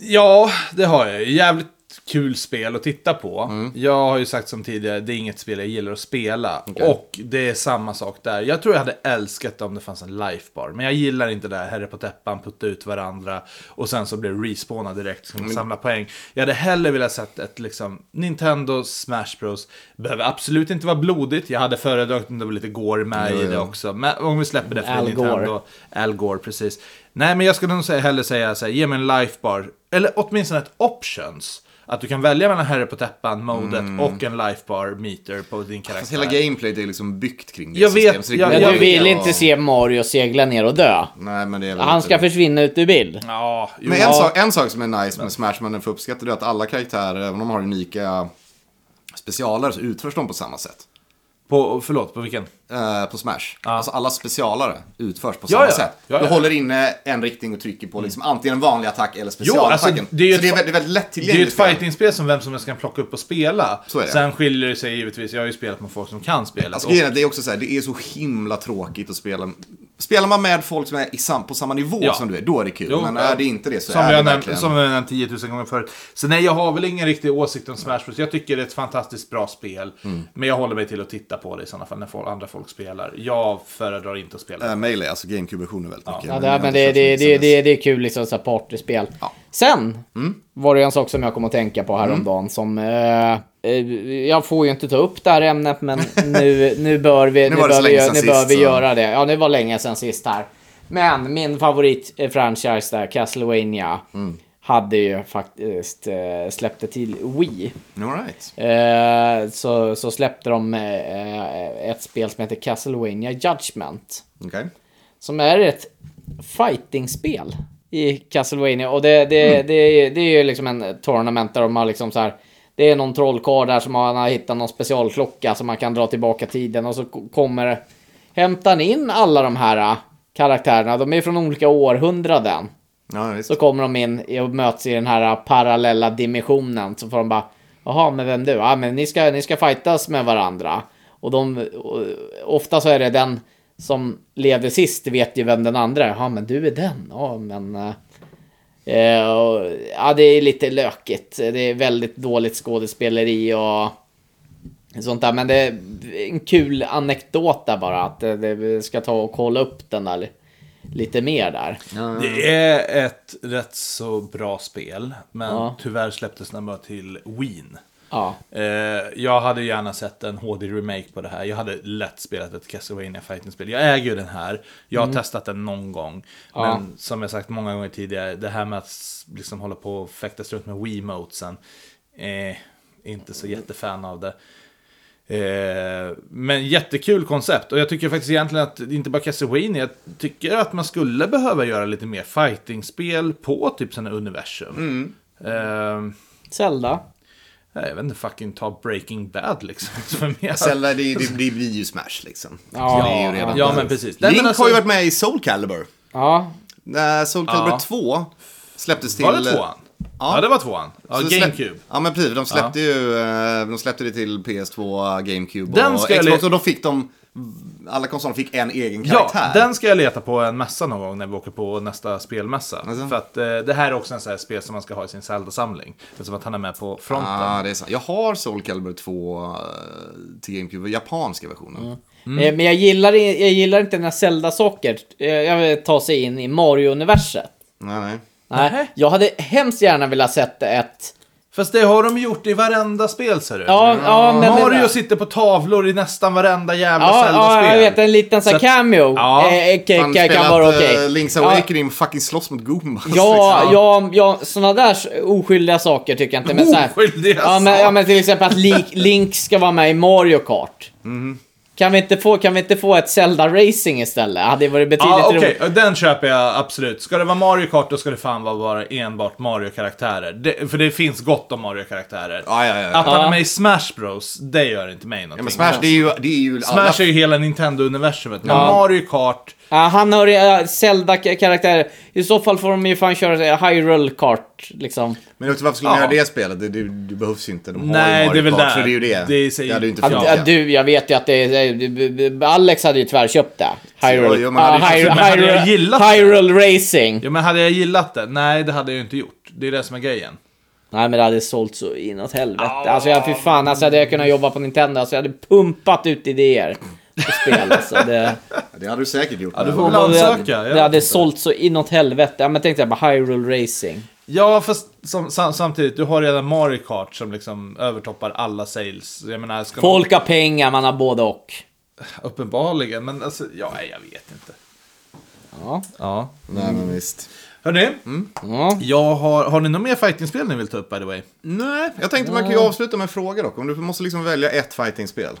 [SPEAKER 1] Ja, det har jag. Jävligt kul spel att titta på.
[SPEAKER 3] Mm.
[SPEAKER 1] Jag har ju sagt som tidigare, det är inget spel jag gillar att spela. Och det är samma sak där. Jag tror jag hade älskat det om det fanns en lifebar. Men jag gillar inte det här, herre på täppan, putta ut varandra. Och sen så blir det respawna direkt, så kan man samla poäng. Jag hade hellre velat sett ett liksom, Nintendo Smash Bros. Behöver absolut inte vara blodigt. Jag hade föredragit om det var lite gore med i det också. Men om vi släpper det för
[SPEAKER 3] Al Gore.
[SPEAKER 1] Nintendo. Al Gore, precis. Nej, men jag skulle nog säga, hellre säga så här, ge mig en lifebar. Eller åtminstone ett options. Att du kan välja mellan Herre på täppan, modet och en lifebar meter på din
[SPEAKER 2] Mm. Fast
[SPEAKER 1] karaktär.
[SPEAKER 2] hela gameplayet är liksom byggt kring det
[SPEAKER 1] Jag vet,
[SPEAKER 2] systemet, så det
[SPEAKER 1] jag-
[SPEAKER 2] går
[SPEAKER 1] jag
[SPEAKER 3] Men du
[SPEAKER 2] inte
[SPEAKER 3] vill
[SPEAKER 2] att-
[SPEAKER 3] inte se Mario segla ner och dö.
[SPEAKER 2] Nej, men det är väl
[SPEAKER 3] Han
[SPEAKER 2] inte-
[SPEAKER 3] ska försvinna ut ur bild.
[SPEAKER 1] Ja, jo,
[SPEAKER 2] Men
[SPEAKER 1] ja.
[SPEAKER 2] en sak, en sak som är nice med Smash man den får uppskatta det är att alla karaktärer, även om de har unika specialare, så utförs de på samma sätt.
[SPEAKER 1] På, förlåt, på vilken?
[SPEAKER 2] eh, på Smash. Alltså alla specialare utförs på
[SPEAKER 1] Ja,
[SPEAKER 2] samma
[SPEAKER 1] ja.
[SPEAKER 2] sätt.
[SPEAKER 1] Ja, ja. Mm.
[SPEAKER 2] Du håller inne en riktning och trycker på liksom, antingen en vanlig attack eller
[SPEAKER 1] alltså,
[SPEAKER 2] specialattacken.
[SPEAKER 1] det är ju
[SPEAKER 2] så det är
[SPEAKER 1] ett-
[SPEAKER 2] väldigt, det är väldigt
[SPEAKER 1] Det är ju
[SPEAKER 2] lättillgängligt.
[SPEAKER 1] ett fightingspel som vem som helst kan plocka upp och spela.
[SPEAKER 2] Så är det.
[SPEAKER 1] Sen skiljer det sig givetvis, jag har ju spelat med folk som kan spelet.
[SPEAKER 2] Alltså,
[SPEAKER 1] och-
[SPEAKER 2] grejen är att det är också så här, det är så himla tråkigt att spela. Spelar man med folk som är i sam, på samma nivå
[SPEAKER 1] Ja.
[SPEAKER 2] som du är, då är det kul.
[SPEAKER 1] Jo,
[SPEAKER 2] Men
[SPEAKER 1] ja.
[SPEAKER 2] är det inte det så
[SPEAKER 1] Som
[SPEAKER 2] är
[SPEAKER 1] vi har
[SPEAKER 2] det
[SPEAKER 1] nämnt,
[SPEAKER 2] verkligen...
[SPEAKER 1] som vi har nämnt 10 000 gånger förut. Så nej, jag har väl ingen riktig åsikt om Smash Bros. Jag tycker det är ett fantastiskt bra spel.
[SPEAKER 2] Mm.
[SPEAKER 1] Men jag håller mig till att titta på det i sådana fall när folk, andra folk spelar. Jag föredrar inte att spela.
[SPEAKER 2] Äh, Mail är alltså GameCube-versionen väldigt mycket.
[SPEAKER 3] Ja,
[SPEAKER 2] Men
[SPEAKER 3] det, men
[SPEAKER 2] jag
[SPEAKER 3] det,
[SPEAKER 2] har inte
[SPEAKER 3] det,
[SPEAKER 2] kört
[SPEAKER 3] det,
[SPEAKER 2] den
[SPEAKER 3] det, det är kul liksom så här partyspel.
[SPEAKER 2] Ja. Mm.
[SPEAKER 3] Sen var det ju en sak som jag kom att tänka på häromdagen som... Eh, eh, jag får ju inte ta upp det här ämnet men nu, nu bör vi, nu
[SPEAKER 2] var det
[SPEAKER 3] bör
[SPEAKER 2] så
[SPEAKER 3] vi,
[SPEAKER 2] länge
[SPEAKER 3] gö-
[SPEAKER 2] sedan
[SPEAKER 3] nu bör
[SPEAKER 2] sist,
[SPEAKER 3] vi
[SPEAKER 2] så-
[SPEAKER 3] göra det. Ja, det var länge sedan sist här. Men min favoritfranchise där, Castlevania
[SPEAKER 2] Mm.
[SPEAKER 3] hade ju faktiskt eh, släppte till Wii.
[SPEAKER 2] sen. All right.
[SPEAKER 3] Eh, så, så släppte de eh, ett spel som heter Castlevania Judgment.
[SPEAKER 2] Okej.
[SPEAKER 3] Som är ett fightingspel i Castlevania. Och det, det, det, är- det är ju liksom en tournament där de har liksom så här. Det är någon trollkarl där som har, han har hittat någon specialklocka som man kan dra tillbaka tiden och så k- kommer hämtar han in alla de här eh, karaktärerna. De är från olika århundraden.
[SPEAKER 2] Ja, visst.
[SPEAKER 3] Så kommer de in och möts i den här parallella dimensionen. Så får de bara, jaha, men vem du? Ja, men ni ska, ni ska fightas med varandra. Och de, och, ofta så är det den som levde sist vet ju vem den andra är. Ja, men du är den. Ja, men... eh, eh, och, ja, det är lite lökigt. Det är väldigt dåligt skådespeleri och sånt där. Men det är en kul anekdot där bara. Att eh, det, vi ska ta och kolla upp den där lite mer där.
[SPEAKER 2] Mm.
[SPEAKER 1] Det är ett rätt så bra spel. Men
[SPEAKER 3] Ja.
[SPEAKER 1] tyvärr släpptes den bara till Wien.
[SPEAKER 3] Ja.
[SPEAKER 1] Eh, jag hade gärna sett en HD-remake på det här. Jag hade lätt spelat ett Castlevania fighting-spel. Jag äger ju den här. Jag har testat den någon gång. Men som jag sagt många gånger tidigare, det här med att s- liksom hålla på och fäktas runt med Wiimotesen. Eh, inte så jättefan av det. Eh, men jättekul koncept och jag tycker faktiskt egentligen att det inte bara Castlevania jag tycker att man skulle behöva göra lite mer fighting-spel på typ sådana universum. Eh,
[SPEAKER 3] Zelda.
[SPEAKER 1] Nej, jag vet inte, fucking ta Breaking Bad liksom. Som jag...
[SPEAKER 2] Zelda, det, det, det blir ju Smash liksom.
[SPEAKER 3] Ja.
[SPEAKER 2] Så det är ju redan
[SPEAKER 1] Ja,
[SPEAKER 2] där.
[SPEAKER 1] men precis. Nej,
[SPEAKER 2] Link
[SPEAKER 1] men alltså-
[SPEAKER 2] har ju varit med i Soul Calibur.
[SPEAKER 3] Ja,
[SPEAKER 2] När Soul Calibur
[SPEAKER 1] Ja.
[SPEAKER 2] 2 släpptes till...
[SPEAKER 1] Var det tvåan? Ja.
[SPEAKER 2] Ja.
[SPEAKER 1] det var tvåan. Ja,
[SPEAKER 2] Så det släpp-
[SPEAKER 1] GameCube.
[SPEAKER 2] Ja men precis, de släppte ju eh, de släppte det till PS2, GameCube
[SPEAKER 1] Den
[SPEAKER 2] och
[SPEAKER 1] ska jag
[SPEAKER 2] Xbox.
[SPEAKER 1] le-
[SPEAKER 2] Och då fick de, alla konsoler fick en egen
[SPEAKER 1] Ja,
[SPEAKER 2] karaktär.
[SPEAKER 1] den ska jag leta på en mässa någon gång när vi åker på nästa spelmässa.
[SPEAKER 2] Alltså.
[SPEAKER 1] För att eh, det här är också en sån här spel som man ska ha i sin Zelda-samling. Eftersom att han är med på fronten.
[SPEAKER 2] Ah, det är sant. Jag har Soul Calibur 2 eh, till GameCube, japanska versionen.
[SPEAKER 1] Mm.
[SPEAKER 3] Eh, men jag gillar, i- jag gillar inte när Zelda-saker eh, jag vill ta sig in i Mario-universet.
[SPEAKER 2] Nej, nej.
[SPEAKER 3] Nej,
[SPEAKER 1] Nähä.
[SPEAKER 3] jag hade hemskt gärna velat sett ett...
[SPEAKER 1] Fast det har de gjort i varenda spel ser du.
[SPEAKER 3] Ja, ja, men...
[SPEAKER 1] Mario
[SPEAKER 3] men,
[SPEAKER 1] sitter på tavlor i nästan varenda jävla
[SPEAKER 3] Ja,
[SPEAKER 1] Zelda-spel.
[SPEAKER 3] ja, jag vet. En liten sån här
[SPEAKER 1] Så att-
[SPEAKER 3] cameo.
[SPEAKER 1] Ja.
[SPEAKER 3] eh, eh, kan,
[SPEAKER 2] Fan,
[SPEAKER 3] kan, kan
[SPEAKER 2] spelat,
[SPEAKER 3] vara
[SPEAKER 2] eh,
[SPEAKER 3] okej.
[SPEAKER 2] Link's
[SPEAKER 3] Ja,
[SPEAKER 2] Awakening fucking slåss mot Goombas.
[SPEAKER 1] liksom.
[SPEAKER 2] liksom.
[SPEAKER 3] Ja, ja, ja, sådana där s- oskyldiga saker tycker jag inte. Men så här,
[SPEAKER 1] Oskyldiga
[SPEAKER 3] ja, men, ja, men till exempel att Link, Link ska vara med i Mario Kart.
[SPEAKER 1] Mhm.
[SPEAKER 3] Kan, vi inte få, kan vi inte få ett Zelda-racing istället? Hade det varit betydligt
[SPEAKER 1] Ja, okej.
[SPEAKER 3] roligare.
[SPEAKER 1] Den köper jag absolut. Ska det vara Mario Kart, då ska det fan vara bara enbart Mario-karaktärer. Det, för det finns gott om Mario-karaktärer.
[SPEAKER 2] Ja, ja, ja.
[SPEAKER 1] Att han
[SPEAKER 3] Ja.
[SPEAKER 1] är med i Smash Bros, det gör inte mig någonting.
[SPEAKER 2] Ja, men Smash, det är ju, det är ju alla...
[SPEAKER 1] Smash är ju hela Nintendo-universumet. Men Mario Kart,
[SPEAKER 3] Ja, han har uh, Zelda-karaktärer. I så fall får de ju fan köra eh, Hyrule Kart, liksom.
[SPEAKER 2] Men också, varför skulle de
[SPEAKER 1] Ja.
[SPEAKER 2] göra det spelet? Det, det, det behövs ju inte. De har
[SPEAKER 1] Nej,
[SPEAKER 2] ju Mario
[SPEAKER 1] det är väl
[SPEAKER 2] Kart,
[SPEAKER 1] där.
[SPEAKER 2] så det är ju det.
[SPEAKER 1] Det är sig-
[SPEAKER 2] hade ju inte
[SPEAKER 1] Ja.
[SPEAKER 2] funkat.
[SPEAKER 3] Ja, du, jag vet ju att det är... eh, Alex hade ju tyvärr köpt det. Hyrule,
[SPEAKER 2] Ja, ja, men hade-
[SPEAKER 3] Ah, Hyru-
[SPEAKER 1] men hade jag
[SPEAKER 3] Hyru-
[SPEAKER 1] gillat det?
[SPEAKER 3] Hyrule Racing.
[SPEAKER 1] ja men hade jag gillat det? Nej, det hade jag ju inte gjort. Det är det som är grejen.
[SPEAKER 3] Nej men det hade sålt så inåt helvete. Alltså jag, fy fan, alltså hade jag kunnat jobba på Nintendo, alltså jag hade pumpat ut idéer. på Spel, alltså. det,
[SPEAKER 2] Ja, det hade du säkert gjort.
[SPEAKER 1] Ja, du
[SPEAKER 2] men-
[SPEAKER 1] får väl
[SPEAKER 3] det,
[SPEAKER 1] ansöka. jag
[SPEAKER 3] det
[SPEAKER 1] vet
[SPEAKER 3] hade
[SPEAKER 1] inte.
[SPEAKER 3] sålt så inåt helvete. Ja men tänk dig bara Hyrule Racing.
[SPEAKER 1] Ja, fast som, sam, samtidigt, du har redan Mario Kart som liksom övertoppar alla sales. Jag menar, ska man-
[SPEAKER 3] Folk har pengar, man har både och.
[SPEAKER 1] Uppenbarligen, men alltså, ja, nej, jag vet inte.
[SPEAKER 3] Ja.
[SPEAKER 1] Ja.
[SPEAKER 2] Nej, men visst.
[SPEAKER 1] Hörni,
[SPEAKER 2] Mm.
[SPEAKER 3] Ja.
[SPEAKER 1] jag har, har ni något mer fightingspel ni vill ta upp by the way?
[SPEAKER 2] Nej, jag tänkte man kan ju avsluta med en fråga dock. Om du måste liksom välja ett fightingspel.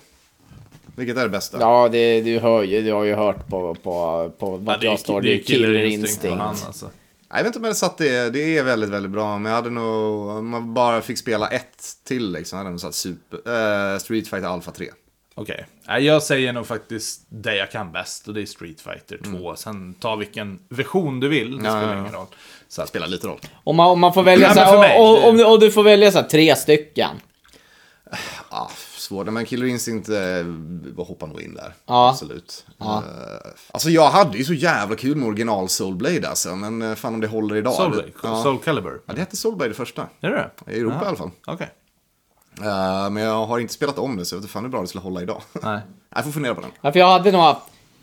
[SPEAKER 2] Vilket är det bästa?
[SPEAKER 3] Ja, det, du, hör ju, du har ju hört på, på, på vart jag står. Det är Killer Instinct.
[SPEAKER 1] Han, alltså.
[SPEAKER 2] Jag vet inte om jag hade satt det. Det är väldigt, väldigt bra. Men jag hade nog, om man bara fick spela ett till liksom, hade jag nog satt super, eh, Street Fighter Alpha 3.
[SPEAKER 1] Okej, Nej, jag säger nog faktiskt det jag kan bäst och det är Street Fighter 2. Sen ta vilken version du vill, det spelar
[SPEAKER 2] Mm. ja,
[SPEAKER 1] ingen roll. Så att,
[SPEAKER 2] Spelar lite roll.
[SPEAKER 3] Om man, om man får välja
[SPEAKER 1] Nej,
[SPEAKER 3] så
[SPEAKER 1] men för
[SPEAKER 3] här,
[SPEAKER 1] mig,
[SPEAKER 3] och,
[SPEAKER 1] det-
[SPEAKER 3] och, om, du- och du får välja så här, tre stycken.
[SPEAKER 2] Ah, svårt. Men Killer Instinct eh, hoppar nog in där.
[SPEAKER 3] Ja.
[SPEAKER 2] Absolut. Eh, alltså jag hade ju så jävla kul med original Soulblade alltså. Men eh, fan om det håller idag.
[SPEAKER 1] Soul,
[SPEAKER 2] Det- ja.
[SPEAKER 1] Soul Calibur.
[SPEAKER 2] ja, det hette Soulblade det första.
[SPEAKER 1] Är det det?
[SPEAKER 2] I Europa
[SPEAKER 1] Ja.
[SPEAKER 2] i alla fall.
[SPEAKER 1] Okej.
[SPEAKER 2] Eh, men jag har inte spelat om det så jag vet inte fan hur bra det skulle hålla idag.
[SPEAKER 1] Nej.
[SPEAKER 2] Jag får fundera på den.
[SPEAKER 3] Ja, för jag hade nog haft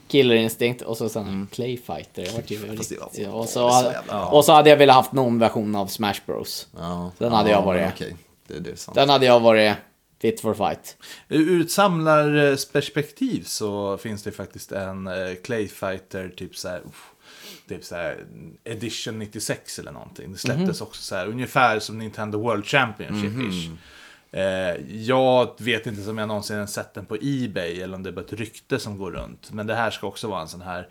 [SPEAKER 3] Killer Instinct och så sen Clay Fighter. Jag vart ju
[SPEAKER 2] Mm. Fast det var-
[SPEAKER 3] riktigt-
[SPEAKER 2] det är
[SPEAKER 3] och,
[SPEAKER 2] så
[SPEAKER 3] så, hade-
[SPEAKER 2] jävla
[SPEAKER 3] och så hade jag velat haft någon version av Smash Bros.
[SPEAKER 2] Ja.
[SPEAKER 3] Den hade jag varit.
[SPEAKER 2] men Okej, det, det är sant.
[SPEAKER 3] Den hade jag varit fit for fight.
[SPEAKER 1] Ur ett samlarperspektiv eh, så finns det faktiskt en eh, Clayfighter typ så här, uff, typ så här Edition 96 eller någonting. Det släpptes också så här ungefär som Nintendo World Championship-ish. Eh, jag vet inte om jag någonsin har sett den på Ebay eller om det är bara ett rykte som går runt. Men det här ska också vara en sån här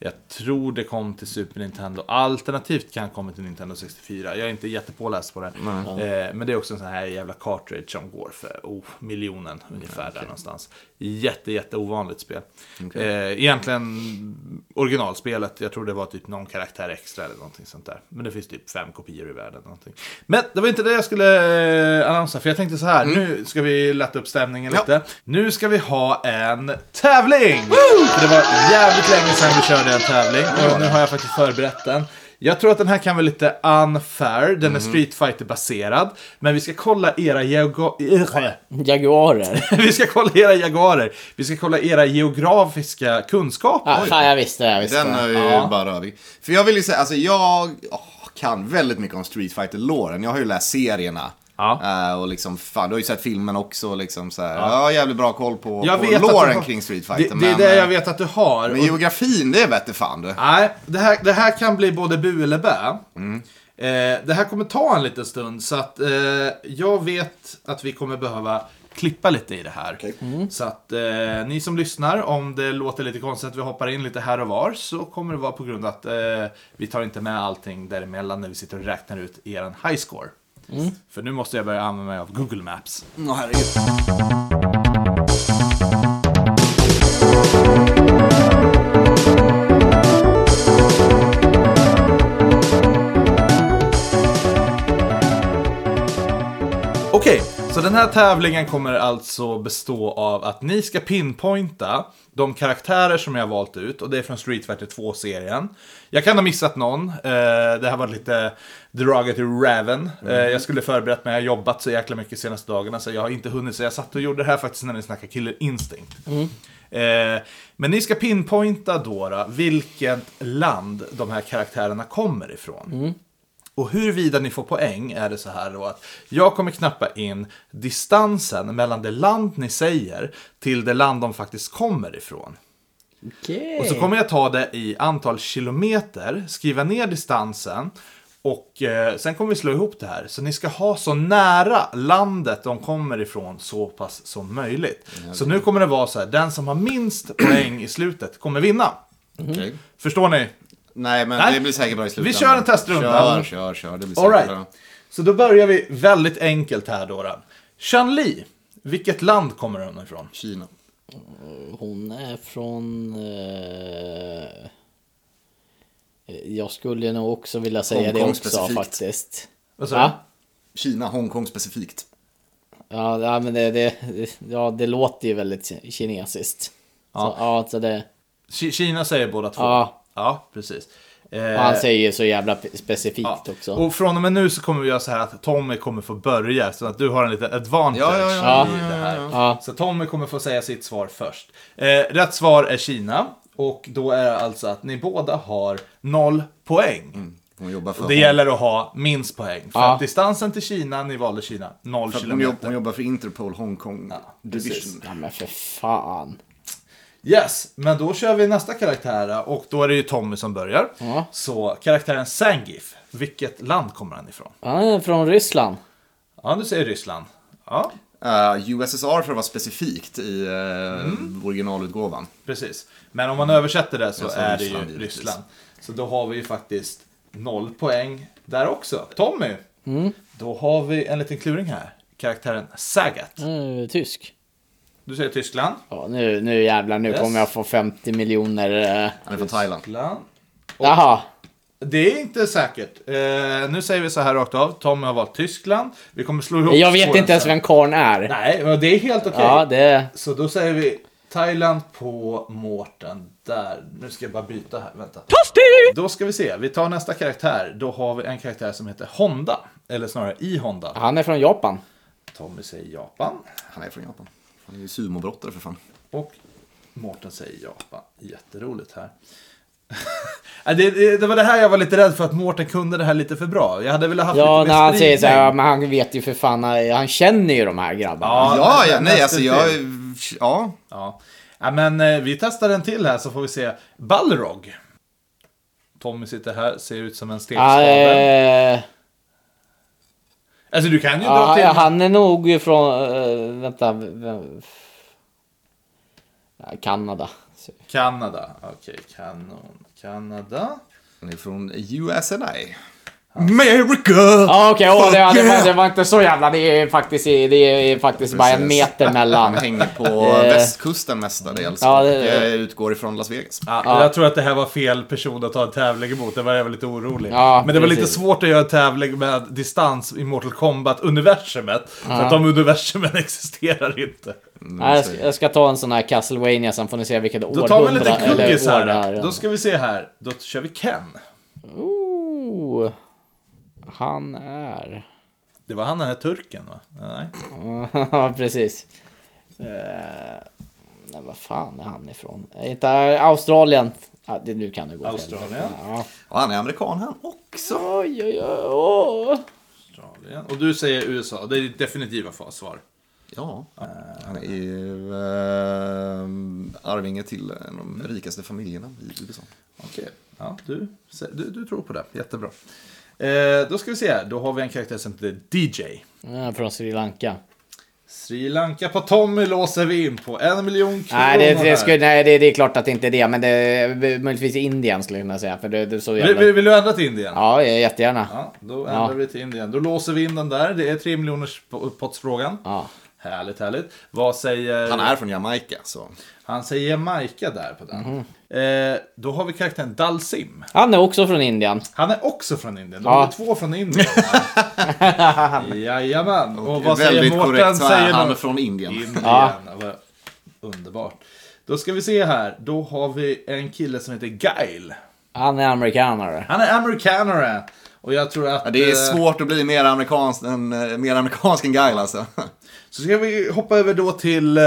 [SPEAKER 1] jag tror det kom till Super Nintendo, alternativt kan ha kommit till Nintendo 64. Jag är inte jättepåläst på det. Eh, men det är också en sån här jävla cartridge som går för oh, miljonen ungefär där någonstans. Jätte, jätte ovanligt spel. Eh, egentligen originalspelet, jag tror det var typ någon karaktär extra eller någonting sånt där. Men det finns typ fem kopior i världen. Någonting. Men det var inte det jag skulle eh, annonsera, för jag tänkte så här, nu ska vi lätta upp stämningen
[SPEAKER 2] Mm. Ja.
[SPEAKER 1] lite. Nu ska vi ha en tävling! För det var jävligt länge sedan vi körde en tävling och nu har jag faktiskt förberett den. Jag tror att den här kan vara lite unfair, den
[SPEAKER 2] Mm.
[SPEAKER 1] är Street fighter baserad Men vi ska kolla era geogra-
[SPEAKER 3] Jaguarer.
[SPEAKER 1] Vi ska kolla era jaguarer. Vi ska kolla era geografiska kunskaper.
[SPEAKER 3] ah, fan, jag visste det. Jag visste
[SPEAKER 2] Den eh,
[SPEAKER 3] det.
[SPEAKER 2] är ju bara rövig. För jag vill ju säga, alltså jag åh, kan väldigt mycket om Street fighter låren Jag har ju läst serierna.
[SPEAKER 1] Ja.
[SPEAKER 2] Eh, och liksom, fan, du har ju sett filmen också. Liksom, så här. Ja. Jag har jävligt bra koll på,
[SPEAKER 1] Jag
[SPEAKER 2] på
[SPEAKER 1] vet att
[SPEAKER 2] låren
[SPEAKER 1] du har-
[SPEAKER 2] kring Street fighter
[SPEAKER 1] det, det är
[SPEAKER 2] men,
[SPEAKER 1] det jag
[SPEAKER 2] eh,
[SPEAKER 1] vet att du har.
[SPEAKER 2] Men
[SPEAKER 1] Och- Ah,
[SPEAKER 2] geografin, det vete fan du.
[SPEAKER 1] Nej, det här, det här kan bli både bu eller bä. Eh, det här kommer ta en liten stund, så att eh, jag vet att vi kommer behöva klippa lite i det här. Så att eh, ni som lyssnar, om det låter lite konstigt att vi hoppar in lite här och var, så kommer det vara på grund av att eh, vi tar inte med allting däremellan när vi sitter och räknar ut er high score. För nu måste jag börja använda mig av Google Maps. Okej, så den här tävlingen kommer alltså bestå av att ni ska pinpointa de karaktärer som jag har valt ut och det är från Street Fighter 2-serien. Jag kan ha missat någon, eh, det här var lite derogatory raven. Eh, jag skulle förberett mig, jag har jobbat så jäkla mycket de senaste dagarna så jag har inte hunnit. Så jag satt och gjorde det här faktiskt när ni snackade Killer Instinct. Eh, men ni ska pinpointa då, då vilket land de här karaktärerna kommer ifrån. Och huruvida ni får poäng är det så här då att jag kommer knappa in distansen mellan det land ni säger till det land de faktiskt kommer ifrån.
[SPEAKER 3] Okej.
[SPEAKER 1] Och så kommer jag ta det i antal kilometer, skriva ner distansen och eh, sen kommer vi slå ihop det här. Så ni ska ha så nära landet de kommer ifrån så pass som möjligt. Så nu kommer det vara så här, den som har minst poäng i slutet kommer vinna.
[SPEAKER 2] Okej.
[SPEAKER 1] Förstår ni?
[SPEAKER 2] Nej, men
[SPEAKER 1] Nej.
[SPEAKER 2] det blir säkert bra i slutändan.
[SPEAKER 1] Vi kör en testrunda.
[SPEAKER 2] Kör, kör, kör. Det blir
[SPEAKER 1] All
[SPEAKER 2] säkert
[SPEAKER 1] right.
[SPEAKER 2] bra.
[SPEAKER 1] Så då börjar vi väldigt enkelt här då. då. Shanli, vilket land kommer hon ifrån?
[SPEAKER 2] Kina.
[SPEAKER 3] Hon är från... eh, Jag skulle nog också vilja säga det
[SPEAKER 2] Hongkong
[SPEAKER 3] också
[SPEAKER 2] specifikt.
[SPEAKER 3] faktiskt.
[SPEAKER 1] Vad sa
[SPEAKER 3] Va?
[SPEAKER 1] du?
[SPEAKER 2] Kina, Hongkong specifikt.
[SPEAKER 3] Ja, ja, men det, det, ja, det låter ju väldigt kinesiskt. Ja, så, ja, så det...
[SPEAKER 1] Ki- Kina säger båda två.
[SPEAKER 3] Ja.
[SPEAKER 1] Ja, precis. Eh,
[SPEAKER 3] Och han säger ju så jävla p- specifikt
[SPEAKER 1] ja.
[SPEAKER 3] också.
[SPEAKER 1] Och från och med nu så kommer vi göra så här att Tommy kommer få börja så att du har en liten advantage
[SPEAKER 2] Ja, ja,
[SPEAKER 3] ja,
[SPEAKER 1] i det här.
[SPEAKER 3] ja.
[SPEAKER 1] Så Tommy kommer få säga sitt svar först. Eh, rätt svar är Kina och då är det alltså att ni båda har noll poäng.
[SPEAKER 3] Mm.
[SPEAKER 2] Hon jobbar för
[SPEAKER 1] Det
[SPEAKER 2] hon-
[SPEAKER 1] gäller att ha minst poäng. För
[SPEAKER 3] Ja.
[SPEAKER 1] att distansen till Kina, ni valde Kina, noll
[SPEAKER 2] för att hon, jobb,
[SPEAKER 1] kilometer.
[SPEAKER 2] hon jobbar för Interpol Hongkong Division.
[SPEAKER 3] ja, men för fan.
[SPEAKER 1] Yes, men då kör vi nästa karaktär och då är det ju Tommy som börjar.
[SPEAKER 3] Ja.
[SPEAKER 1] Så karaktären Sangif, vilket land kommer han ifrån?
[SPEAKER 3] Han är från Ryssland.
[SPEAKER 1] Ja, du säger Ryssland. Ja,
[SPEAKER 2] Eh, USSR för att vara specifikt i eh, originalutgåvan.
[SPEAKER 1] precis. Men om man översätter det så
[SPEAKER 2] Jag sa
[SPEAKER 1] är
[SPEAKER 2] Ryssland,
[SPEAKER 1] det ju
[SPEAKER 2] givetvis.
[SPEAKER 1] Ryssland. Så då har vi ju faktiskt noll poäng där också. Tommy,
[SPEAKER 2] Mm.
[SPEAKER 1] då har vi en liten kluring här. Karaktären Sagat.
[SPEAKER 3] Han är tysk.
[SPEAKER 1] Du säger Tyskland.
[SPEAKER 3] Ja, nu, nu jävlar, nu
[SPEAKER 1] Yes.
[SPEAKER 3] kommer jag få 50 miljoner. eh.
[SPEAKER 2] Han är från Thailand.
[SPEAKER 1] Tyskland.
[SPEAKER 3] Jaha.
[SPEAKER 1] Det är inte säkert. Eh, nu säger vi så här rakt av. Tommy har valt Tyskland. Vi kommer slå ihop
[SPEAKER 3] Jag vet
[SPEAKER 1] spåren
[SPEAKER 3] inte ens
[SPEAKER 1] sen.
[SPEAKER 3] vem karln är.
[SPEAKER 1] Nej, men det är helt okej.
[SPEAKER 3] Ja, det...
[SPEAKER 1] Så då säger vi Thailand på Mårten. Där. Nu ska jag bara byta här. Vänta. Då ska vi se. Vi tar nästa karaktär. Då har vi en karaktär som heter Honda. Eller snarare i Honda.
[SPEAKER 3] Han är från Japan.
[SPEAKER 1] Tommy säger Japan.
[SPEAKER 2] Han är från Japan. Han är ju sumobrottare för fan.
[SPEAKER 1] Och Mårten säger Japan. Jätteroligt här. Ja, det, det, det var det här jag var lite rädd för att Mårten kunde det här lite för bra. Jag hade velat haft
[SPEAKER 3] Ja,
[SPEAKER 1] lite
[SPEAKER 3] när
[SPEAKER 1] mer
[SPEAKER 3] han säger så här,
[SPEAKER 1] spridning.
[SPEAKER 3] ja, men han vet ju för fan, han han känner ju de här grabbarna.
[SPEAKER 1] Ja, nä-
[SPEAKER 2] Ja, ja, nej
[SPEAKER 1] nästan
[SPEAKER 2] alltså jag...
[SPEAKER 1] till.
[SPEAKER 2] Ja.
[SPEAKER 1] Ja. ja, men eh, vi testar en till här så får vi se. Balrog. Tommy sitter här, ser ut som en
[SPEAKER 3] Ja,
[SPEAKER 1] stekspade.
[SPEAKER 3] eh,
[SPEAKER 1] alltså du kan ju dra till.
[SPEAKER 3] ja, han är nog ju från, eh, vänta, vem? Ja, Kanada. Så-
[SPEAKER 1] Kanada. Okej, kanon. Kanada.
[SPEAKER 2] Han är från USNI. America!
[SPEAKER 3] Ja okej, åh, det,
[SPEAKER 2] Fuck
[SPEAKER 3] det, var,
[SPEAKER 2] yeah!
[SPEAKER 3] det var inte så jävla, det är faktiskt, det är faktiskt bara en
[SPEAKER 2] Precis.
[SPEAKER 3] meter mellan.
[SPEAKER 2] Han hänger på
[SPEAKER 3] Eh.
[SPEAKER 2] västkusten mestadels.
[SPEAKER 3] Ja,
[SPEAKER 2] Ja,
[SPEAKER 3] det-
[SPEAKER 2] Jag utgår ifrån Las Vegas.
[SPEAKER 1] Ja, Jag tror att det här var fel person att ta en tävling emot. Det var jag var lite orolig.
[SPEAKER 3] Ja,
[SPEAKER 1] Men det var lite
[SPEAKER 3] precis.
[SPEAKER 1] svårt att göra en tävling med distans i Mortal Kombat-universumet. För att de universumen existerar inte.
[SPEAKER 3] Nej, jag, ska, jag ska ta en sån här Castlevania sen får ni se vilket
[SPEAKER 1] Då tar vi en
[SPEAKER 3] århundrade
[SPEAKER 1] liten
[SPEAKER 3] eller
[SPEAKER 1] kuggis
[SPEAKER 3] år det
[SPEAKER 1] här.
[SPEAKER 3] är.
[SPEAKER 1] Då. då ska vi se här. Då kör vi Ken.
[SPEAKER 3] Ooh, han är...
[SPEAKER 1] Det var han den här turken va? Nej.
[SPEAKER 3] Ja, precis. Eh, nej, vad fan är han ifrån? Är inte eh, Australien? Ja, det, nu kan det gå. fel.
[SPEAKER 1] Australien.
[SPEAKER 3] Ja.
[SPEAKER 2] Och han är amerikan han också.
[SPEAKER 3] Oj, oj, oj. åh.
[SPEAKER 1] Australien. Och du säger USA. Det är ditt definitiva fa- svar.
[SPEAKER 2] Ja. Eh, Han är ju eh, arvinge till en av de rikaste familjerna i USA.
[SPEAKER 1] Okej. Ja, du, sä- du, du tror på det. Jättebra. Eh, då ska vi se här. Då har vi en karaktär som heter DJ.
[SPEAKER 3] Ja, från Sri Lanka.
[SPEAKER 1] Sri Lanka på Tommy låser vi in på en miljon kronor.
[SPEAKER 3] Nej, det, det,
[SPEAKER 1] här.
[SPEAKER 3] skulle, nej det, det är klart att det inte är det. Men det, möjligtvis Indien skulle jag kunna säga. För det, det är så
[SPEAKER 1] vill, vill,
[SPEAKER 3] jävla...
[SPEAKER 1] vill du ändra till Indien?
[SPEAKER 3] Ja, jättegärna.
[SPEAKER 1] Ja, då ändrar vi till Indien. Då låser vi in den där. Det är 3 miljoners pottsfrågan.
[SPEAKER 3] Ja.
[SPEAKER 1] Härligt, härligt. Vad säger...
[SPEAKER 2] Han är från Jamaica, så.
[SPEAKER 1] Han säger Jamaica där på den.
[SPEAKER 3] Mhm.
[SPEAKER 1] Eh, då har vi karaktären Dalsim.
[SPEAKER 3] Han är också från Indien.
[SPEAKER 1] Han är också från Indien. De
[SPEAKER 3] Ja.
[SPEAKER 1] är två från Indien. Jajamän. Och vad säger
[SPEAKER 2] Väldigt
[SPEAKER 1] Mårten?
[SPEAKER 2] korrekt svar.
[SPEAKER 1] Säger
[SPEAKER 2] Han är
[SPEAKER 1] någon-
[SPEAKER 2] från Indien.
[SPEAKER 1] Indien.
[SPEAKER 3] Ja.
[SPEAKER 1] Vad Underbart. Då ska vi se här. Då har vi en kille som heter Guile.
[SPEAKER 3] Han är amerikanare.
[SPEAKER 1] Han är amerikanare. Och jag tror att...
[SPEAKER 2] Ja, det är
[SPEAKER 1] eh,
[SPEAKER 2] svårt att bli mer amerikansk än, eh, mer amerikansk än Guile alltså.
[SPEAKER 1] Så ska vi hoppa över då till eh,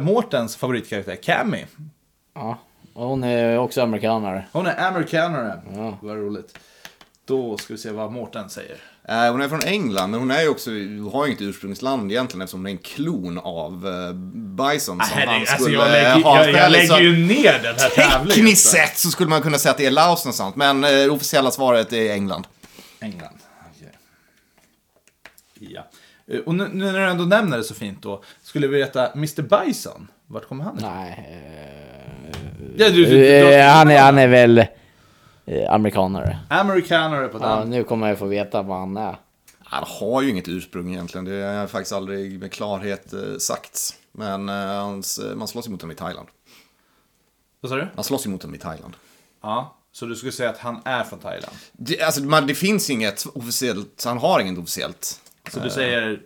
[SPEAKER 1] Mårtens favoritkaraktär, Cammy.
[SPEAKER 3] Ja. Och hon är också amerikanare.
[SPEAKER 1] Hon är amerikanare. Vad roligt. Då ska vi se vad Mårten säger.
[SPEAKER 2] Eh, Hon är från England, men hon är ju också, hon har ju inget ursprungsland egentligen eftersom hon är en klon av eh, Bison som
[SPEAKER 1] alltså,
[SPEAKER 2] han skulle eh, ha själv, så att
[SPEAKER 1] ner den här
[SPEAKER 2] Tekniskt sett så skulle man kunna säga att det är Laos någonstans, men eh, det officiella svaret är England.
[SPEAKER 1] England. Okej. Ja. Eh, Och nu, nu när du ändå nämner det så fint då. Skulle vi veta Mr Bison? Vart kommer han ifrån?
[SPEAKER 3] Nej. eh,
[SPEAKER 1] Ja, du, du, du, du,
[SPEAKER 3] Eh, han, är, han är väl eh, amerikanare.
[SPEAKER 1] Amerikanare på
[SPEAKER 3] Ja,
[SPEAKER 1] den.
[SPEAKER 3] nu kommer jag få veta vad han är.
[SPEAKER 2] Han har ju inget ursprung egentligen, det har faktiskt aldrig med klarhet eh, sagts. Men eh, hans, eh, man slåss ju mot honom i Thailand.
[SPEAKER 1] Vad sa du?
[SPEAKER 2] Man slåss ju mot honom i Thailand.
[SPEAKER 1] Ja. Så du skulle säga att han är från Thailand?
[SPEAKER 2] Det, alltså, man, det finns inget officiellt, han har inget officiellt.
[SPEAKER 1] Så du säger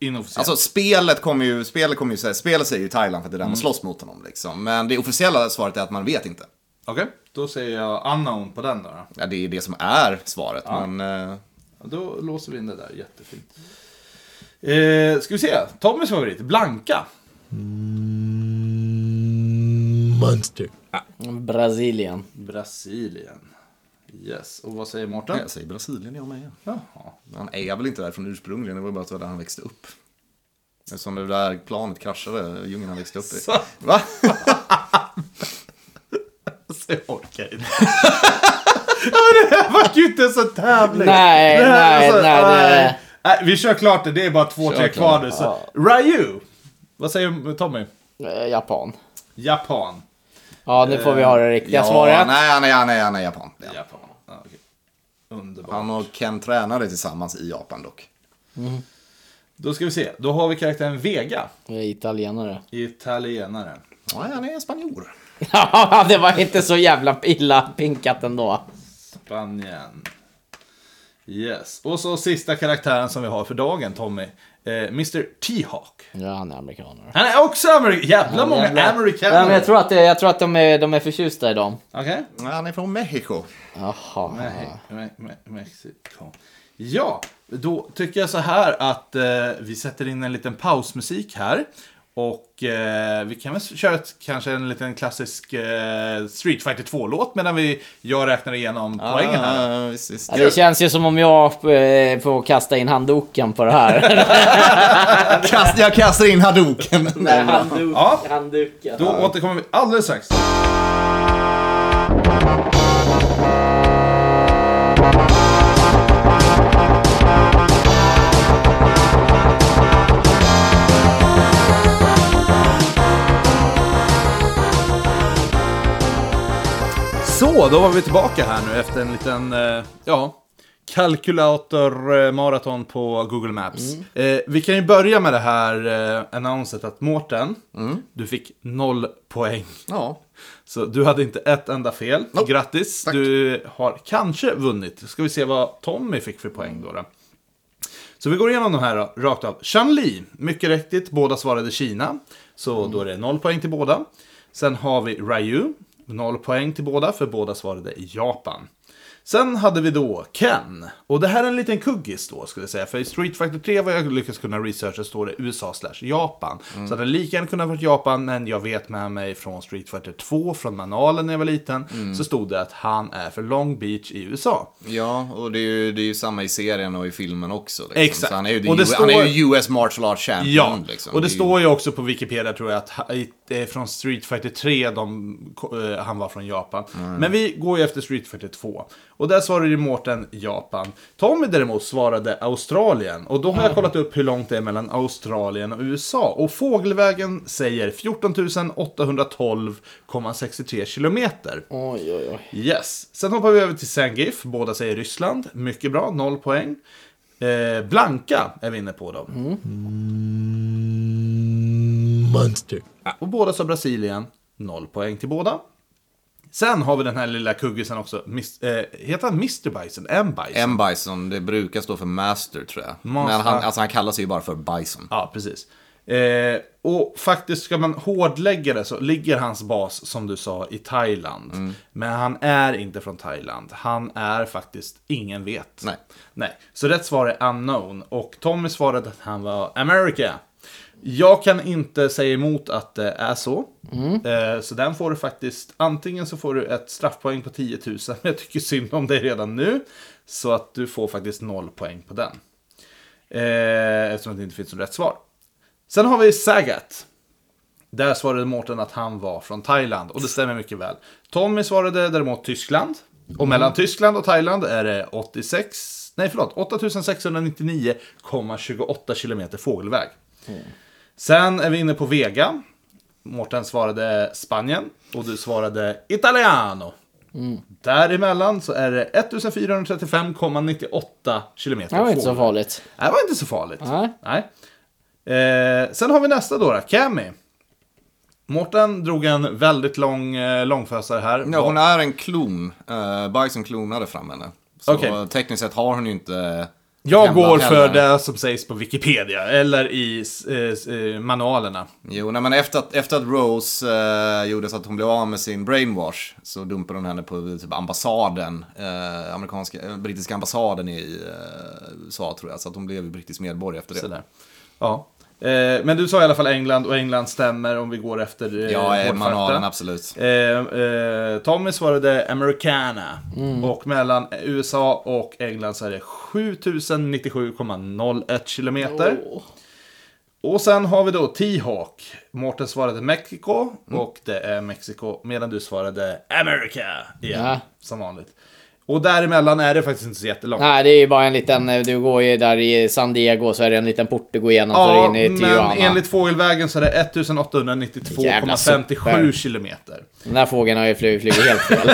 [SPEAKER 1] inofficiellt?
[SPEAKER 2] Alltså spelet kommer ju, spelet kommer ju säga, spelet säger ju Thailand för att det är där man slåss mot honom liksom. Men det officiella svaret är att man vet inte.
[SPEAKER 1] Okej. Då säger jag unknown på den då. då.
[SPEAKER 2] Ja, det är det som är svaret. Men eh,
[SPEAKER 1] Ja, Då låser vi in det där, jättefint. Eh, ska vi se, Tommys favorit, Blanka.
[SPEAKER 4] Monster.
[SPEAKER 3] Brasilien.
[SPEAKER 1] Brasilien. Yes, och vad säger Mårten?
[SPEAKER 2] jag säger Brasilien, jag med.
[SPEAKER 1] Jaha.
[SPEAKER 2] Han är väl inte därifrån ursprungligen, det var bara att det var där han växte upp. Eftersom det där planet kraschade, djungeln han växte upp i.
[SPEAKER 1] Så.
[SPEAKER 2] Va?
[SPEAKER 1] Alltså, jag orkar inte. Ja, men det här var ju inte så tävling.
[SPEAKER 3] Nej,
[SPEAKER 1] Det här,
[SPEAKER 3] nej, nej, nej.
[SPEAKER 1] Nej, vi kör klart det, det är bara två,
[SPEAKER 2] Kör
[SPEAKER 1] tre
[SPEAKER 2] klart.
[SPEAKER 1] kvar nu. Så. Ryu! Vad säger Tommy?
[SPEAKER 3] Eh, Japan.
[SPEAKER 1] Japan.
[SPEAKER 3] Ja, nu får vi ha det riktiga
[SPEAKER 2] Eh, Ja,
[SPEAKER 3] svaret.
[SPEAKER 2] nej, han är, han är, han är japan. Ja.
[SPEAKER 1] Japan. Ja, okej. Underbart.
[SPEAKER 2] Han och Ken tränade tillsammans i Japan dock.
[SPEAKER 1] Då ska vi se, då har vi karaktären Vega.
[SPEAKER 3] Jag är italienare.
[SPEAKER 1] Italienare.
[SPEAKER 2] Ja, han är spanjor.
[SPEAKER 3] Ja, det var inte så jävla illa pinkat ändå.
[SPEAKER 1] Spanien. Yes. Och så sista karaktären som vi har för dagen, Tommy. Eh, Mr. T-Hawk.
[SPEAKER 3] Ja, han är amerikaner.
[SPEAKER 1] Han är också amerikan. Jävla många
[SPEAKER 3] Jävlar.
[SPEAKER 1] amerikaner.
[SPEAKER 3] Ja, men jag tror att, det- jag tror att de, är, de är förtjusta i dem.
[SPEAKER 1] Okej.
[SPEAKER 2] Ja, Han är från Mexiko.
[SPEAKER 3] Jaha.
[SPEAKER 1] Me- me- me- Mexiko. Ja, då tycker jag så här att eh, vi sätter in en liten pausmusik här. Och eh, vi kan väl köra ett, kanske en liten klassisk eh, Street Fighter 2-låt medan vi, jag räknar igenom poängen här.
[SPEAKER 2] Ja, Eh, visst, visst.
[SPEAKER 3] Ja, det känns ju som om jag eh, får kasta in handduken på det här.
[SPEAKER 2] Kast, jag kastar in hadoken. Nej, bra.
[SPEAKER 3] Handduk,
[SPEAKER 1] Ja.
[SPEAKER 3] handduken.
[SPEAKER 1] Då återkommer vi alldeles strax. Så, då var vi tillbaka här nu efter en liten, eh, ja, kalkylator-maraton på Google Maps. Eh, vi kan ju börja med det här eh, annonset att Mårten, du fick noll poäng.
[SPEAKER 2] Ja.
[SPEAKER 1] Så du hade inte ett enda fel. Grattis, du har kanske vunnit. Ska vi se vad Tommy fick för poäng då. då. Så vi går igenom de här då, rakt av. Chanli, mycket riktigt, båda svarade Kina. Så då är det noll poäng till båda. Sen har vi Ryu, noll poäng till båda, för båda svarade Japan. Sen hade vi då Ken. Och det här är en liten kuggis då, skulle jag säga. För i Street Fighter 3, vad jag lyckats kunna researcha, står det USA slash Japan. Så det hade lika gärna kunnat varit Japan, men jag vet med mig från Street Fighter 2, från manualen när jag var liten, så stod det att han är för Long Beach i USA.
[SPEAKER 2] Ja, och det är, ju, det är ju samma i serien och i filmen också. Liksom.
[SPEAKER 1] Exakt.
[SPEAKER 2] Så han är ju,
[SPEAKER 1] Och det
[SPEAKER 2] det han är
[SPEAKER 1] står-
[SPEAKER 2] ju US martial arts champion.
[SPEAKER 1] Ja,
[SPEAKER 2] liksom.
[SPEAKER 1] och det
[SPEAKER 2] är ju-
[SPEAKER 1] står ju också på Wikipedia tror jag att ha- i- eh, från Street Fighter 3 de, ko- eh, han var från Japan.
[SPEAKER 2] Mm.
[SPEAKER 1] Men vi går ju efter Street Fighter 2. Och där svarade ju Mårten Japan. Tommy däremot svarade Australien. Och då har
[SPEAKER 2] Mm.
[SPEAKER 1] jag kollat upp hur långt det är mellan Australien och USA. Och Fågelvägen säger 14 812,63 kilometer.
[SPEAKER 3] Oj, oj, oj.
[SPEAKER 1] Yes. Sen hoppar vi över till Sangif. Båda säger Ryssland. Mycket bra, noll poäng. Eh, Blanka är vi inne på då.
[SPEAKER 4] Monster.
[SPEAKER 1] Och båda sa Brasilien. Noll poäng till båda. Sen har vi den här lilla kuggisen också. Mis- eh, heter han Mr Bison? M Bison?
[SPEAKER 2] M. Bison, det brukar stå för master tror jag.
[SPEAKER 1] Master.
[SPEAKER 2] Men han, alltså, han kallar sig ju bara för Bison.
[SPEAKER 1] Ja, precis. Eh, och faktiskt, ska man hårdlägga det så ligger hans bas, som du sa, i Thailand.
[SPEAKER 2] Mm.
[SPEAKER 1] Men han är inte från Thailand. Han är faktiskt, ingen vet.
[SPEAKER 2] Nej.
[SPEAKER 1] Nej. Så rätt svar är unknown. Och Tommy svarade att han var America. Jag kan inte säga emot att det är så. Eh, så den får du faktiskt, antingen så får du ett straffpoäng på 10 000, men jag tycker synd om dig redan nu. Så att du får faktiskt noll poäng på den. Eh, eftersom det inte finns något rätt svar. Sen har vi Sagat. Där svarade Mårten att han var från Thailand och det stämmer mycket väl. Tommy svarade däremot Tyskland. Och
[SPEAKER 3] Mm.
[SPEAKER 1] mellan Tyskland och Thailand är det 86, nej förlåt, 8699,28 kilometer fågelväg.
[SPEAKER 3] Mm.
[SPEAKER 1] Sen är vi inne på Vega. Mårten svarade Spanien och du svarade Italiano.
[SPEAKER 3] Mm.
[SPEAKER 1] Däremellan så är det 1435,98 kilometer
[SPEAKER 3] Det var inte så
[SPEAKER 1] fågelväg.
[SPEAKER 3] farligt.
[SPEAKER 1] Nej, Det var inte så farligt.
[SPEAKER 3] Nej.
[SPEAKER 1] Eh, sen har vi nästa då, då Cammy. Mårten drog en väldigt lång eh, långfösare här.
[SPEAKER 2] Ja, hon är en klon. Uh, Bison Eh, klonade fram henne. Så
[SPEAKER 1] Okej.
[SPEAKER 2] tekniskt sett har hon ju inte
[SPEAKER 1] Jag
[SPEAKER 2] Gamla
[SPEAKER 1] går för
[SPEAKER 2] pelare.
[SPEAKER 1] det som sägs på Wikipedia, eller i eh, eh, manualerna.
[SPEAKER 2] Jo, nej, men efter att, efter att Rose eh, gjorde så att hon blev av med sin brainwash så dumpade hon henne på typ ambassaden, eh, amerikanska, eh, brittiska ambassaden i eh, USA tror jag. Så att hon blev ju brittisk medborgare efter det.
[SPEAKER 1] Sådär. Ja. Eh, men du sa i alla fall England, och England stämmer om vi går efter eh,
[SPEAKER 2] Ja, eh,
[SPEAKER 1] hårdfakta.
[SPEAKER 2] manualen absolut.
[SPEAKER 1] Eh, eh, Tommy svarade Americana.
[SPEAKER 3] Mm.
[SPEAKER 1] Och mellan USA och England så är det 7097,01 kilometer. Och sen har vi då T-Hawk. Mårten svarade Mexiko
[SPEAKER 3] Mm.
[SPEAKER 1] och det är Mexiko. Medan du svarade America igen,
[SPEAKER 3] Ja.
[SPEAKER 1] som vanligt. Och däremellan är det faktiskt inte så jättelångt.
[SPEAKER 3] Nej, det är ju bara en liten... eh, Du går ju där i San Diego så är det en liten port du går igenom så
[SPEAKER 1] Ja,
[SPEAKER 3] är du inne i
[SPEAKER 1] men
[SPEAKER 3] Tijuana.
[SPEAKER 1] enligt fågelvägen så är det
[SPEAKER 3] Jävla sopper.
[SPEAKER 1] 1892,57 kilometer.
[SPEAKER 3] Den där fågeln har ju flugit, flugit helt fel.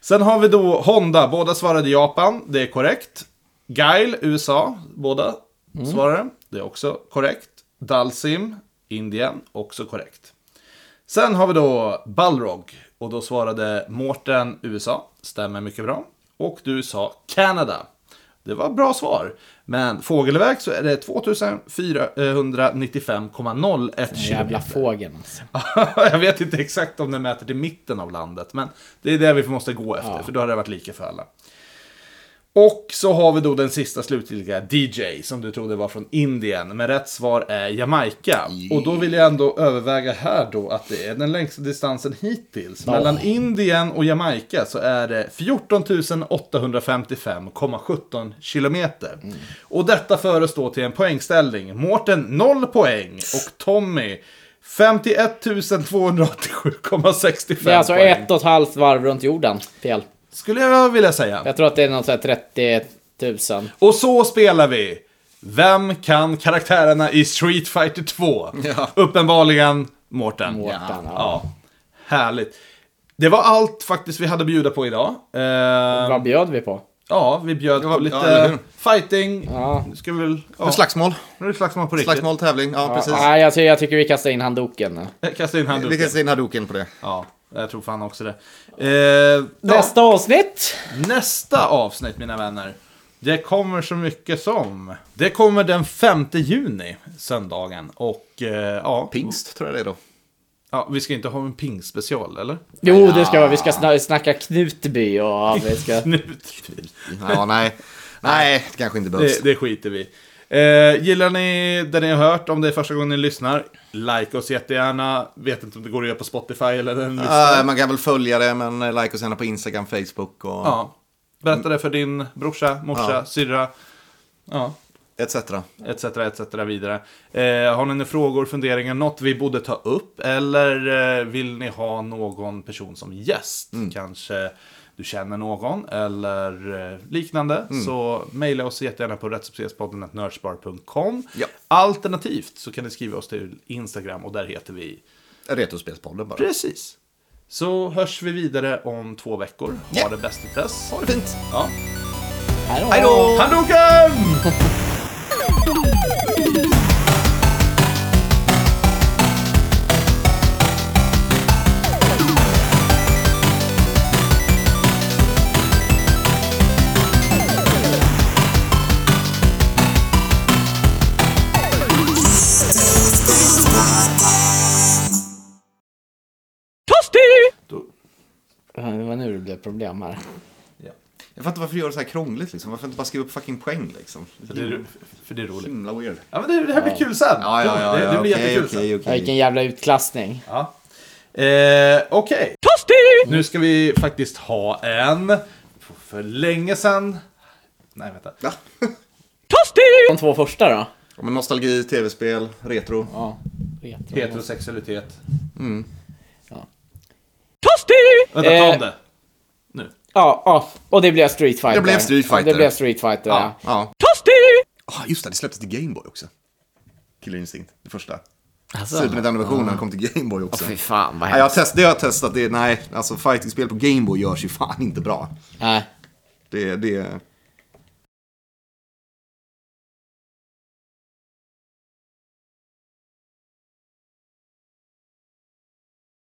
[SPEAKER 1] Sen har vi då Honda, båda svarade Japan, det är korrekt. Guile, USA, båda svarade, det är också korrekt. Dalsim, Indien, också korrekt. Sen har vi då Balrog, och då svarade Mårten, USA, stämmer mycket bra. Och du sa Kanada. Det var bra svar. Men fågelväg så är det 2495,01 kilometer.
[SPEAKER 3] Jävla fågeln alltså.
[SPEAKER 1] Jag vet inte exakt om den mäter till mitten av landet, men det är det vi måste gå efter, för då hade det varit lika för alla. Och så har vi då den sista slutgiltiga DJ, som du trodde var från Indien, men rätt svar är Jamaica. Och då vill jag ändå överväga här då att det är den längsta distansen hittills. Mellan Indien och Jamaica så är det 14 855,17 kilometer.
[SPEAKER 3] Mm.
[SPEAKER 1] Och detta föres då till en poängställning. Mårten 0 poäng och Tommy 51 287,65
[SPEAKER 3] Det är alltså
[SPEAKER 1] poäng.
[SPEAKER 3] ett och ett halvt varv runt jorden. Fel.
[SPEAKER 1] Skulle jag vilja säga.
[SPEAKER 3] Jag tror att det är något sånt här 30 000.
[SPEAKER 1] Och så spelar vi. Vem kan karaktärerna i Street Fighter 2?
[SPEAKER 2] Ja.
[SPEAKER 1] Uppenbarligen Mårten.
[SPEAKER 3] Mårten,
[SPEAKER 1] ja.
[SPEAKER 3] ja.
[SPEAKER 1] Härligt. Det var allt faktiskt vi hade att bjuda på idag. Eh,
[SPEAKER 3] Vad bjöd vi på?
[SPEAKER 1] ja, vi bjöd
[SPEAKER 2] Ja,
[SPEAKER 1] på lite
[SPEAKER 2] ja, eller hur?
[SPEAKER 1] fighting.
[SPEAKER 3] Ja.
[SPEAKER 1] Nu ska vi väl... Ja.
[SPEAKER 2] Men Slagsmål.
[SPEAKER 1] Nu är det slagsmål på riktigt.
[SPEAKER 2] Slagsmål, tävling. Ja, precis.
[SPEAKER 3] Nej, jag, ty- jag tycker vi kastar in handduken nu.
[SPEAKER 1] Kasta in handduken.
[SPEAKER 2] Vi kan se in Hadoken på det.
[SPEAKER 1] Ja, jag tror fan också det. Eh,
[SPEAKER 3] Nästa avsnitt!
[SPEAKER 1] Nästa avsnitt, mina vänner, det kommer så mycket som... Det kommer den 5 juni, söndagen. Och eh, ja,
[SPEAKER 2] Pingst tror jag det är då.
[SPEAKER 1] ja, vi ska inte ha en pingspecial, eller?
[SPEAKER 3] Jo, det ska vi. Vi ska sna- snacka Knutby och ja, vi ska...
[SPEAKER 1] Knut.
[SPEAKER 2] Ja, nej. Nej, det kanske inte behövs.
[SPEAKER 1] typ. Det, det skiter vi i. eh, Gillar ni det ni har hört, om det är första gången ni lyssnar, like oss jättegärna. Vet inte om det går att göra på Spotify eller den listan.
[SPEAKER 2] Eh, man kan väl följa det, men eh, like oss gärna på Instagram, Facebook och
[SPEAKER 1] ja. Berätta det för din brorsa, morsa,
[SPEAKER 2] Ja.
[SPEAKER 1] syrra. Ja.
[SPEAKER 2] etc.
[SPEAKER 1] etcetera, etcetera vidare. Eh, har ni några frågor, funderingar, något vi borde ta upp? Eller eh, vill ni ha någon person som gäst?
[SPEAKER 2] Mm.
[SPEAKER 1] Kanske du känner någon eller eh, liknande.
[SPEAKER 2] Mm.
[SPEAKER 1] Så mejla oss jättegärna på rättsuppsespodden.nördspar.com.
[SPEAKER 2] Ja.
[SPEAKER 1] Alternativt så kan ni skriva oss till Instagram och där heter vi
[SPEAKER 2] Retrospelspodden bara.
[SPEAKER 1] Precis. Så hörs vi vidare om två veckor. Ha
[SPEAKER 2] Ja.
[SPEAKER 1] det bäst till dess.
[SPEAKER 2] Ha det fint!
[SPEAKER 1] Ja.
[SPEAKER 3] Hej då!
[SPEAKER 1] Handduken!
[SPEAKER 3] Ja, Det var nu det blev problem här.
[SPEAKER 2] Jag fattar varför du gör det så här krångligt liksom. Varför inte bara skriva upp fucking poäng liksom?
[SPEAKER 1] Det är, för det är roligt.
[SPEAKER 2] Himla weird.
[SPEAKER 1] Ja, men det, det här blir kul sen.
[SPEAKER 2] Ja, ja, ja.
[SPEAKER 1] det,
[SPEAKER 2] ja,
[SPEAKER 1] det blir
[SPEAKER 2] okej,
[SPEAKER 1] jättekul sen.
[SPEAKER 2] okej,
[SPEAKER 3] Ja,
[SPEAKER 2] okej.
[SPEAKER 3] vilken jävla utklassning.
[SPEAKER 1] Ja. Eh, Okej. Nu ska vi faktiskt ha en... För länge sedan... Nej, vänta.
[SPEAKER 2] Ja.
[SPEAKER 3] De två första då?
[SPEAKER 2] Ja, men nostalgi, tv-spel, retro.
[SPEAKER 3] Ja. Retro.
[SPEAKER 1] Heterosexualitet.
[SPEAKER 3] Toasty!
[SPEAKER 1] Vänta, ta om
[SPEAKER 3] Eh.
[SPEAKER 1] det. Nu.
[SPEAKER 3] Ja, ja. Och det blev Street Fighter.
[SPEAKER 2] Det blev Street Fighter.
[SPEAKER 3] Det blev Street Fighter, ja.
[SPEAKER 2] Ja.
[SPEAKER 3] Toasty!
[SPEAKER 2] Ah, just det, det släpptes till Gameboy också. Killer Instinct, det första. Super Nintendo-versionen kom till Gameboy också.
[SPEAKER 3] Fy fan vad
[SPEAKER 2] Nej, Alltså. jag har
[SPEAKER 3] hemskt.
[SPEAKER 2] test, det har jag testat. Det, nej, alltså fighting-spel på Gameboy görs ju fan inte bra.
[SPEAKER 3] Nej.
[SPEAKER 2] Det, det,